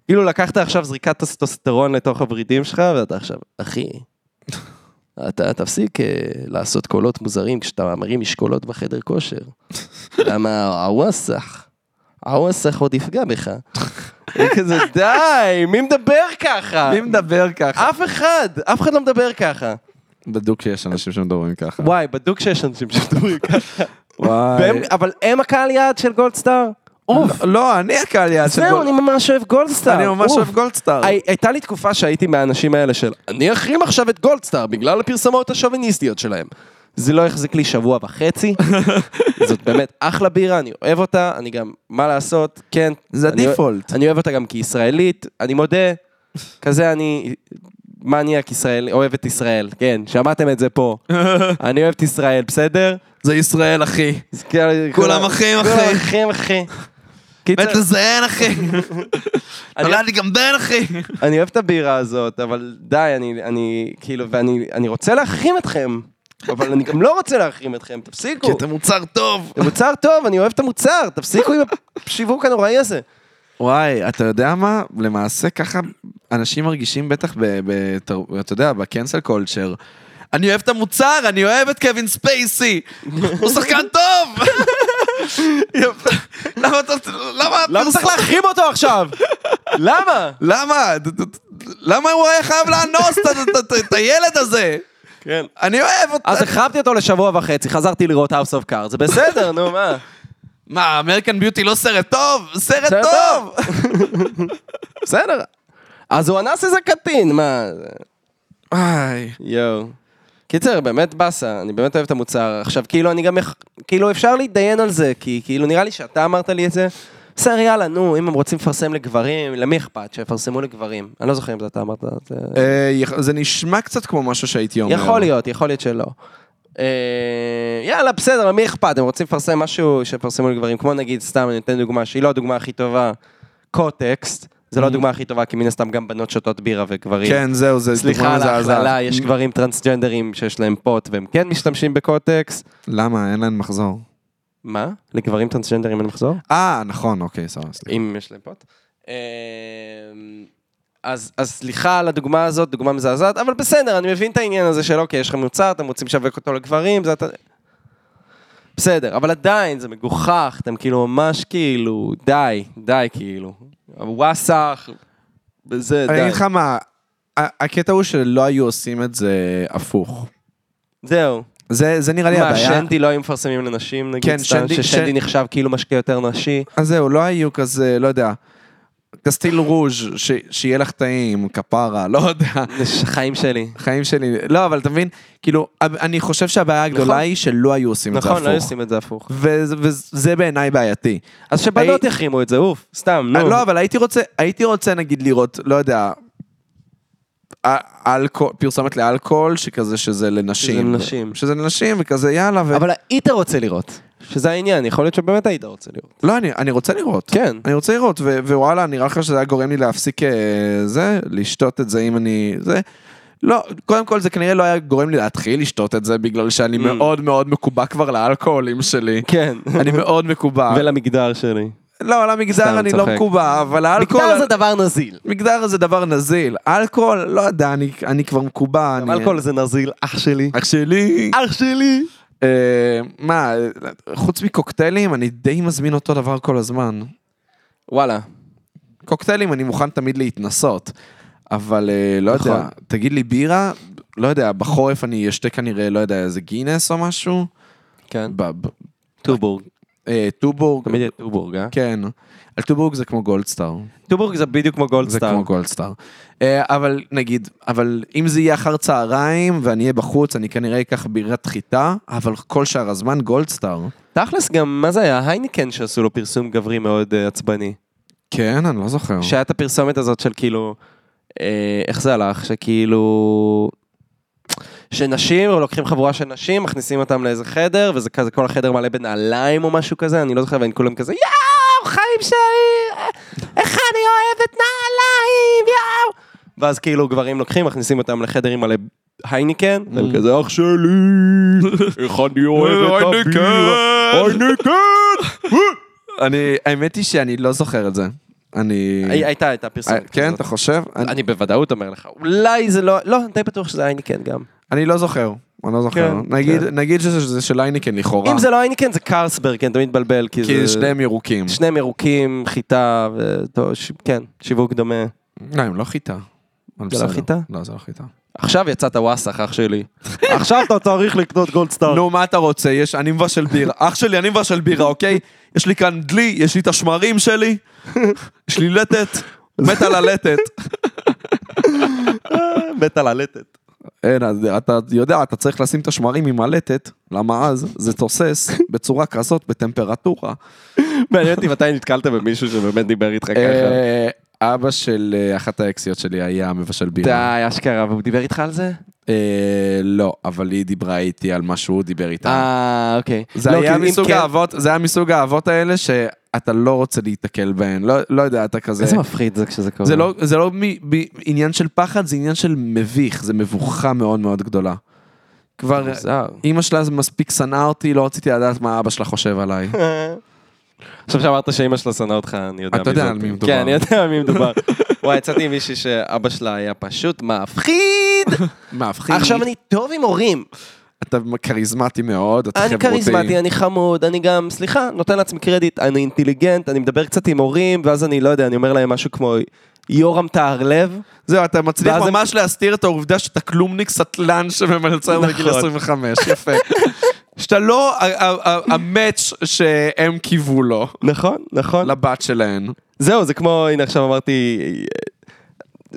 Speaker 2: אילו לקחת עכשיו זריקת טסטוסטרון לתוך הוורידים שלך, ואתה עכשיו, אחי, אתה תפסיק אה, לעשות קולות מוזרים כשאתה מרים משקולות בחדר כושר. למה הווסח, הווסח עוד יפגע בך. אני כזה, די, מי מדבר ככה?
Speaker 1: מי מדבר ככה?
Speaker 2: אף אחד, אף אחד לא מדבר ככה.
Speaker 1: בדוק שיש אנשים שמדברים ככה.
Speaker 2: וואי, בדוק שיש אנשים שמדברים ככה.
Speaker 1: וואי.
Speaker 2: והם- אבל הם הקהל יעד של גולדסטאר? אוף.
Speaker 1: לא, לא, אני הקהל יעד של
Speaker 2: זהו,
Speaker 1: גולד-
Speaker 2: אני ממש אוהב גולדסטאר.
Speaker 1: אני ממש
Speaker 2: אוף.
Speaker 1: אוהב גולדסטאר.
Speaker 2: הי- הייתה לי תקופה שהייתי מהאנשים האלה של אני אחרים עכשיו את גולדסטאר בגלל הפרסמות השוביניסטיות שלהם. זה לא החזיק לי שבוע וחצי, זאת באמת אחלה בירה, אני אוהב אותה, אני גם, מה לעשות, כן.
Speaker 1: זה
Speaker 2: אני אוה-
Speaker 1: הדיפולט.
Speaker 2: אני אוהב אותה גם כישראלית, אני מודה, כזה אני מניאק ישראל, אוהב את ישראל, כן, שמעתם את זה פה. אני אוהב את ישראל, בסדר?
Speaker 1: זה ישראל, אחי.
Speaker 2: אז כאילו-
Speaker 1: כולם אחים, אחי.
Speaker 2: כולם אחים, אחי. קיצר,
Speaker 1: מת לזיין, אחי.
Speaker 2: אני-
Speaker 1: נולד לי גם בן, אחי.
Speaker 2: אני אוהב את הבירה הזאת, אבל די, אני, אני כאילו, ואני אני רוצה להחרים אתכם, אבל אני גם לא רוצה להחרים אתכם,
Speaker 1: כי
Speaker 2: תפסיקו.
Speaker 1: אתה מוצר טוב.
Speaker 2: זה מוצר טוב, אני אוהב את המוצר, תפסיקו עם השיווק הנוראי הזה.
Speaker 1: וואי, אתה יודע מה? למעשה ככה אנשים מרגישים בטח, ב, ב, אתה יודע, בקנסל קולצ'ר. אני אוהב את המוצר, אני אוהב את קווין ספייסי! הוא שחקן טוב! למה אתה... למה...
Speaker 2: למה צריך להחרים אותו עכשיו? למה?
Speaker 1: למה? למה הוא היה חייב לאנוס את- את- את- את הילד הזה?
Speaker 2: כן.
Speaker 1: אני אוהב אותו.
Speaker 2: אז החרמתי אותו לשבוע וחצי, חזרתי לראות House of Cards, זה בסדר, נו מה.
Speaker 1: מה, אמריקן ביוטי לא סרט טוב? סרט
Speaker 2: סרט
Speaker 1: טוב!
Speaker 2: בסדר. אז הוא אנס איזה קטין, מה?
Speaker 1: וואי.
Speaker 2: יואו. קיצר, באמת באסה, אני באמת אוהב את המוצר. עכשיו, כאילו, אני גם, יכ- כאילו, אפשר להתדיין על זה, כי כאילו, נראה לי שאתה אמרת לי את זה. בסדר, יאללה, נו, אם הם רוצים לפרסם לגברים, למי אכפת שיפרסמו לגברים? אני לא זוכר אם זה אתה אמרת את זה.
Speaker 1: אה, יכ- זה נשמע קצת כמו משהו שהייתי אומר.
Speaker 2: יכול להיות, יכול להיות שלא. אה, יאללה, בסדר, למי אכפת? הם רוצים לפרסם משהו שיפרסמו לגברים, כמו נגיד, סתם, אני אתן דוגמה שהיא לא הדוגמה הכי טובה, קוטקסט, זה לא הדוגמה הכי טובה, כי מן הסתם גם בנות שותות בירה וגברים.
Speaker 1: כן, זהו, זה
Speaker 2: סליחה
Speaker 1: דוגמה
Speaker 2: על
Speaker 1: מזעזעת.
Speaker 2: ההכללה, יש גברים טרנסג'נדרים שיש להם פוט והם כן משתמשים בקוטקס.
Speaker 1: למה? אין להן מחזור.
Speaker 2: מה? לגברים טרנסג'נדרים אין מחזור?
Speaker 1: אה, נכון, אוקיי, סבבה, סליחה.
Speaker 2: אם יש להם פוט. אמ, אז, אז סליחה על הדוגמה הזאת, דוגמה מזעזעת, אבל בסדר, אני מבין את העניין הזה של אוקיי, יש לכם מוצר, אתם רוצים לשווק אותו לגברים, זה אתה... בסדר, אבל עדיין, זה מגוחך, אתם כאילו ממש כאילו, די, די כאילו. וואסאח, וזה,
Speaker 1: אני
Speaker 2: אה, די.
Speaker 1: אגיד לך מה, ה- הקטע הוא שלא היו עושים את זה הפוך.
Speaker 2: זהו.
Speaker 1: זה זה נראה לי
Speaker 2: מה,
Speaker 1: הבעיה.
Speaker 2: שנדי לא היו מפרסמים לנשים, נגיד,
Speaker 1: כן,
Speaker 2: סתם,
Speaker 1: שנדי-
Speaker 2: ששנדי
Speaker 1: שנ-
Speaker 2: נחשב כאילו משקיע יותר נשי.
Speaker 1: אז זהו, לא היו כזה, לא יודע. קסטיל רוז' ש- שיהיה לך טעים, כפרה, לא יודע.
Speaker 2: זה חיים שלי.
Speaker 1: חיים שלי, לא, אבל אתה מבין, כאילו, אני חושב שהבעיה הגדולה
Speaker 2: נכון.
Speaker 1: היא שלא היו עושים את זה
Speaker 2: נכון, לא היו
Speaker 1: הפוך.
Speaker 2: עושים את זה הפוך.
Speaker 1: וזה- וזה בעיניי בעייתי.
Speaker 2: אז שבנות יחרימו את זה, אוף, סתם, נו.
Speaker 1: אה, לא, אבל הייתי רוצה, הייתי רוצה נגיד לראות, לא יודע, א- אלכוהול- פרסומת לאלכוהול, שכזה שזה לנשים.
Speaker 2: שזה לנשים.
Speaker 1: שזה לנשים, וכזה יאללה, ו...
Speaker 2: אבל היית רוצה לראות. שזה העניין, יכול להיות שבאמת היית רוצה לראות.
Speaker 1: לא, אני, אני רוצה לראות.
Speaker 2: כן.
Speaker 1: אני רוצה לראות, ו- ווואלה, נראה לך שזה היה גורם לי להפסיק אה, זה, לשתות את זה אם אני... זה. לא, קודם כל זה כנראה לא היה גורם לי להתחיל לשתות את זה, בגלל
Speaker 2: Mm.
Speaker 1: שאני מאוד מאוד מקובע כבר לאלכוהולים שלי.
Speaker 2: כן.
Speaker 1: אני מאוד
Speaker 2: אה.
Speaker 1: מקובע.
Speaker 2: ולמגדר שלי.
Speaker 1: לא,
Speaker 2: סתם,
Speaker 1: למגדר אני לא
Speaker 2: צוחק.
Speaker 1: מקובע, אבל האלכוהול...
Speaker 2: מגדר זה דבר נזיל.
Speaker 1: מגדר זה דבר נזיל, אלכוהול, לא יודע, אני, אני כבר מקובע, אני...
Speaker 2: אלכוהול זה נזיל, אח שלי.
Speaker 1: אח שלי.
Speaker 2: אח שלי!
Speaker 1: אה, מה, חוץ מקוקטיילים, אני די מזמין אותו דבר כל הזמן.
Speaker 2: וואלה.
Speaker 1: קוקטיילים אני מוכן תמיד להתנסות, אבל אה, לא
Speaker 2: נכון.
Speaker 1: יודע, תגיד לי בירה, לא יודע, בחורף אני אשתה כנראה, לא יודע, איזה גינס או משהו,
Speaker 2: כן.
Speaker 1: ב- ב-
Speaker 2: טובורג.
Speaker 1: אה, טובורג,
Speaker 2: תמיד יהיה טובורג, אה?
Speaker 1: כן. על טובורג זה כמו גולדסטאר.
Speaker 2: טובורג זה בדיוק כמו
Speaker 1: זה
Speaker 2: גולדסטאר.
Speaker 1: כמו גולדסטאר. אה, אבל נגיד, אבל אם זה יהיה אחר צהריים ואני אהיה בחוץ, אני כנראה אקח בירת חיטה, אבל כל שאר הזמן גולדסטאר.
Speaker 2: תכלס גם, מה זה היה? הייניקן שעשו לו פרסום גברי מאוד אה, עצבני.
Speaker 1: כן, אני לא זוכר.
Speaker 2: שהיה את הפרסומת הזאת של כאילו, אה, איך זה הלך? שכאילו, שנשים, או לוקחים חבורה של נשים, מכניסים אותם לאיזה חדר, וזה כזה, כל החדר מלא בנעליים או משהו כזה, אני לא זוכר, והם כולם כזה, יואו, חיים שלי, אה, איך אני אוהבת נעליים, יואו. ואז כאילו גברים לוקחים, מכניסים אותם לחדר עם מלא הייניקן, והם כזה, אח שלי, Mm. איך אני אוהב את כן.
Speaker 1: הייניקן!" כן.
Speaker 2: הבירה, הייניקן.
Speaker 1: אני, האמת היא שאני לא זוכר את זה. אני...
Speaker 2: הי- הייתה, הייתה פרסומת.
Speaker 1: אה, כן,
Speaker 2: כזאת.
Speaker 1: אתה חושב? אני-
Speaker 2: אני בוודאות אומר לך. אולי זה לא... לא, אני די בטוח שזה אייניקן גם.
Speaker 1: אני לא זוכר. אני לא זוכר.
Speaker 2: כן,
Speaker 1: נגיד- נגיד שזה שזה של אייניקן לכאורה.
Speaker 2: אם זה לא אייניקן, זה קרסברג, אני תמיד מתבלבל, כי זה...
Speaker 1: כי שניהם ירוקים.
Speaker 2: שניהם ירוקים, חיטה, ו... טוב, ש... כן, שיווק דומה.
Speaker 1: לא, הם לא חיטה. אבל
Speaker 2: זה לא
Speaker 1: בסדר.
Speaker 2: חיטה?
Speaker 1: לא, זה לא חיטה.
Speaker 2: עכשיו יצאת וואסך, אח שלי. עכשיו אתה צריך לקנות גולד סטאר.
Speaker 1: נו, מה אתה רוצה? יש, אני מבשל בירה. אח שלי, אני מבשל בירה, אוקיי? יש לי כאן דלי, יש לי את השמרים שלי, יש לי לטת, מת על הלטת.
Speaker 2: מת על הלטת.
Speaker 1: אין, אז אתה יודע, אתה צריך לשים את השמרים עם הלטת, למה אז זה תוסס בצורה כזאת, בטמפרטורה.
Speaker 2: מעניין אותי מתי נתקלת במישהו שבאמת דיבר איתך ככה.
Speaker 1: אה, אבא של אה, אחת האקסיות שלי היה מבשל בירה.
Speaker 2: די, אשכרה, והוא דיבר איתך על זה?
Speaker 1: אה, לא, אבל היא דיברה איתי על מה שהוא דיבר איתה.
Speaker 2: אה, אוקיי.
Speaker 1: זה
Speaker 2: לא,
Speaker 1: היה
Speaker 2: כי אם
Speaker 1: מסוג
Speaker 2: כן-
Speaker 1: האבות, זה היה מסוג האבות האלה שאתה לא רוצה להיתקל בהן. לא- לא יודע, אתה כזה...
Speaker 2: איזה מפחיד זה כשזה קורה.
Speaker 1: זה לא, זה לא מ, ב, עניין של פחד, זה עניין של מביך, זה מבוכה מאוד מאוד גדולה. כבר
Speaker 2: מוזר.
Speaker 1: אימא שלה זה מספיק שנאה אותי, לא רציתי לדעת מה אבא שלה חושב עליי.
Speaker 2: עכשיו שאמרת שאימא שלה שנאה אותך, אני יודע
Speaker 1: אתה
Speaker 2: מי
Speaker 1: יודע
Speaker 2: זאת.
Speaker 1: על מי מדובר.
Speaker 2: כן, אני יודע על מי מדובר. וואי, יצאתי עם מישהי שאבא שלה היה פשוט מפחיד.
Speaker 1: מאבחין.
Speaker 2: עכשיו אני טוב עם הורים.
Speaker 1: אתה כריזמטי מאוד, אתה
Speaker 2: אני
Speaker 1: חברותי.
Speaker 2: כריזמטי, אני חמוד, אני גם, סליחה, נותן לעצמי קרדיט, אני אינטליגנט, אני מדבר קצת עם הורים, ואז אני לא יודע, אני אומר להם משהו כמו יורם טהרלב.
Speaker 1: זהו, אתה מצליח
Speaker 2: ואז הם-
Speaker 1: ממש להסתיר את העובדה שאתה כלומניק סטלן שממצא בגיל
Speaker 2: נכון.
Speaker 1: 25, יפה. שאתה לא ה- ה- ה- המאץ' שהם קיוו לו,
Speaker 2: נכון, נכון.
Speaker 1: לבת שלהן.
Speaker 2: זהו, זה כמו, הנה עכשיו אמרתי, אה,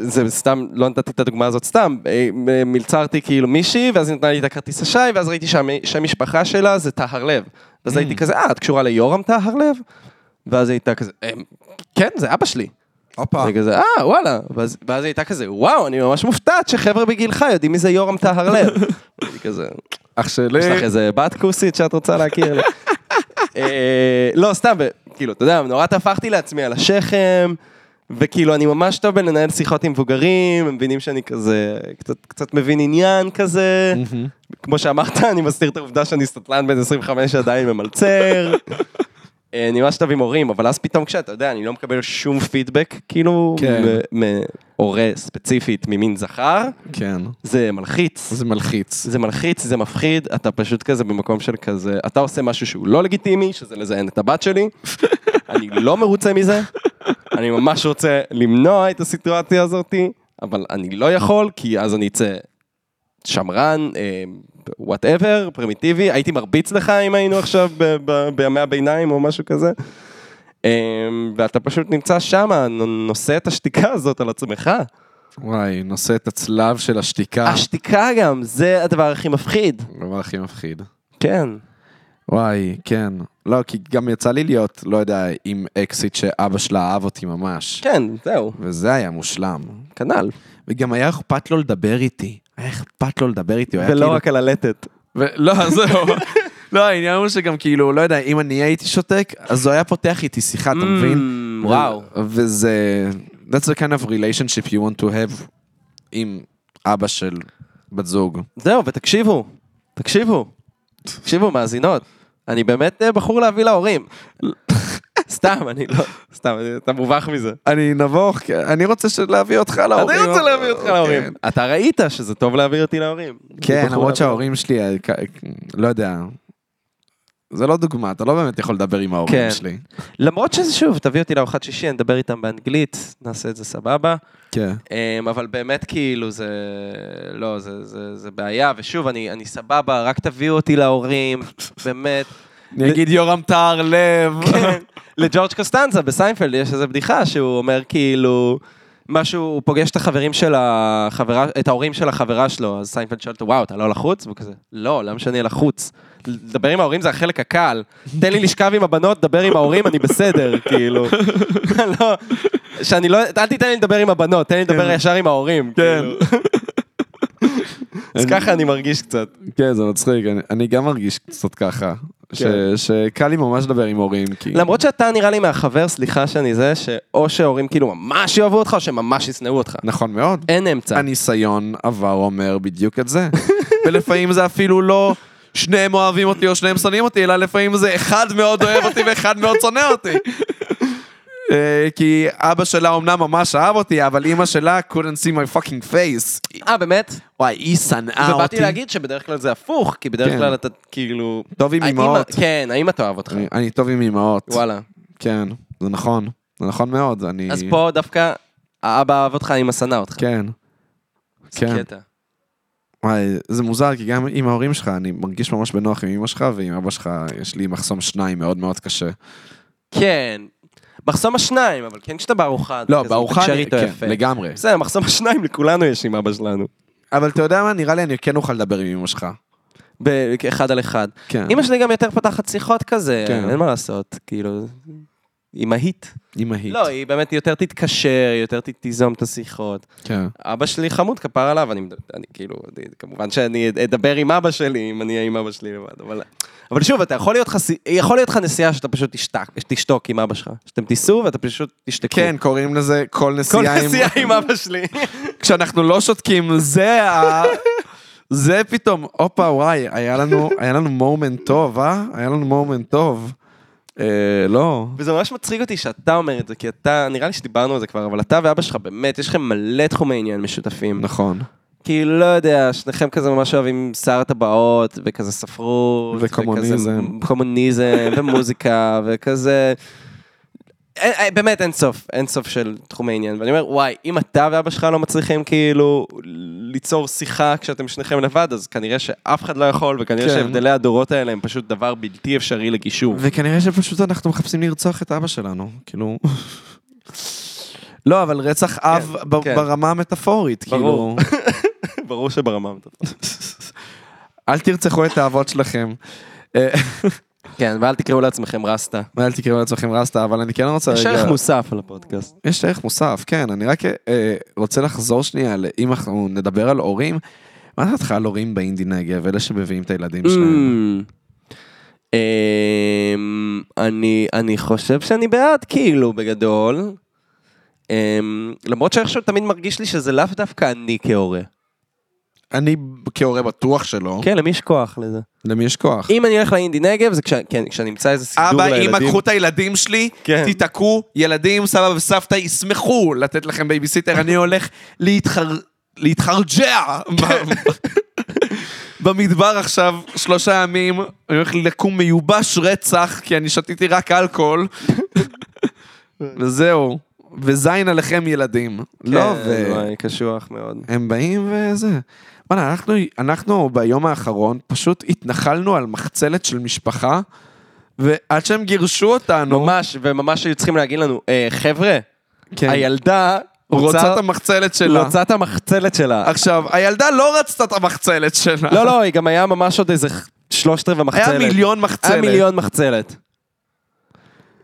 Speaker 2: זה סתם, לא נתתי את הדוגמה הזאת סתם, אה, מ- מלצרתי כאילו מישהי, ואז היא נתנה לי את הכרטיס אשראי, ואז ראיתי שהמ- שם משפחה שלה זה טהרלב. ואז הייתי כזה, אה, את קשורה ליורם טהרלב? ואז היא הייתה כזה, "אה, כן, זה אבא שלי.
Speaker 1: הופה.
Speaker 2: אני כזה, אה, וואלה. ואז ואז היא הייתה כזה, וואו, אני ממש מופתעת שחבר'ה בגילך יודעים מי זה יורם טהרלב. הייתי כזה,
Speaker 1: אח שלי.
Speaker 2: יש לך איזה בת כוסית שאת רוצה להכיר לי. אה, לא, סתם, ו- כאילו, אתה יודע, נורא טפחתי לעצמי על השכם, וכאילו, אני ממש טוב בלנהל שיחות עם מבוגרים, הם מבינים שאני כזה, קצת- קצת מבין עניין כזה. כמו שאמרת, אני מסתיר את העובדה שאני סטטלן בן 25 שעדיין ממלצר. אה, אני ממש טוב עם הורים, אבל אז פתאום כשאתה יודע, אני לא מקבל שום פידבק, כאילו,
Speaker 1: כן.
Speaker 2: מ- מהורה ספציפית ממין זכר,
Speaker 1: כן,
Speaker 2: זה מלחיץ.
Speaker 1: זה מלחיץ.
Speaker 2: זה מלחיץ, זה מפחיד, אתה פשוט כזה במקום של כזה, אתה עושה משהו שהוא לא לגיטימי, שזה לזיין את הבת שלי, אני לא מרוצה מזה, אני ממש רוצה למנוע את הסיטואציה הזאתי, אבל אני לא יכול, כי אז אני אצא שמרן, וואטאבר, פרימיטיבי, הייתי מרביץ לך אם היינו עכשיו ב- ב- בימי הביניים או משהו כזה. אה, ואתה פשוט נמצא שם, נ- נושא את השתיקה הזאת על עצמך.
Speaker 1: וואי, נושא את הצלב של השתיקה.
Speaker 2: השתיקה גם, זה הדבר הכי מפחיד.
Speaker 1: הדבר הכי מפחיד.
Speaker 2: כן.
Speaker 1: וואי, כן. לא, כי גם יצא לי להיות, לא יודע, עם אקסיט שאבא שלה אהב אותי ממש.
Speaker 2: כן, זהו,
Speaker 1: וזה היה מושלם.
Speaker 2: כנ"ל.
Speaker 1: וגם היה אכפת לו לדבר איתי. היה אכפת לו לדבר איתי, הוא היה
Speaker 2: ולא
Speaker 1: כאילו...
Speaker 2: רק על הלטת.
Speaker 1: ו- לא, זהו. לא, העניין הוא שגם כאילו, לא יודע, אם אני הייתי שותק, אז הוא היה פותח איתי שיחה, אתה מבין?
Speaker 2: Mm, וואו.
Speaker 1: ו- וזה... That's the kind of relationship you want to have עם אבא של בת זוג.
Speaker 2: זהו, ותקשיבו, תקשיבו, תקשיבו, מאזינות. אני באמת אה, בחור להביא להורים. סתם, אני לא, סתם, אני- אתה מובך מזה.
Speaker 1: אני נבוך, כי אני רוצה של- להביא אותך להורים.
Speaker 2: אני רוצה להביא אותך
Speaker 1: כן.
Speaker 2: להורים. אתה ראית שזה טוב להביא אותי להורים. אני
Speaker 1: כן,
Speaker 2: בחור
Speaker 1: למרות
Speaker 2: להביא-
Speaker 1: שההורים שלי, אה, כ- לא יודע. זה לא דוגמה, אתה לא באמת יכול לדבר עם ההורים
Speaker 2: כן.
Speaker 1: שלי.
Speaker 2: למרות שזה שוב, תביא אותי לארוחת שישי, אני אדבר איתם באנגלית, נעשה את זה סבבה.
Speaker 1: כן.
Speaker 2: אמ, אבל באמת כאילו זה, לא, זה, זה, זה בעיה, ושוב, אני, אני סבבה, רק תביאו אותי להורים, באמת.
Speaker 1: אני אגיד יורם טהר לב.
Speaker 2: כן. לג'ורג' קוסטנזה בסיינפלד יש איזו בדיחה שהוא אומר כאילו... משהו, הוא פוגש את החברים של החברה, את ההורים של החברה שלו, אז סיינפלד שואל אותו, וואו, אתה לא לחוץ? והוא כזה, לא, למה שאני אהיה לחוץ? לדבר עם ההורים זה החלק הקל. תן לי לשכב עם הבנות, דבר עם ההורים, אני בסדר, כאילו. לא, שאני לא, אל תיתן לי לדבר עם הבנות, תן לי לדבר ישר עם ההורים.
Speaker 1: כן.
Speaker 2: כאילו. אז ככה אני מרגיש קצת.
Speaker 1: כן, זה מצחיק, אני- אני גם מרגיש קצת ככה. ש-
Speaker 2: כן.
Speaker 1: שקל לי ממש לדבר עם הורים, כי...
Speaker 2: למרות שאתה נראה לי מהחבר, סליחה שאני זה, שאו שההורים כאילו ממש יאהבו אותך, או שממש ישנאו אותך.
Speaker 1: נכון מאוד.
Speaker 2: אין אמצע.
Speaker 1: הניסיון עבר אומר בדיוק את זה. ולפעמים זה אפילו לא שניהם אוהבים אותי או שניהם שונאים אותי, אלא לפעמים זה אחד מאוד אוהב אותי ואחד מאוד שונא אותי. אה, כי אבא שלה אומנם ממש אהב אותי, אבל אימא שלה couldn't see my fucking face.
Speaker 2: אה, באמת?
Speaker 1: וואי, היא שנאה אה, אותי.
Speaker 2: ובאתי להגיד שבדרך כלל זה הפוך, כי בדרך
Speaker 1: כן.
Speaker 2: כלל אתה כאילו...
Speaker 1: טוב עם
Speaker 2: האמא-
Speaker 1: אמהות.
Speaker 2: כן, האמא תאהב אותך.
Speaker 1: אני- אני טוב עם אמהות.
Speaker 2: וואלה.
Speaker 1: כן, זה נכון. זה נכון מאוד, אני...
Speaker 2: אז פה דווקא האבא אהב אותך, האמא שנאה אותך.
Speaker 1: כן.
Speaker 2: זה
Speaker 1: כן.
Speaker 2: קטע.
Speaker 1: וואי, זה מוזר, כי גם עם ההורים שלך, אני מרגיש ממש בנוח עם אמא שלך, ועם אבא שלך יש לי מחסום שניים מאוד מאוד קשה.
Speaker 2: כן. מחסום השניים, אבל כן כשאתה בארוחה. אתה
Speaker 1: לא,
Speaker 2: כזה
Speaker 1: בארוחה,
Speaker 2: מתקשר
Speaker 1: אני-
Speaker 2: איתו
Speaker 1: כן,
Speaker 2: יפה.
Speaker 1: לגמרי.
Speaker 2: בסדר, מחסום השניים לכולנו יש עם אבא שלנו.
Speaker 1: אבל אתה יודע מה, נראה לי אני כן אוכל לדבר עם אמא שלך.
Speaker 2: ב- אחד על אחד.
Speaker 1: כן.
Speaker 2: אמא שלי גם יותר פותחת שיחות כזה,
Speaker 1: כן.
Speaker 2: אין מה לעשות, כאילו... אמהית.
Speaker 1: אמא היא.
Speaker 2: לא, היא באמת יותר תתקשר, היא יותר ת- תיזום את השיחות.
Speaker 1: כן.
Speaker 2: אבא שלי חמוד, כפר עליו, אני, מד- אני כאילו, אני, כמובן שאני אד- אדבר עם אבא שלי, אם אני אהיה עם אבא שלי לבד, אבל... אבל שוב, אתה יכול להיות, חס... יכול להיות לך נסיעה שאתה פשוט תשתק, תשתוק עם אבא שלך. שאתם תיסעו ואתה פשוט תשתקו.
Speaker 1: כן, קוראים לזה כל
Speaker 2: כל
Speaker 1: נסיעה עם...
Speaker 2: נסיעה עם אבא שלי.
Speaker 1: כשאנחנו לא שותקים, זה ה... זה פתאום, הופה, וואי, היה לנו, היה לנו מומנט טוב, אה? היה לנו מומנט טוב. אה, לא.
Speaker 2: וזה ממש מצחיק אותי שאתה אומר את זה, כי אתה, נראה לי שדיברנו על זה כבר, אבל אתה ואבא שלך, באמת, יש לכם מלא תחומי עניין משותפים.
Speaker 1: נכון.
Speaker 2: כי לא יודע, שניכם כזה ממש אוהבים שר טבעות, וכזה ספרות,
Speaker 1: וקומוניזם.
Speaker 2: וכזה קומוניזם, ומוזיקה, וכזה... אין, אין, באמת אין סוף, אין סוף של תחומי עניין. ואני אומר, וואי, אם אתה ואבא שלך לא מצליחים כאילו ליצור שיחה כשאתם שניכם לבד, אז כנראה שאף אחד לא יכול, וכנראה
Speaker 1: כן.
Speaker 2: שהבדלי הדורות האלה הם פשוט דבר בלתי אפשרי לגישור.
Speaker 1: וכנראה שפשוט אנחנו מחפשים לרצוח את אבא שלנו, כאילו... לא, אבל רצח אב ב-
Speaker 2: כן.
Speaker 1: ברמה המטאפורית, כאילו...
Speaker 2: ברור. ברור שברמה מטורפת.
Speaker 1: אל תרצחו את האבות שלכם.
Speaker 2: כן, ואל תקראו לעצמכם רסטה.
Speaker 1: אל תקראו לעצמכם רסטה, אבל אני כן רוצה
Speaker 2: יש
Speaker 1: רגע...
Speaker 2: ערך מוסף על הפודקאסט.
Speaker 1: יש ערך מוסף, כן, אני רק אה, רוצה לחזור שנייה, ל- אם אנחנו נדבר על הורים, מה דעתך על הורים באינדי נגב, אלה שמביאים את הילדים שלהם?
Speaker 2: Mm. אמ, אני, אני חושב שאני בעד, כאילו, בגדול. אמ, למרות שאיכשהו תמיד מרגיש לי שזה לאו דווקא אני כהורה.
Speaker 1: אני כהורה בטוח שלא,
Speaker 2: כן, למי יש כוח לזה? למי
Speaker 1: יש כוח.
Speaker 2: אם אני הולך לאינדי נגב, זה כש- כן, כשאני אמצא איזה סידור
Speaker 1: אבא,
Speaker 2: לילדים.
Speaker 1: אמא, קחו את הילדים שלי,
Speaker 2: כן.
Speaker 1: תיתקעו, ילדים, סבא וסבתא ישמחו לתת לכם בייביסיטר, אני הולך להתחר... להתחרג'ע ב-
Speaker 2: כן.
Speaker 1: במדבר עכשיו שלושה ימים, אני הולך לקום מיובש רצח, כי אני שתיתי רק אלכוהול, וזהו, וזין עליכם ילדים. לא,
Speaker 2: כן,
Speaker 1: ו...
Speaker 2: וואי, קשוח מאוד.
Speaker 1: הם באים וזה. וואלה, אנחנו, אנחנו ביום האחרון פשוט התנחלנו על מחצלת של משפחה, ועד שהם גירשו אותנו,
Speaker 2: ממש, וממש היו צריכים להגיד לנו, "אה, חבר'ה,
Speaker 1: כן,
Speaker 2: הילדה
Speaker 1: רוצה את המחצלת שלה.
Speaker 2: רוצה את המחצלת שלה.
Speaker 1: עכשיו, הילדה לא רצתה את המחצלת שלה.
Speaker 2: לא, לא, היא גם היה ממש עוד איזה שלושת רבעי מחצלת.
Speaker 1: היה מיליון
Speaker 2: היה
Speaker 1: מחצלת.
Speaker 2: מיליון מחצלת.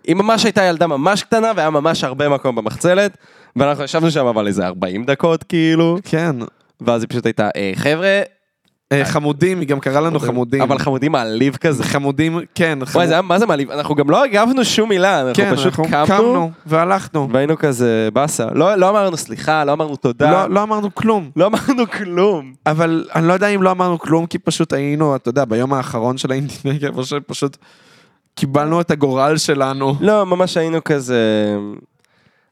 Speaker 2: היא ממש הייתה ילדה ממש קטנה, והיה ממש הרבה מקום במחצלת, ואנחנו ישבנו שם אבל איזה 40 דקות כאילו,
Speaker 1: כן.
Speaker 2: ואז היא פשוט הייתה, "אה, חבר'ה,
Speaker 1: אה, חמודים, היא גם קראה לנו חמודים.
Speaker 2: אה, אבל חמודים מעליב כזה.
Speaker 1: חמודים, כן.
Speaker 2: וואי,
Speaker 1: חמוד-
Speaker 2: זה היה, מה זה מעליב? אנחנו גם לא הגבנו שום מילה, אנחנו
Speaker 1: כן,
Speaker 2: פשוט
Speaker 1: אנחנו
Speaker 2: קמנו,
Speaker 1: קמנו והלכנו.
Speaker 2: והיינו כזה באסה. לא לא אמרנו סליחה, לא אמרנו תודה,
Speaker 1: לא לא אמרנו כלום.
Speaker 2: לא אמרנו כלום.
Speaker 1: אבל אני לא יודע אם לא אמרנו כלום, כי פשוט היינו, אתה יודע, ביום האחרון של האינדי נגב, או שפשוט קיבלנו את הגורל שלנו.
Speaker 2: לא, ממש היינו כזה...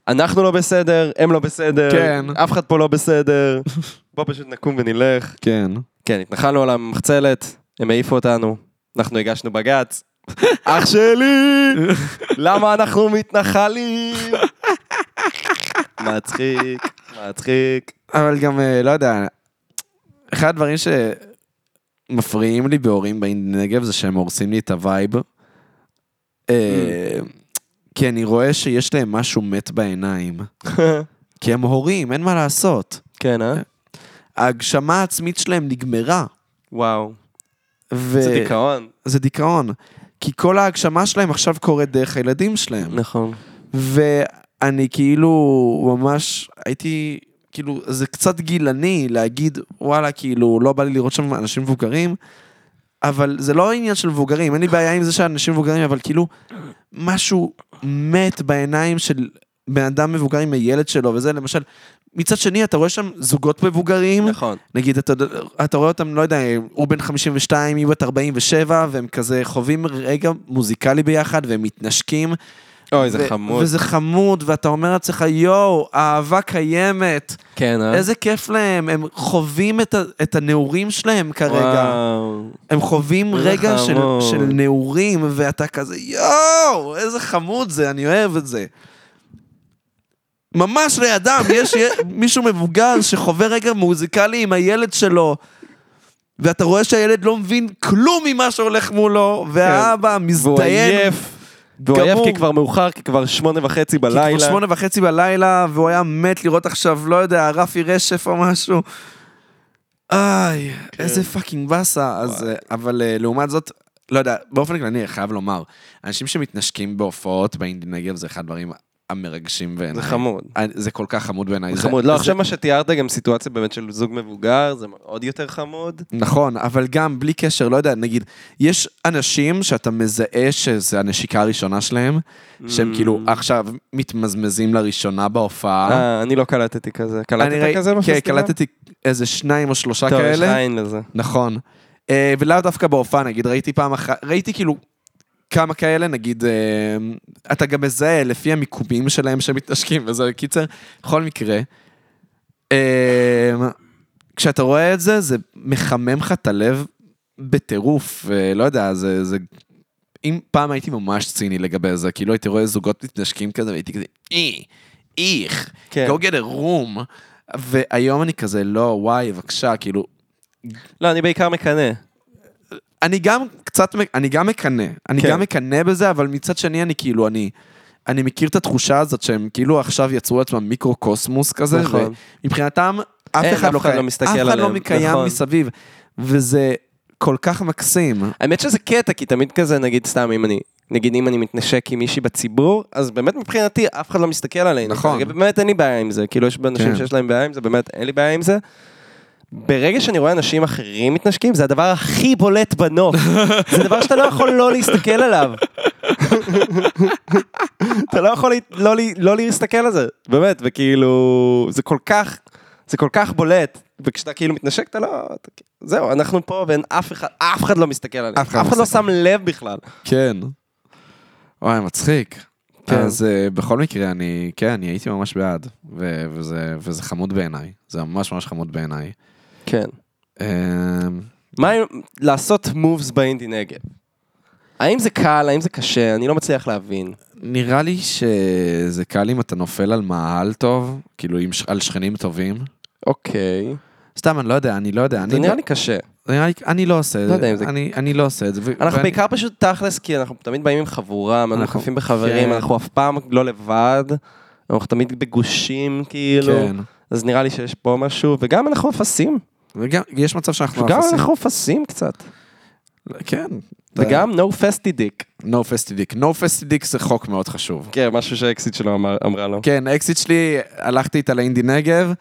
Speaker 2: אנחנו לא בסדר, הם לא בסדר,
Speaker 1: כן.
Speaker 2: אף אחד פה לא בסדר, בוא פשוט נקום ונלך.
Speaker 1: כן.
Speaker 2: כן, התנחלנו על המחצלת, הם העיפו אותנו, אנחנו הגשנו בג"ץ. אח שלי, למה אנחנו מתנחלים? מצחיק, מצחיק.
Speaker 1: אבל גם, אה, לא יודע, אחד הדברים שמפריעים לי בהורים באינדי נגב זה שהם הורסים לי את הווייב.
Speaker 2: Mm.
Speaker 1: אה, כי אני רואה שיש להם משהו מת בעיניים. כי הם הורים, אין מה לעשות.
Speaker 2: כן, אה?
Speaker 1: ההגשמה העצמית שלהם נגמרה.
Speaker 2: וואו,
Speaker 1: ו-
Speaker 2: זה דיכאון.
Speaker 1: זה דיכאון. כי כל ההגשמה שלהם עכשיו קורית דרך הילדים שלהם.
Speaker 2: נכון.
Speaker 1: ואני כאילו ממש הייתי, כאילו, זה קצת גילני להגיד, וואלה, כאילו, לא בא לי לראות שם אנשים מבוגרים, אבל זה לא עניין של מבוגרים, אין לי בעיה עם זה שאנשים מבוגרים, אבל כאילו, משהו מת בעיניים של בן אדם מבוגר עם הילד שלו, וזה למשל, מצד שני, אתה רואה שם זוגות מבוגרים,
Speaker 2: נכון.
Speaker 1: נגיד, אתה, אתה רואה אותם, לא יודע, הוא בן 52, היא בת 47, והם כזה חווים רגע מוזיקלי ביחד, והם מתנשקים,
Speaker 2: אוי, זה
Speaker 1: ו-
Speaker 2: חמוד.
Speaker 1: וזה חמוד, ואתה אומר לעצמך, יואו, אהבה קיימת,
Speaker 2: כן, אה?
Speaker 1: איזה כיף להם, הם חווים את, ה- את הנעורים שלהם כרגע.
Speaker 2: וואו.
Speaker 1: הם חווים
Speaker 2: איזה
Speaker 1: רגע של,
Speaker 2: חמוד.
Speaker 1: של נעורים, ואתה כזה, יואו, איזה חמוד זה, אני אוהב את זה. ממש לידם, יש י- מישהו מבוגר שחווה רגע מוזיקלי עם הילד שלו, ואתה רואה שהילד לא מבין כלום ממה שהולך מולו, והאבא
Speaker 2: כן. והוא
Speaker 1: מזדיין
Speaker 2: עייף. והוא עייף
Speaker 1: גמור.
Speaker 2: כי כבר מאוחר, כי כבר שמונה וחצי בלילה.
Speaker 1: כי כבר שמונה וחצי בלילה, והוא היה מת לראות עכשיו, לא יודע, רפי רשף או משהו. איי,
Speaker 2: כן.
Speaker 1: איזה פאקינג באסה. אז, אה, אבל אה, לעומת זאת, לא יודע, באופן כללי, אני חייב לומר, אנשים שמתנשקים בהופעות באינדי נגב זה אחד הדברים המרגשים בעיניי.
Speaker 2: זה חמוד.
Speaker 1: אה, זה כל כך חמוד בעיניי.
Speaker 2: זה
Speaker 1: זה-
Speaker 2: חמוד. לא,
Speaker 1: זה-
Speaker 2: עכשיו מה שתיארת, גם סיטואציה באמת של זוג מבוגר, זה עוד יותר חמוד.
Speaker 1: נכון, אבל גם בלי קשר, לא יודע, נגיד, יש אנשים שאתה מזהה שזו הנשיקה הראשונה שלהם, שהם
Speaker 2: Mm.
Speaker 1: כאילו עכשיו מתמזמזים לראשונה בהופעה.
Speaker 2: אה, אני לא קלטתי כזה.
Speaker 1: אני ראי-
Speaker 2: קלטת כזה
Speaker 1: כן,
Speaker 2: בפסטיבל?
Speaker 1: קלטתי איזה שניים או שלושה
Speaker 2: טוב, יש לך
Speaker 1: כאלה.
Speaker 2: עין לזה.
Speaker 1: נכון. אה, ולאו דווקא בהופעה, נגיד, ראיתי פעם אחת, ראיתי כאילו כמה כאלה, נגיד, אה, אתה גם מזהה לפי המיקומים שלהם שמתנשקים, וזה קיצר, בכל מקרה. אה, כשאתה רואה את זה, זה מחמם לך את הלב בטירוף, אה, לא יודע, זה... זה... אם פעם הייתי ממש ציני לגבי זה, כאילו הייתי רואה זוגות מתנשקים כזה, והייתי כזה, אי, איך,
Speaker 2: כן.
Speaker 1: go get a room. והיום אני כזה, לא, וואי, בבקשה, כאילו,
Speaker 2: לא, אני בעיקר מקנא.
Speaker 1: אני גם קצת, מק- אני גם מקנא, אני
Speaker 2: כן.
Speaker 1: גם מקנא בזה, אבל מצד שני אני כאילו, אני, אני מכיר את התחושה הזאת שהם כאילו עכשיו יצרו לעצמם מיקרו-קוסמוס כזה,
Speaker 2: נכון.
Speaker 1: ומבחינתם אף
Speaker 2: אין,
Speaker 1: אחד
Speaker 2: אף
Speaker 1: לא
Speaker 2: אחד לא
Speaker 1: קיים,
Speaker 2: מסתכל
Speaker 1: אף אחד לא
Speaker 2: עליהם,
Speaker 1: מקיים
Speaker 2: נכון.
Speaker 1: מסביב, וזה כל כך מקסים.
Speaker 2: האמת שזה קטע, כי תמיד כזה, נגיד סתם, אם אני... נגיד אם אני מתנשק עם מישהי בציבור, אז באמת מבחינתי אף אחד לא מסתכל עלינו.
Speaker 1: נכון.
Speaker 2: כרגע, באמת אין לי בעיה עם זה, כאילו יש אנשים
Speaker 1: כן.
Speaker 2: שיש להם בעיה עם זה, באמת אין לי בעיה עם זה. ברגע שאני רואה אנשים אחרים מתנשקים, זה הדבר הכי בולט בנוף. זה דבר שאתה לא יכול לא להסתכל עליו. אתה לא יכול להת- לא, לה- לא להסתכל על זה, באמת, וכאילו, זה כל כך, זה כל כך בולט, וכשאתה כאילו מתנשק, אתה לא, אתה, כאילו- זהו, אנחנו פה ואין אף אחד, אף אחד לא מסתכל עלינו,
Speaker 1: אף אחד לא
Speaker 2: אף אחד לא
Speaker 1: מסתכל.
Speaker 2: שם לב בכלל.
Speaker 1: כן. וואי, מצחיק.
Speaker 2: כן.
Speaker 1: אז אה, בכל מקרה, אני, כן, אני הייתי ממש בעד, ו- וזה, וזה חמוד בעיניי, זה ממש ממש חמוד בעיניי.
Speaker 2: כן.
Speaker 1: אמ,
Speaker 2: מה עם לעשות מובס באינדי נגב? האם זה קל, האם זה קשה, אני לא מצליח להבין.
Speaker 1: נראה לי שזה קל אם אתה נופל על מאהל טוב, כאילו עם ש... על שכנים טובים.
Speaker 2: אוקיי.
Speaker 1: סתם, אני לא יודע, אני לא יודע.
Speaker 2: זה
Speaker 1: אני
Speaker 2: נראה
Speaker 1: לא,
Speaker 2: לי קשה.
Speaker 1: נראה לי... אני לא עושה את זה.
Speaker 2: לא יודע אם זה-
Speaker 1: אני, אני לא עושה את זה. ו-
Speaker 2: אנחנו
Speaker 1: ואני-
Speaker 2: בעיקר פשוט תכלס, כי אנחנו תמיד באים עם חבורה, אנחנו
Speaker 1: אנחנו-
Speaker 2: מוקפים בחברים,
Speaker 1: כן.
Speaker 2: אנחנו אף פעם לא לבד, אנחנו תמיד בגושים, כאילו.
Speaker 1: כן.
Speaker 2: אז נראה לי שיש פה משהו, וגם אנחנו אפסים.
Speaker 1: וגם, יש מצב שאנחנו
Speaker 2: גם
Speaker 1: אפסים.
Speaker 2: אנחנו אפסים קצת.
Speaker 1: כן.
Speaker 2: וגם no fasty dick.
Speaker 1: No פסטידיק. No פסטידיק זה חוק מאוד חשוב.
Speaker 2: כן, משהו שהאקסיט שלו אמר- אמרה לו.
Speaker 1: כן, האקסיט שלי, הלכתי איתה לאינדי נגב,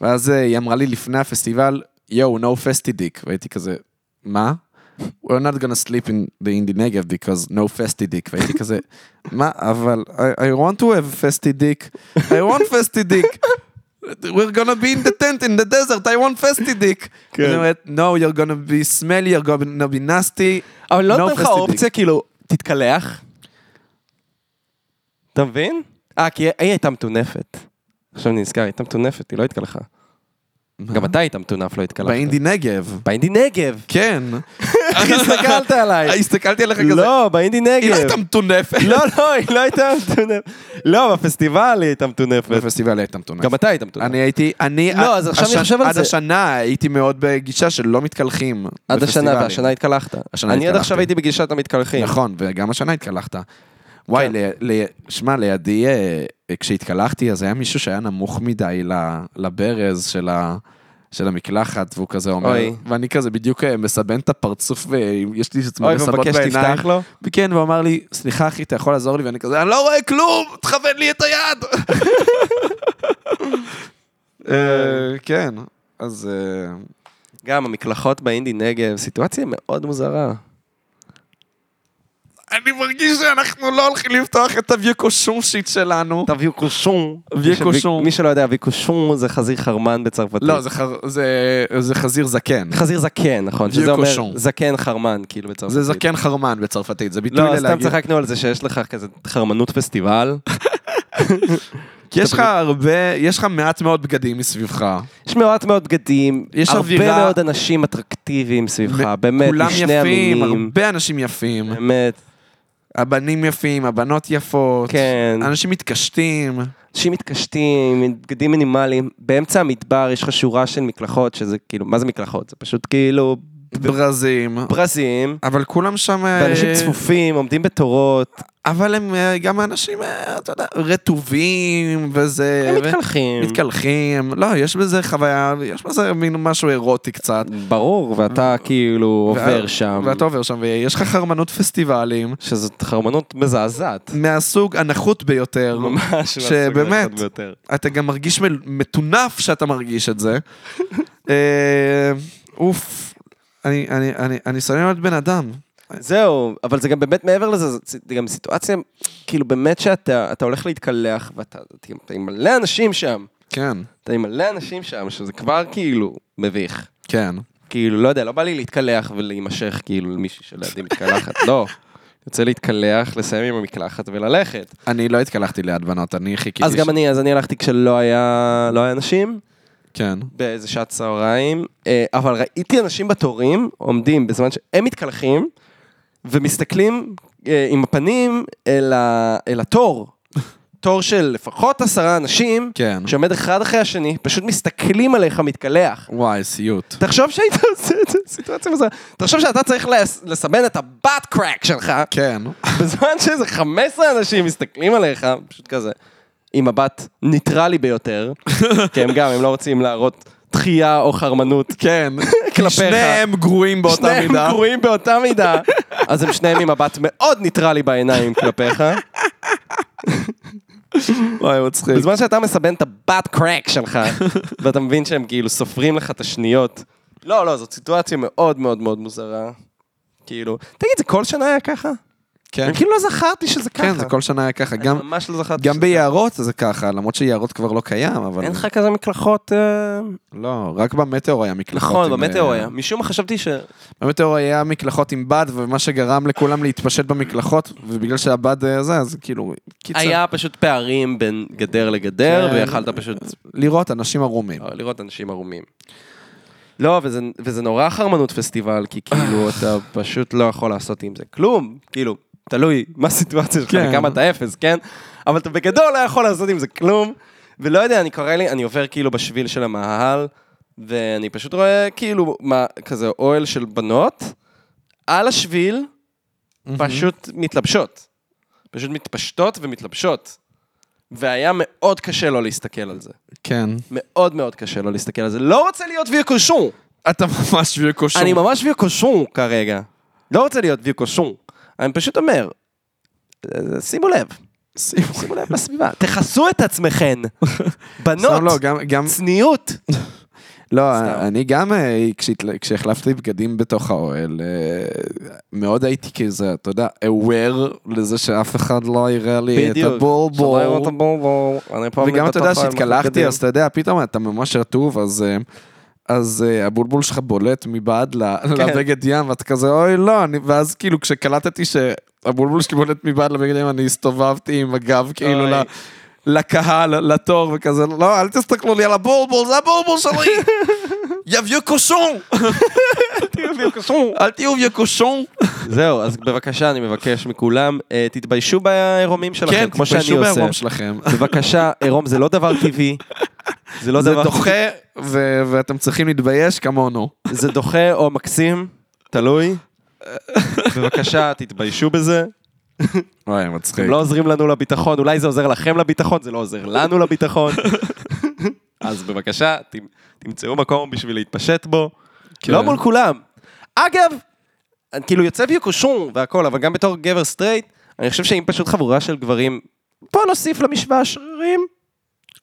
Speaker 1: ואז אה, היא אמרה לי לפני הפסטיבל, יואו, no פסטידיק. והייתי כזה, מה? We're not gonna sleep in the Indy Negev because no festy dick. והייתי כזה, מה, אבל I, I want to have festy dick. I want festy dick. We're gonna be in the tent in the desert, I want festy dick.
Speaker 2: כן.
Speaker 1: היא אומרת, no, you're gonna be smelly, you're gonna be nasty.
Speaker 2: אבל לא
Speaker 1: No
Speaker 2: נותן לך
Speaker 1: fasty dick.
Speaker 2: אופציה, כאילו, תתקלח. אתה מבין? אה, כי היא היא הייתה מטונפת. עכשיו אני נזכר, היא הייתה מטונפת, היא לא התקלחה. גם אתה היית מטונף, לא התקלחת.
Speaker 1: באינדי נגב.
Speaker 2: באינדי נגב.
Speaker 1: כן.
Speaker 2: איך הסתכלת עליי?
Speaker 1: הסתכלתי עליך כזה,
Speaker 2: לא, באינדי נגב.
Speaker 1: היא לא הייתה מטונפת.
Speaker 2: לא, לא, היא לא הייתה מטונפת. לא, בפסטיבל היא הייתה מטונפת.
Speaker 1: בפסטיבל הייתה מטונפת.
Speaker 2: גם אתה היית מטונף.
Speaker 1: אני הייתי, אני,
Speaker 2: לא, אז עכשיו אני
Speaker 1: השנה-
Speaker 2: חושב על
Speaker 1: עד
Speaker 2: זה.
Speaker 1: השנה הייתי מאוד בגישה של לא מתקלחים.
Speaker 2: עד השנה,
Speaker 1: בפסטיבלים.
Speaker 2: והשנה התקלחת.
Speaker 1: השנה
Speaker 2: אני עד
Speaker 1: התקלחתי.
Speaker 2: עכשיו הייתי בגישת המתקלחים.
Speaker 1: נכון, וגם השנה התקלחת.
Speaker 2: כן.
Speaker 1: וואי, ל- ל- שמע, לידי, אה, כשהתקלחתי, אז היה מישהו שהיה נמוך מדי ל- לברז של ה... של המקלחת, והוא כזה אומר,
Speaker 2: אוי.
Speaker 1: ואני כזה בדיוק אה, מסבן את הפרצוף, ויש לי
Speaker 2: אוי,
Speaker 1: עצמו מסבות
Speaker 2: ומבקש
Speaker 1: בעיניים.
Speaker 2: שתפתח לו.
Speaker 1: וכן, כן, והוא אמר לי, סליחה אחי, אתה יכול לעזור לי? ואני כזה, אני לא רואה כלום, תכוון לי את היד! אה, כן, אז... אה,
Speaker 2: גם המקלחות באינדי נגב, סיטואציה מאוד מוזרה.
Speaker 1: אני מרגיש שאנחנו לא הולכים לפתוח את הוויקושושית שלנו.
Speaker 2: אתה ויקושון.
Speaker 1: ויקושון.
Speaker 2: מי שלא יודע, ויקושון זה חזיר חרמן בצרפתית.
Speaker 1: לא, זה חר- זה- זה חזיר זקן.
Speaker 2: חזיר זקן, נכון. שזה
Speaker 1: ויקושון.
Speaker 2: אומר זקן חרמן, כאילו בצרפתית.
Speaker 1: זה זקן חרמן בצרפתית, זה ביטוי
Speaker 2: לא, סתם
Speaker 1: ללהגיד.
Speaker 2: צחקנו על זה שיש לך כזה חרמנות פסטיבל.
Speaker 1: כי יש לך הרבה, יש לך מעט מאוד בגדים מסביבך.
Speaker 2: יש מעט מאוד בגדים,
Speaker 1: יש
Speaker 2: הרבה
Speaker 1: אווירה-
Speaker 2: מאוד אנשים אטרקטיביים סביבך, באמת,
Speaker 1: כולם
Speaker 2: משני
Speaker 1: יפים,
Speaker 2: המינים.
Speaker 1: הרבה אנשים יפים.
Speaker 2: באמת,
Speaker 1: הבנים יפים, הבנות יפות.
Speaker 2: כן.
Speaker 1: אנשים מתקשטים.
Speaker 2: אנשים מתקשטים, עם בגדים מינימליים. באמצע המדבר יש לך שורה של מקלחות, שזה כאילו, מה זה מקלחות? זה פשוט כאילו
Speaker 1: ברזים.
Speaker 2: ברזים,
Speaker 1: אבל כולם שם... אה,
Speaker 2: ואנשים צפופים, עומדים בתורות,
Speaker 1: אבל הם אה, גם אנשים, אה, אתה יודע, רטובים, וזה...
Speaker 2: הם
Speaker 1: אה, ו-
Speaker 2: מתקלחים.
Speaker 1: מתקלחים. לא, יש בזה חוויה, יש בזה מין משהו אירוטי קצת.
Speaker 2: ברור, ואתה כאילו עובר שם,
Speaker 1: אה, ואתה עובר שם, ויש לך חרמנות פסטיבלים,
Speaker 2: שזאת חרמנות מזעזעת.
Speaker 1: מהסוג הנחות ביותר.
Speaker 2: ממש, מהסוג
Speaker 1: שבאמת.
Speaker 2: הנחמד ביותר.
Speaker 1: אתה גם מרגיש מל- מטונף שאתה מרגיש את זה. אה, אוף, אני, אני, אני, אני שונא להיות בן אדם.
Speaker 2: זהו, אבל זה גם באמת מעבר לזה, זו זה גם סיטואציה, כאילו באמת שאתה אתה הולך להתקלח, ואתה אתה עם- אתה עם מלא אנשים שם,
Speaker 1: כן,
Speaker 2: אתה עם מלא אנשים שם, שזה כבר כאילו מביך.
Speaker 1: כן.
Speaker 2: כאילו, לא יודע, לא בא לי להתקלח ולהימשך כאילו למישהי שלידי מתקלחת, לא. יוצא להתקלח, לסיים עם המקלחת וללכת.
Speaker 1: אני לא התקלחתי ליד בנות, אני חיכיתי.
Speaker 2: אז גם
Speaker 1: ש-
Speaker 2: אני, אז אני הלכתי כשלא היה לא היה אנשים,
Speaker 1: כן.
Speaker 2: באיזה שעת צהריים, אה, אבל ראיתי אנשים בתורים עומדים בזמן שהם מתקלחים ומסתכלים אה, עם הפנים אל, ה, אל התור. תור של לפחות עשרה אנשים,
Speaker 1: כן.
Speaker 2: שעומד אחד אחרי השני, פשוט מסתכלים עליך מתקלח.
Speaker 1: וואי, סיוט.
Speaker 2: תחשוב שהיית עושה את זה, סיטואציה מזו... תחשוב שאתה צריך לס- לסמן את הבאט קרק שלך,
Speaker 1: כן.
Speaker 2: בזמן שאיזה 15 אנשים מסתכלים עליך, פשוט כזה, עם מבט ניטרלי ביותר, כי הם גם, הם לא רוצים להראות דחייה או חרמנות.
Speaker 1: כן.
Speaker 2: כלפיך.
Speaker 1: שניהם גרועים באותה
Speaker 2: שניהם
Speaker 1: מידה.
Speaker 2: גרועים באותה מידה, אז הם שניהם עם מבט מאוד ניטרלי בעיניים כלפיך.
Speaker 1: וואי, מצחיק.
Speaker 2: בזמן שאתה מסבן את הבת קרק שלך, ואתה מבין שהם כאילו סופרים לך את השניות. לא, לא, זאת סיטואציה מאוד מאוד מאוד מוזרה. כאילו, תגיד, זה כל שנה היה ככה?
Speaker 1: כן.
Speaker 2: אני כאילו לא זכרתי שזה ככה.
Speaker 1: כן, זה כל שנה היה ככה.
Speaker 2: אני
Speaker 1: גם-
Speaker 2: ממש לא זכרתי
Speaker 1: גם
Speaker 2: שזה-
Speaker 1: ביערות זה ככה, למרות שיערות כבר לא קיים, אבל...
Speaker 2: אין לך כזה מקלחות... אה,
Speaker 1: לא, רק במטאור היה מקלחות.
Speaker 2: נכון,
Speaker 1: עם,
Speaker 2: במטאור
Speaker 1: אה,
Speaker 2: היה. משום מה חשבתי ש...
Speaker 1: במטאור היה מקלחות עם בד, ומה שגרם לכולם להתפשט במקלחות, ובגלל שהבד אה, זה, אז כאילו, קיצר,
Speaker 2: היה פשוט פערים בין גדר לגדר,
Speaker 1: כן.
Speaker 2: ויכלת פשוט
Speaker 1: לראות אנשים ערומים.
Speaker 2: אבל אה, לראות אנשים ערומים. לא, וזה, וזה נורא חרמנות פסטיבל, כי כאילו אתה פשוט לא יכול לעשות עם זה כלום, כאילו, תלוי מה הסיטואציה שלך
Speaker 1: כן.
Speaker 2: וכמה אתה אפס, כן? אבל אתה בגדול לא יכול לעשות עם זה כלום, ולא יודע, אני קורא לי, אני עובר כאילו בשביל של המאהל, ואני פשוט רואה כאילו מה, כזה אוהל של בנות, על השביל, פשוט מתלבשות. פשוט מתפשטות ומתלבשות. והיה מאוד קשה לא להסתכל על זה.
Speaker 1: כן.
Speaker 2: מאוד מאוד קשה לא להסתכל על זה. לא רוצה להיות ויקושון.
Speaker 1: אתה ממש וקושור.
Speaker 2: אני ממש ויקושון כרגע. לא רוצה להיות ויקושון. אני פשוט אומר, אה, שימו לב, שימו לב לסביבה. תכסו את עצמכן.
Speaker 1: סתם לא,
Speaker 2: בנות,
Speaker 1: גם, גם,
Speaker 2: צניעות.
Speaker 1: לא,
Speaker 2: סתם.
Speaker 1: אני גם, אה, כשהתל- כשהחלפתי בגדים בתוך האוהל, אה, מאוד הייתי כזה, אתה יודע, aware לזה שאף אחד לא יראה לי את הבולבול.
Speaker 2: שלא יראו את הבולבול. אני פה
Speaker 1: וגם אתה יודע
Speaker 2: בתוך
Speaker 1: שהתקלחתי,
Speaker 2: הבגדים.
Speaker 1: אז אתה יודע, פתאום אתה ממש רטוב, אז... אה, אז אה, הבולבול שלך בולט מבעד ל-
Speaker 2: כן.
Speaker 1: לבגד ים, ואתה כזה, אוי, לא, אני- ואז כאילו כשקלטתי שהבולבול שלי בולט מבעד לבגד ים, אני הסתובבתי עם הגב כאילו
Speaker 2: אוי.
Speaker 1: ל- לקהל, לתור, וכזה, לא, אל תסתכלו לי על הבולבול, זה הבולבול שלי! יביו קושון! אל תהיו יקושון!
Speaker 2: זהו, אז בבקשה, אני מבקש מכולם, אה, תתביישו בעירומים
Speaker 1: כן,
Speaker 2: שלכם, כמו שאני
Speaker 1: תתביישו
Speaker 2: עושה.
Speaker 1: בערום שלכם.
Speaker 2: בבקשה, עירום זה לא דבר טבעי. זה לא
Speaker 1: זה
Speaker 2: דבר
Speaker 1: דוחה, ו- ואתם צריכים להתבייש כמונו.
Speaker 2: זה דוחה או מקסים, תלוי. בבקשה, תתביישו בזה.
Speaker 1: וואי, מצחיק.
Speaker 2: אתם לא עוזרים לנו לביטחון, אולי זה עוזר לכם לביטחון, זה לא עוזר לנו לביטחון. אז בבקשה, ת- תמצאו מקום בשביל להתפשט בו.
Speaker 1: כן.
Speaker 2: לא מול כולם. אגב, אני כאילו יוצא ויוקושון והכל, אבל גם בתור גבר סטרייט, אני חושב שאם פשוט חבורה של גברים, בוא נוסיף למשוואה שרירים,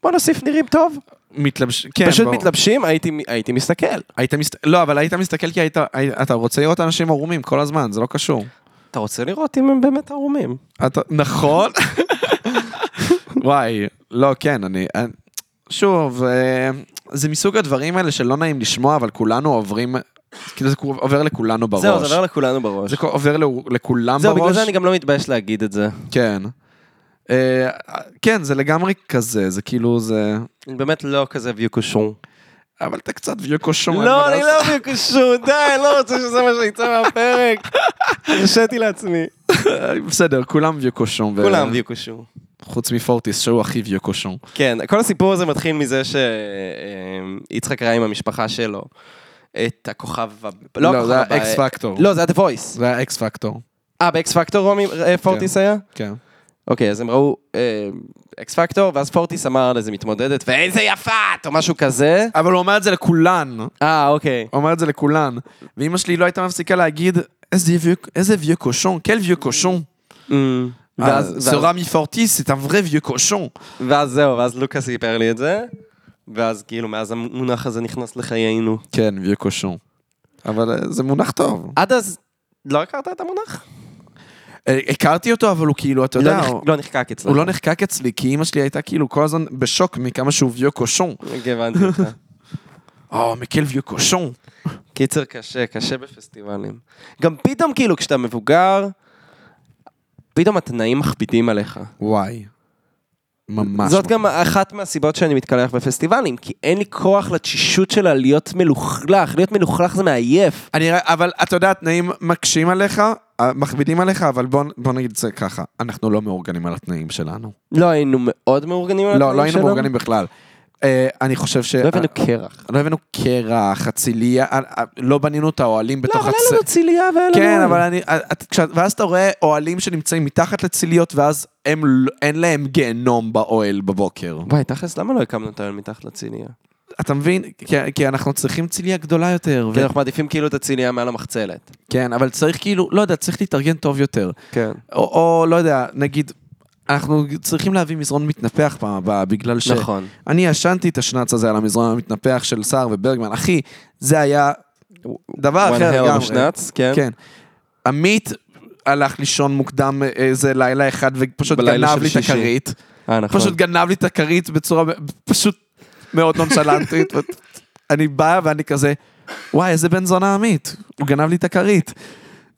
Speaker 2: בוא נוסיף נראים טוב.
Speaker 1: מתלבש... כן,
Speaker 2: פשוט
Speaker 1: ברור.
Speaker 2: מתלבשים, הייתי הייתי מסתכל.
Speaker 1: היית מסת... לא, אבל היית מסתכל כי היית... היית... אתה רוצה לראות אנשים ערומים כל הזמן, זה לא קשור.
Speaker 2: אתה רוצה לראות אם הם באמת ערומים.
Speaker 1: אתה, נכון? וואי, לא, כן, אני... אני- שוב, אה, זה מסוג הדברים האלה שלא נעים לשמוע, אבל כולנו עוברים, כאילו זה עובר לכולנו בראש.
Speaker 2: זהו, זה עובר לכולנו בראש.
Speaker 1: זה עובר לו- לכולם
Speaker 2: זהו, בגלל
Speaker 1: בראש.
Speaker 2: זה אני גם לא מתבייש להגיד את זה.
Speaker 1: כן. אה, כן, זה לגמרי כזה, זה כאילו זה...
Speaker 2: אני באמת לא כזה ויו קושון.
Speaker 1: אבל אתה קצת ויוקו שומע.
Speaker 2: לא, אני לא ויו קושון, די, אני לא רוצה שזה מה שיצא מהפרק. הרשיתי לעצמי.
Speaker 1: בסדר, כולם ויוקו שומע.
Speaker 2: כולם ויו קושון.
Speaker 1: חוץ מפורטיס, שהוא הכי ויוקו שומע.
Speaker 2: כן, כל הסיפור הזה מתחיל מזה שיצחק ראה עם המשפחה שלו את הכוכב... הב-
Speaker 1: לא,
Speaker 2: הכוכב
Speaker 1: זה
Speaker 2: הבא,
Speaker 1: היה אקס
Speaker 2: אה,
Speaker 1: פקטור.
Speaker 2: לא, זה היה The Voice.
Speaker 1: זה היה אקס פקטור.
Speaker 2: אה, באקס פקטור רומי אה, פורטיס היה?
Speaker 1: כן.
Speaker 2: אוקיי, אז הם ראו אה, אקס פקטור, ואז פורטיס אמר על איזה מתמודדת, ואיזה יפה את, או משהו כזה.
Speaker 1: אבל הוא אומר את זה לכולן.
Speaker 2: אה, אוקיי.
Speaker 1: אומר את זה לכולן. ואימא שלי לא הייתה מפסיקה להגיד, איזה ויeux- איזה ויeux קושון, כל ויeux קושון.
Speaker 2: ואז-
Speaker 1: ואז
Speaker 2: ואז-
Speaker 1: Mm. אה, סורה מפורטיס, זה vrai vieux קושון.
Speaker 2: ואז זהו, ואז לוקה סיפר לי את זה, ואז כאילו, מאז המונח הזה נכנס לחיינו.
Speaker 1: כן, vieux קושון. אבל אה, זה מונח טוב.
Speaker 2: עד אז לא הכרת את המונח?
Speaker 1: אה, הכרתי אותו, אבל הוא כאילו, אתה
Speaker 2: לא
Speaker 1: יודע,
Speaker 2: נח-
Speaker 1: הוא-
Speaker 2: לא נחקק אצלך.
Speaker 1: הוא לא נחקק אצלי, כי אימא שלי הייתה כאילו כל הזמן בשוק מכמה שהוא vieux קושון.
Speaker 2: הבנתי אותך.
Speaker 1: או, מקל vieux קושון.
Speaker 2: קיצר קשה, קשה בפסטיבלים. גם פתאום כאילו כשאתה מבוגר, פתאום התנאים מכבידים עליך.
Speaker 1: וואי. ממש.
Speaker 2: זאת גם אחת מהסיבות שאני מתקלח בפסטיבלים, כי אין לי כוח לתשישות שלה להיות מלוכלך, להיות מלוכלך זה מעייף.
Speaker 1: אני, ר- אבל אתה יודע, התנאים מקשים עליך, אה, מכבידים עליך, אבל בוא, בוא נגיד את זה ככה, אנחנו לא מאורגנים על התנאים שלנו.
Speaker 2: לא היינו מאוד מאורגנים על
Speaker 1: לא,
Speaker 2: התנאים
Speaker 1: לא היינו
Speaker 2: שלנו.
Speaker 1: מאורגנים בכלל. אה, אני חושב ש...
Speaker 2: לא הבאנו קרח.
Speaker 1: לא הבאנו קרח, אציליה, אה, אה, לא בנינו את האוהלים
Speaker 2: לא,
Speaker 1: בתוך
Speaker 2: אבל היה לנו ציליה והיה לנו...
Speaker 1: כן, אבל אני... אה, את- כש- ואז אתה רואה אוהלים שנמצאים מתחת לציליות, ואז הם ל- אין להם גיהנום באוהל בבוקר.
Speaker 2: וואי, תכלס, למה לא הקמנו את האוהל מתחת לציליה?
Speaker 1: אתה מבין? כי- כי אנחנו צריכים ציליה גדולה יותר. ו-
Speaker 2: כי אנחנו מעדיפים כאילו את הציליה מעל המחצלת.
Speaker 1: כן, אבל צריך כאילו, לא יודע, צריך להתארגן טוב יותר.
Speaker 2: כן.
Speaker 1: או, או לא יודע, נגיד, אנחנו צריכים להביא מזרון מתנפח פעם הבאה, בגלל ש...
Speaker 2: נכון.
Speaker 1: אני ישנתי את השנץ הזה על המזרון המתנפח של סער וברגמן. אחי, זה היה דבר
Speaker 2: One
Speaker 1: אחר
Speaker 2: hair
Speaker 1: לגמרי.
Speaker 2: בשנץ, כן.
Speaker 1: כן. עמית הלך לישון מוקדם אה, איזה לילה אחד ופשוט
Speaker 2: בלילה
Speaker 1: גנב
Speaker 2: של
Speaker 1: לי את
Speaker 2: שישי.
Speaker 1: הכרית.
Speaker 2: אה, נכון.
Speaker 1: פשוט גנב לי את הכרית בצורה מ- פשוט מאוד נונשלנטית. אני בא ואני כזה, וואי, איזה בן זונה עמית, הוא גנב לי את הכרית.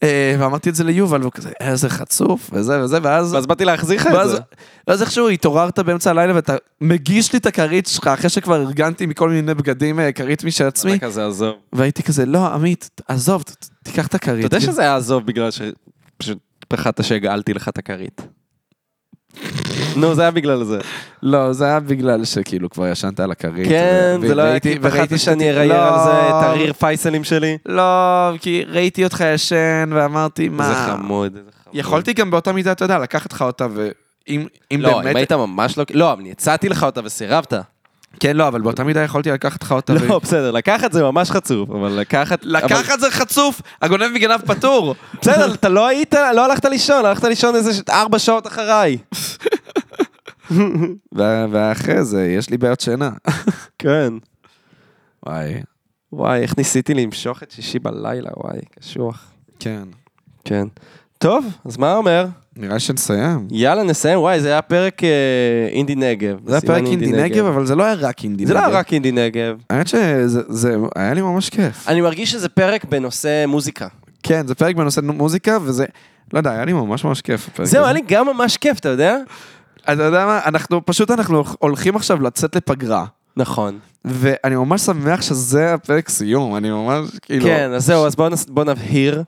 Speaker 1: אה, ואמרתי את זה ליובל, והוא כזה, איזה חצוף, וזה וזה, ואז...
Speaker 2: ואז באתי להחזיר לך את
Speaker 1: ואז,
Speaker 2: זה.
Speaker 1: ואז איכשהו התעוררת באמצע הלילה ואתה מגיש לי את הכרית שלך אחרי שכבר ארגנתי מכל מיני בגדים אה, כרית משל עצמי
Speaker 2: אתה כזה עזוב.
Speaker 1: והייתי כזה לא עמית עזוב ת- ת- תיקח את הכרית.
Speaker 2: אתה יודע שזה היה עזוב בגלל שפשוט פחדת שהגעלתי לך את הכרית. נו, זה היה בגלל זה.
Speaker 1: לא זה היה בגלל שכאילו כבר ישנת על הכרית.
Speaker 2: כן,
Speaker 1: ו-
Speaker 2: זה לא היה
Speaker 1: וראיתי-
Speaker 2: כי פחדתי
Speaker 1: וראיתי
Speaker 2: שאני
Speaker 1: שאתה-
Speaker 2: אראייר על זה
Speaker 1: לא,
Speaker 2: את הריר פייסלים שלי.
Speaker 1: לא כי ראיתי אותך ישן ואמרתי
Speaker 2: זה
Speaker 1: מה.
Speaker 2: חמוד, זה חמוד.
Speaker 1: יכולתי גם באותה מידה אתה יודע לקחת לך אותה ואם אם
Speaker 2: לא, אם
Speaker 1: באמת.
Speaker 2: היית ממש לא... לא, אני הצעתי לך אותה וסירבת.
Speaker 1: כן לא אבל באותה מידה יכולתי לקחת לך אותה. ו-
Speaker 2: לא, בסדר, לקחת זה ממש חצוף, אבל לקחת... אבל-
Speaker 1: לקחת זה חצוף הגונב מגנב פטור.
Speaker 2: בסדר, אתה לא היית, לא הלכת לישון, הלכת לישון איזה ש- ארבע שעות אחריי.
Speaker 1: ו- ואחרי זה, יש לי בעיות שינה.
Speaker 2: כן.
Speaker 1: וואי,
Speaker 2: וואי, איך ניסיתי למשוך את שישי בלילה, וואי, קשוח.
Speaker 1: כן.
Speaker 2: כן. טוב, אז מה אומר?
Speaker 1: נראה שנסיים.
Speaker 2: יאללה, נסיים. וואי, זה היה פרק אה, אינדי נגב.
Speaker 1: זה היה
Speaker 2: בסימן
Speaker 1: פרק אינדי נגב, אבל זה לא היה רק אינדי נגב.
Speaker 2: זה לא היה רק אינדי נגב.
Speaker 1: האמת שזה זה- היה לי ממש כיף.
Speaker 2: אני מרגיש שזה פרק בנושא מוזיקה.
Speaker 1: כן, זה פרק בנושא מוזיקה, וזה... לא יודע, היה לי ממש ממש כיף הפרק הזה.
Speaker 2: זהו, היה לי גם ממש כיף, אתה יודע?
Speaker 1: אתה יודע מה, אנחנו פשוט אנחנו הולכים עכשיו לצאת לפגרה.
Speaker 2: נכון.
Speaker 1: ואני ממש שמח שזה הפרק סיום, אני ממש כאילו...
Speaker 2: כן, אז זהו, אז בואו נס- בואו נבהיר.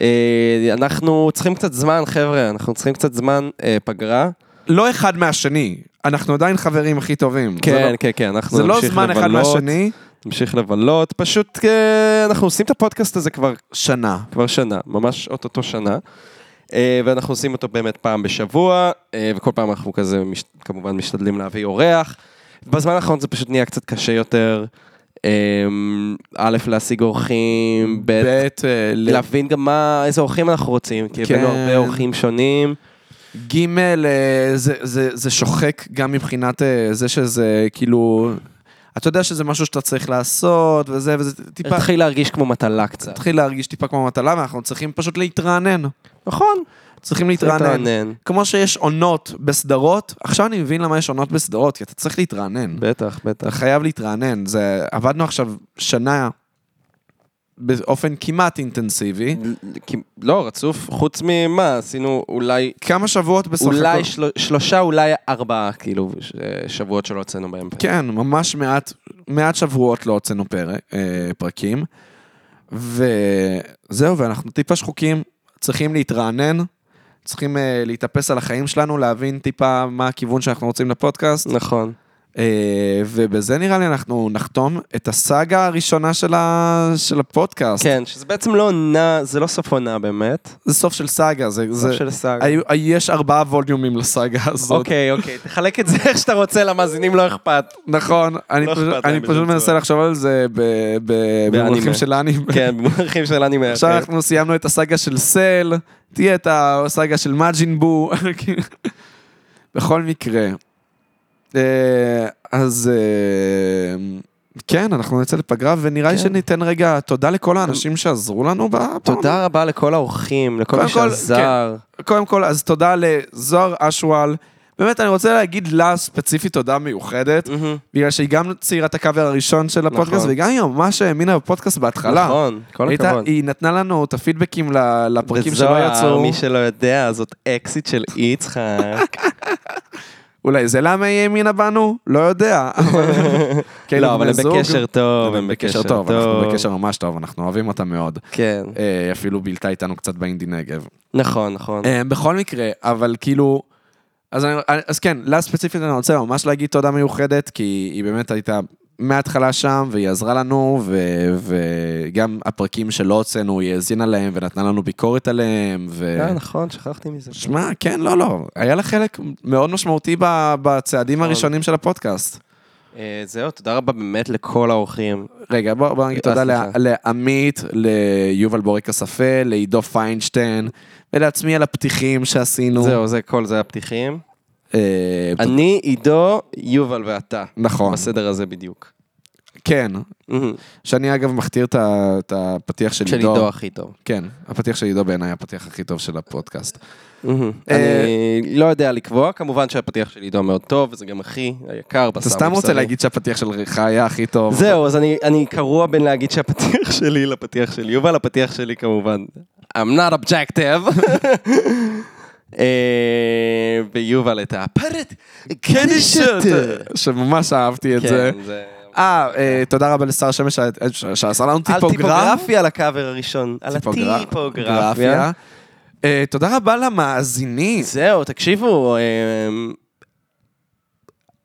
Speaker 2: אה, אנחנו צריכים קצת זמן, חבר'ה, אנחנו צריכים קצת זמן אה, פגרה.
Speaker 1: לא אחד מהשני, אנחנו עדיין חברים הכי טובים. זה
Speaker 2: כן,
Speaker 1: לא-
Speaker 2: כן, כן, אנחנו
Speaker 1: זה לא
Speaker 2: נמשיך
Speaker 1: זמן אחד
Speaker 2: לבלות,
Speaker 1: מהשני,
Speaker 2: נמשיך לבלות, פשוט אה, אנחנו עושים את הפודקאסט הזה כבר
Speaker 1: שנה.
Speaker 2: כבר שנה, ממש אוטוטו שנה. אה, ואנחנו עושים אותו באמת פעם בשבוע, אה, וכל פעם אנחנו כזה מש, כמובן משתדלים להביא אורח. בזמן האחרון זה פשוט נהיה קצת קשה יותר. אה, א', להשיג אורחים, ב',
Speaker 1: ב' אה, ל-
Speaker 2: להבין גם מה, איזה אורחים אנחנו רוצים, כי
Speaker 1: כן.
Speaker 2: הבאנו הרבה אורחים שונים.
Speaker 1: ג' אה, זה, זה, זה שוחק גם מבחינת אה, זה שזה כאילו... אתה יודע שזה משהו שאתה צריך לעשות, וזה, וזה טיפה...
Speaker 2: התחיל להרגיש כמו מטלה קצת.
Speaker 1: התחיל להרגיש טיפה כמו מטלה, ואנחנו צריכים פשוט להתרענן.
Speaker 2: נכון.
Speaker 1: צריכים להתרענן. כמו שיש עונות בסדרות, עכשיו אני מבין למה יש עונות בסדרות, כי אתה צריך להתרענן.
Speaker 2: בטח,
Speaker 1: אתה
Speaker 2: בטח.
Speaker 1: חייב להתרענן. זה, עבדנו עכשיו שנה באופן כמעט אינטנסיבי.
Speaker 2: כי- לא, רצוף, חוץ ממה, עשינו אולי,
Speaker 1: כמה שבועות בסך
Speaker 2: אולי
Speaker 1: הכל.
Speaker 2: של- שלושה, אולי ארבעה, כאילו, ש- שבועות שלא הוצאנו בהם.
Speaker 1: כן, ממש מעט, מעט שבועות לא הוצאנו פרק, אה, פרקים. וזהו, ואנחנו טיפה שחוקים, צריכים להתרענן, צריכים אה, להתאפס על החיים שלנו, להבין טיפה מה הכיוון שאנחנו רוצים לפודקאסט.
Speaker 2: נכון.
Speaker 1: אה, ובזה נראה לי אנחנו נחתום את הסאגה הראשונה של, ה... של הפודקאסט.
Speaker 2: כן, שזה בעצם לא עונה, זה לא סוף עונה באמת.
Speaker 1: זה סוף של סאגה, זה...
Speaker 2: סוף
Speaker 1: זה...
Speaker 2: של סאגה.
Speaker 1: היו, יש ארבעה ווליומים לסאגה הזאת.
Speaker 2: אוקיי, אוקיי, תחלק את זה איך שאתה רוצה, למאזינים לא אכפת.
Speaker 1: נכון, אני,
Speaker 2: לא
Speaker 1: פשוט,
Speaker 2: אכפת
Speaker 1: אני
Speaker 2: להם
Speaker 1: פשוט
Speaker 2: בשום
Speaker 1: מנסה
Speaker 2: צורה.
Speaker 1: לחשוב על זה ב- ב-
Speaker 2: באנימה.
Speaker 1: במונחים של אנימה.
Speaker 2: כן, במונחים של אנימה.
Speaker 1: עכשיו אנחנו סיימנו את הסאגה של סל, תהיה את הסאגה של מאג'ין בו. בכל מקרה, אה, אז אה, כן, אנחנו נצא לפגרה, ונראה לי
Speaker 2: כן.
Speaker 1: שניתן רגע תודה לכל האנשים שעזרו לנו. בפעם.
Speaker 2: תודה רבה לכל האורחים, לכל מי
Speaker 1: קודם כל, כן.
Speaker 2: שעזר.
Speaker 1: קודם כל, אז תודה לזוהר אשוואל. באמת, אני רוצה להגיד לה ספציפית תודה מיוחדת,
Speaker 2: מהמם.
Speaker 1: בגלל שהיא גם ציירה את הקאבר הראשון של הפודקאסט,
Speaker 2: נכון.
Speaker 1: וגם היא ממש האמינה בפודקאסט בהתחלה.
Speaker 2: נכון, כל
Speaker 1: הייתה-
Speaker 2: הכבוד.
Speaker 1: היא נתנה לנו את הפידבקים ל- לפרקים שלא
Speaker 2: וזוהר,
Speaker 1: יצאו.
Speaker 2: מי שלא יודע, זאת אקזיט של יצחק.
Speaker 1: אולי זה למה היא האמינה בנו? לא יודע. אבל- כאילו,
Speaker 2: לא, אבל הם
Speaker 1: בני זוג,
Speaker 2: בקשר טוב, הם בקשר טוב.
Speaker 1: אנחנו בקשר ממש טוב, אנחנו אוהבים אותה מאוד.
Speaker 2: כן,
Speaker 1: אה, אפילו בילתה איתנו קצת באינדי נגב.
Speaker 2: נכון, נכון.
Speaker 1: אה, בכל מקרה, אבל כאילו... אז, אני, אז כן, לה ספציפית אני רוצה ממש להגיד תודה מיוחדת, כי היא באמת הייתה מההתחלה שם, והיא עזרה לנו, ו, וגם הפרקים שלא הוצאנו, היא האזינה להם ונתנה לנו ביקורת עליהם, ו...
Speaker 2: אה, נכון, שכחתי מזה.
Speaker 1: שמע, כן, לא, לא. היה לה חלק מאוד משמעותי ב- בצעדים
Speaker 2: נכון.
Speaker 1: הראשונים של הפודקאסט.
Speaker 2: אה, זהו, תודה רבה באמת לכל האורחים.
Speaker 1: רגע, בוא, בוא נגיד
Speaker 2: אה,
Speaker 1: תודה לה-
Speaker 2: סליחה.
Speaker 1: לעמית, ליובל בורק אספה, לעידו פיינשטיין, ולעצמי על הפתיחים שעשינו.
Speaker 2: זהו, זה כל זה הפתיחים.
Speaker 1: אה, תודה-
Speaker 2: אני, עידו, יובל ואתה.
Speaker 1: נכון,
Speaker 2: בסדר הזה בדיוק.
Speaker 1: כן.
Speaker 2: מהמם.
Speaker 1: שאני אגב מכתיר את ה- את הפתיח של
Speaker 2: של
Speaker 1: עידו.
Speaker 2: עידו הכי טוב.
Speaker 1: כן, הפתיח של עידו בעיניי הפתיח הכי טוב של הפודקאסט. אה,
Speaker 2: אני לא יודע לקבוע, כמובן שהפתיח של עידו מאוד טוב, וזה גם הכי היקר בשר.
Speaker 1: אתה סתם רוצה
Speaker 2: מבשרי.
Speaker 1: להגיד שהפתיח שלך היה הכי טוב.
Speaker 2: זהו, אז אני- אני קרוע בין להגיד שהפתיח שלי לפתיח של יובל, הפתיח שלי כמובן. I'm not objective. אה, ויובל את הפרט קנישות.
Speaker 1: שממש אהבתי את כן, זה.
Speaker 2: כן, זה...
Speaker 1: אה, אה, תודה רבה לשר שמש שה- אה, ש- שעשה לנו
Speaker 2: על
Speaker 1: טיפוגרם.
Speaker 2: טיפוגרפיה על הקאבר הראשון. על
Speaker 1: טיפוגרפ-
Speaker 2: הטיפוגרפיה.
Speaker 1: אה, תודה רבה למאזינים.
Speaker 2: זהו, תקשיבו, אמ,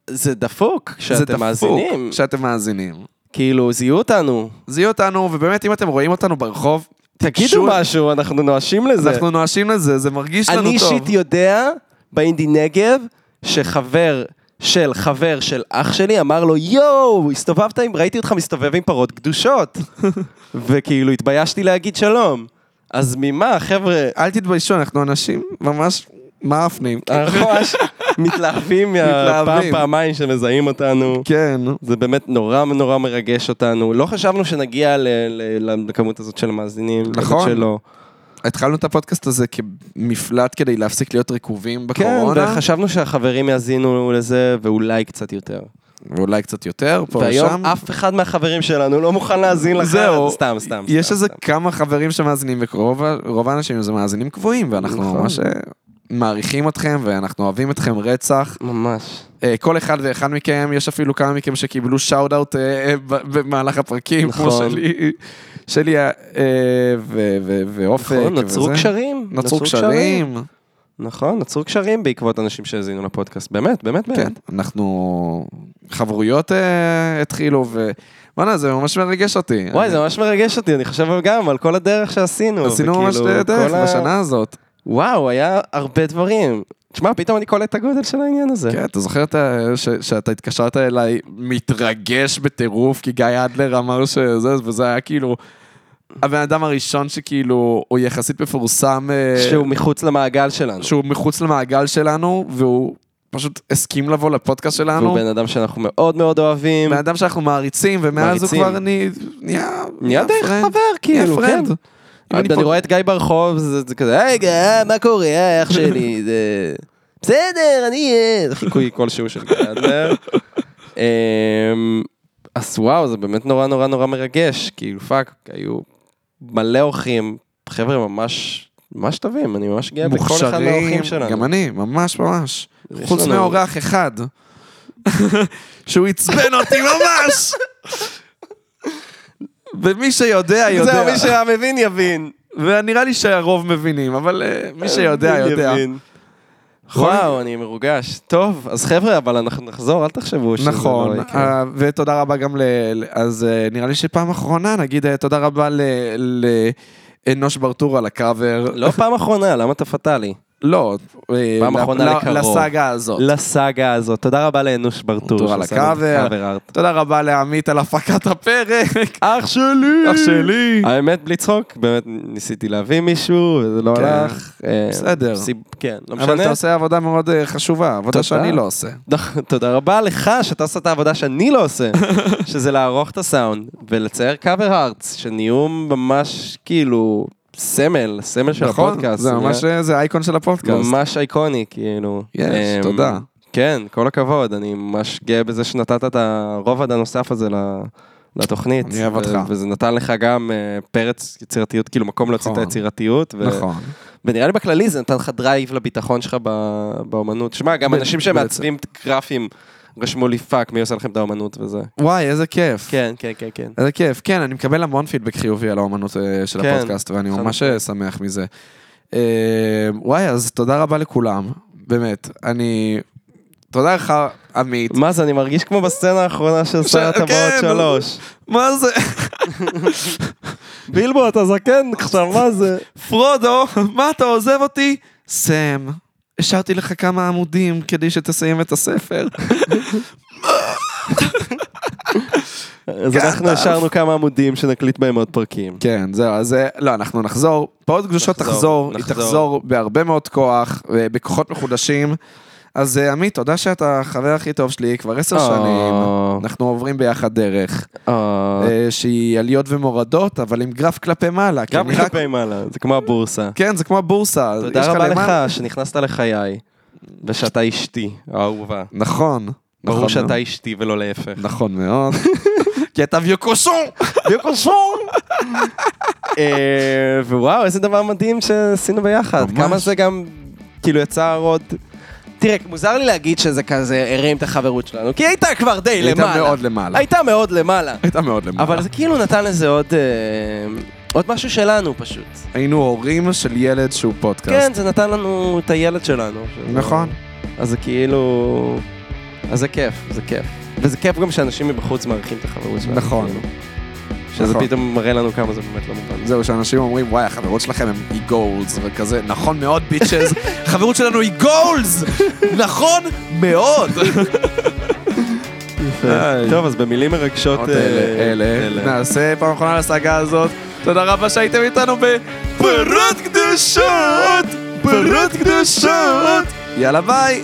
Speaker 2: זה דפוק
Speaker 1: זה
Speaker 2: שאתם
Speaker 1: דפוק
Speaker 2: מאזינים.
Speaker 1: שאתם מאזינים.
Speaker 2: כאילו, זיהו אותנו.
Speaker 1: זיהו אותנו, ובאמת, אם אתם רואים אותנו ברחוב,
Speaker 2: תגידו
Speaker 1: שוב.
Speaker 2: משהו, אנחנו נואשים לזה.
Speaker 1: אנחנו נואשים לזה, זה מרגיש לנו טוב.
Speaker 2: אני אישית יודע, באינדי נגב, שחבר של חבר של אח שלי אמר לו, יואו, הסתובבת עם, ראיתי אותך מסתובב עם פרות קדושות. וכאילו, התביישתי להגיד שלום. אז ממה, חבר'ה,
Speaker 1: אל תתביישו, אנחנו אנשים ממש מאפנים.
Speaker 2: אנחנו ממש מתלהבים מהפעם,
Speaker 1: מתלהבים.
Speaker 2: פעמיים שמזהים אותנו.
Speaker 1: כן.
Speaker 2: זה באמת נורא נורא מרגש אותנו. לא חשבנו שנגיע ל- ל- לכמות הזאת של מאזינים.
Speaker 1: נכון.
Speaker 2: שלא.
Speaker 1: התחלנו את הפודקאסט הזה כמפלט כדי להפסיק להיות רקובים
Speaker 2: כן,
Speaker 1: בקורונה,
Speaker 2: וחשבנו שהחברים יאזינו לזה, ואולי קצת יותר.
Speaker 1: ואולי קצת יותר, פה ושם.
Speaker 2: והיום אף אחד מהחברים שלנו לא מוכן להאזין לך.
Speaker 1: זהו.
Speaker 2: סתם, סתם.
Speaker 1: יש
Speaker 2: סתם,
Speaker 1: איזה
Speaker 2: סתם.
Speaker 1: כמה חברים שמאזינים, ורוב ה- רוב האנשים זה מאזינים קבועים, ואנחנו
Speaker 2: נכון.
Speaker 1: ממש אה, מעריכים אתכם, ואנחנו אוהבים אתכם רצח.
Speaker 2: ממש.
Speaker 1: אה, כל אחד ואחד מכם, יש אפילו כמה מכם שקיבלו שאוט-אאוט אה, במהלך הפרקים, כמו
Speaker 2: נכון.
Speaker 1: שלי, שלי אה, ו- ו- ואופק.
Speaker 2: נכון, נוצרו
Speaker 1: וזה.
Speaker 2: קשרים.
Speaker 1: נוצרו קשרים.
Speaker 2: נכון, נוצרו קשרים בעקבות אנשים שהאזינו לפודקאסט. באמת, באמת,
Speaker 1: כן,
Speaker 2: באמת.
Speaker 1: אנחנו... חברויות אה, התחילו, ו... וואלה, זה ממש מרגש אותי.
Speaker 2: וואי,
Speaker 1: אני-
Speaker 2: זה ממש מרגש אותי, אני חושב גם על כל הדרך שעשינו.
Speaker 1: עשינו ממש
Speaker 2: וכאילו,
Speaker 1: דרך
Speaker 2: כל ה-
Speaker 1: בשנה הזאת.
Speaker 2: וואו, היה הרבה דברים. תשמע, פתאום אני קולט את הגודל של העניין הזה.
Speaker 1: כן, אתה זוכר את ה- ש- שאתה התקשרת אליי מתרגש בטירוף, כי גיא אדלר אמר שזה, וזה היה כאילו... הבן אדם הראשון שכאילו, הוא יחסית מפורסם, אה,
Speaker 2: שהוא מחוץ למעגל שלנו.
Speaker 1: שהוא מחוץ למעגל שלנו, והוא פשוט הסכים לבוא לפודקאסט שלנו.
Speaker 2: והוא בן אדם שאנחנו מאוד מאוד אוהבים.
Speaker 1: בן אדם שאנחנו מעריצים, ומאז הוא
Speaker 2: מעריצים.
Speaker 1: כבר אני- נהיה...
Speaker 2: נהיה די
Speaker 1: פרנד.
Speaker 2: חבר,
Speaker 1: נהיה
Speaker 2: כאילו, כן.
Speaker 1: פרנד. אם אני
Speaker 2: אני
Speaker 1: פה-
Speaker 2: רואה את גיא ברחוב, זה זה כזה, היי גיא, מה קורה, היי, אח שלי, זה... בסדר, אני אהיה. זה חיקוי כלשהו של גיא אדלר. אמ, אז וואו, זה באמת נורא נורא נורא מרגש, כאילו פאק, היו מלא אורחים, חבר'ה ממש, ממש טובים, אני ממש גאה בכל אחד מהאורחים שלנו.
Speaker 1: גם אני, ממש ממש.
Speaker 2: יש
Speaker 1: חוץ
Speaker 2: לנו-
Speaker 1: מאורח אחד. שהוא עצבן אותי ממש! ומי שיודע,
Speaker 2: זהו,
Speaker 1: יודע.
Speaker 2: מי שהמבין יבין.
Speaker 1: ונראה לי שהרוב מבינים, אבל אה, מי שיודע,
Speaker 2: מבין
Speaker 1: יודע.
Speaker 2: יבין.
Speaker 1: יכול-
Speaker 2: וואו, אני מרוגש. טוב, אז חבר'ה, אבל אנחנו נחזור, אל תחשבו שזה לא
Speaker 1: נכון,
Speaker 2: יקרה.
Speaker 1: אה, ותודה רבה גם ל... ל- אז אה, נראה לי שפעם אחרונה נגיד אה, תודה רבה לאנוש ברטור על הקאבר.
Speaker 2: לא פעם אחרונה, למה אתה פטאלי?
Speaker 1: לא, אה,
Speaker 2: פעם
Speaker 1: ל-
Speaker 2: אחרונה
Speaker 1: ל-
Speaker 2: לקרוב. לא.
Speaker 1: לסאגה הזאת.
Speaker 2: לסאגה הזאת. תודה רבה לאנוש ברטור.
Speaker 1: ברטור על
Speaker 2: שעשה לנו את
Speaker 1: הקאבר.
Speaker 2: cover art.
Speaker 1: תודה רבה לעמית על הפקת הפרק.
Speaker 2: אח שלי!
Speaker 1: אח שלי.
Speaker 2: האמת, בלי צחוק, באמת ניסיתי להביא מישהו, וזה לא
Speaker 1: כן.
Speaker 2: הלך. אה,
Speaker 1: בסדר.
Speaker 2: סיב- כן, לא
Speaker 1: אבל
Speaker 2: משנה.
Speaker 1: אתה עושה עבודה מאוד אה, חשובה, עבודה
Speaker 2: תודה.
Speaker 1: שאני לא עושה.
Speaker 2: תודה רבה לך שאתה עושה את העבודה שאני לא עושה, שזה לערוך את הסאונד ולצייר קאבר ארטס, שנהיו ממש כאילו סמל, סמל של
Speaker 1: נכון?
Speaker 2: הפודקאסט.
Speaker 1: זה ממש, אה, זה האייקון של הפודקאסט.
Speaker 2: ממש איקוני, כאילו.
Speaker 1: יש,
Speaker 2: אמ,
Speaker 1: תודה.
Speaker 2: כן, כל הכבוד, אני ממש גאה בזה שנתת את הרובד הנוסף הזה ל- לתוכנית.
Speaker 1: אני אוהב
Speaker 2: ו-
Speaker 1: אותך.
Speaker 2: וזה נתן לך גם אה, פרץ יצירתיות, כאילו מקום להוציא את
Speaker 1: נכון.
Speaker 2: היצירתיות. ו-
Speaker 1: נכון.
Speaker 2: ונראה לי בכללי זה נתן לך דרייב לביטחון שלך ב- באמנות. שמע, גם
Speaker 1: ב-
Speaker 2: אנשים שמעצבים גרפים רשמו לי פאק, מי עושה לכם את האמנות וזה.
Speaker 1: וואי, איזה כיף.
Speaker 2: כן, כן, כן, כן.
Speaker 1: איזה כיף, כן, אני מקבל המון פידבק חיובי על האומנות אה, של
Speaker 2: כן,
Speaker 1: הפודקאסט, ואני
Speaker 2: חד
Speaker 1: ממש אה, שמח מזה. אה, וואי, אז תודה רבה לכולם, באמת. אני... תודה לך, עמית.
Speaker 2: מה זה, אני מרגיש כמו בסצנה האחרונה של סרט
Speaker 1: כן.
Speaker 2: הבאות שלוש.
Speaker 1: מה זה?
Speaker 2: בילבו, אתה זקן עכשיו, מה זה?
Speaker 1: פרודו, מה אתה עוזב אותי? סם, השארתי לך כמה עמודים כדי שתסיים את הספר.
Speaker 2: אז אנחנו השארנו כמה עמודים שנקליט בהם עוד פרקים.
Speaker 1: כן, זהו, אז אה, לא, אנחנו נחזור. פעות קדושות
Speaker 2: נחזור,
Speaker 1: תחזור, היא
Speaker 2: נחזור.
Speaker 1: תחזור בהרבה מאוד כוח, אה, בכוחות מחודשים. אז אה, עמית, תודה שאתה החבר הכי טוב שלי כבר עשר
Speaker 2: אה.
Speaker 1: שנים. אנחנו עוברים ביחד דרך,
Speaker 2: אה,
Speaker 1: אה, שהיא עליות ומורדות, אבל עם גרף כלפי מעלה. כי
Speaker 2: גם
Speaker 1: אני רק-
Speaker 2: כלפי מעלה, זה כמו הבורסה.
Speaker 1: כן, זה כמו הבורסה. יש
Speaker 2: תודה רבה
Speaker 1: למעלה-
Speaker 2: לך שנכנסת לחיי, ושאתה אשתי, האהובה.
Speaker 1: נכון.
Speaker 2: ברור
Speaker 1: נכון
Speaker 2: שאתה
Speaker 1: מאוד.
Speaker 2: אשתי ולא להפך.
Speaker 1: נכון מאוד. כי אתה ויוקושון!
Speaker 2: וקושור! אה, ווואו, איזה דבר מדהים שעשינו ביחד.
Speaker 1: ממש.
Speaker 2: כמה זה גם, כאילו, יצא עוד... תראה, מוזר לי להגיד שזה כזה הרים את החברות שלנו, כי הייתה כבר די
Speaker 1: הייתה
Speaker 2: למעלה.
Speaker 1: מאוד למעלה.
Speaker 2: הייתה מאוד למעלה.
Speaker 1: הייתה מאוד למעלה.
Speaker 2: אבל זה כאילו נתן לזה עוד... אה, עוד משהו שלנו פשוט.
Speaker 1: היינו הורים של ילד שהוא פודקאסט.
Speaker 2: כן, זה נתן לנו את הילד שלנו. שזה-
Speaker 1: נכון.
Speaker 2: אז זה כאילו... אז זה כיף, זה כיף. וזה כיף גם שאנשים מבחוץ מעריכים את החברות שלנו.
Speaker 1: נכון.
Speaker 2: כאילו. שזה
Speaker 1: נכון.
Speaker 2: פתאום מראה לנו כמה זה באמת לא מובן.
Speaker 1: זהו, שאנשים אומרים, וואי, החברות שלכם הם e-goals וכזה, נכון מאוד, ביצ'ז, החברות שלנו היא goals! נכון מאוד! איי.
Speaker 2: טוב, אז במילים מרגשות
Speaker 1: עוד
Speaker 2: אה,
Speaker 1: אה, אוקיי, אלה, אלה. נעשה פעם אחרונה לסאגה הזאת. תודה רבה שהייתם איתנו בפרות קדושות! פרות קדושות! יאללה ביי!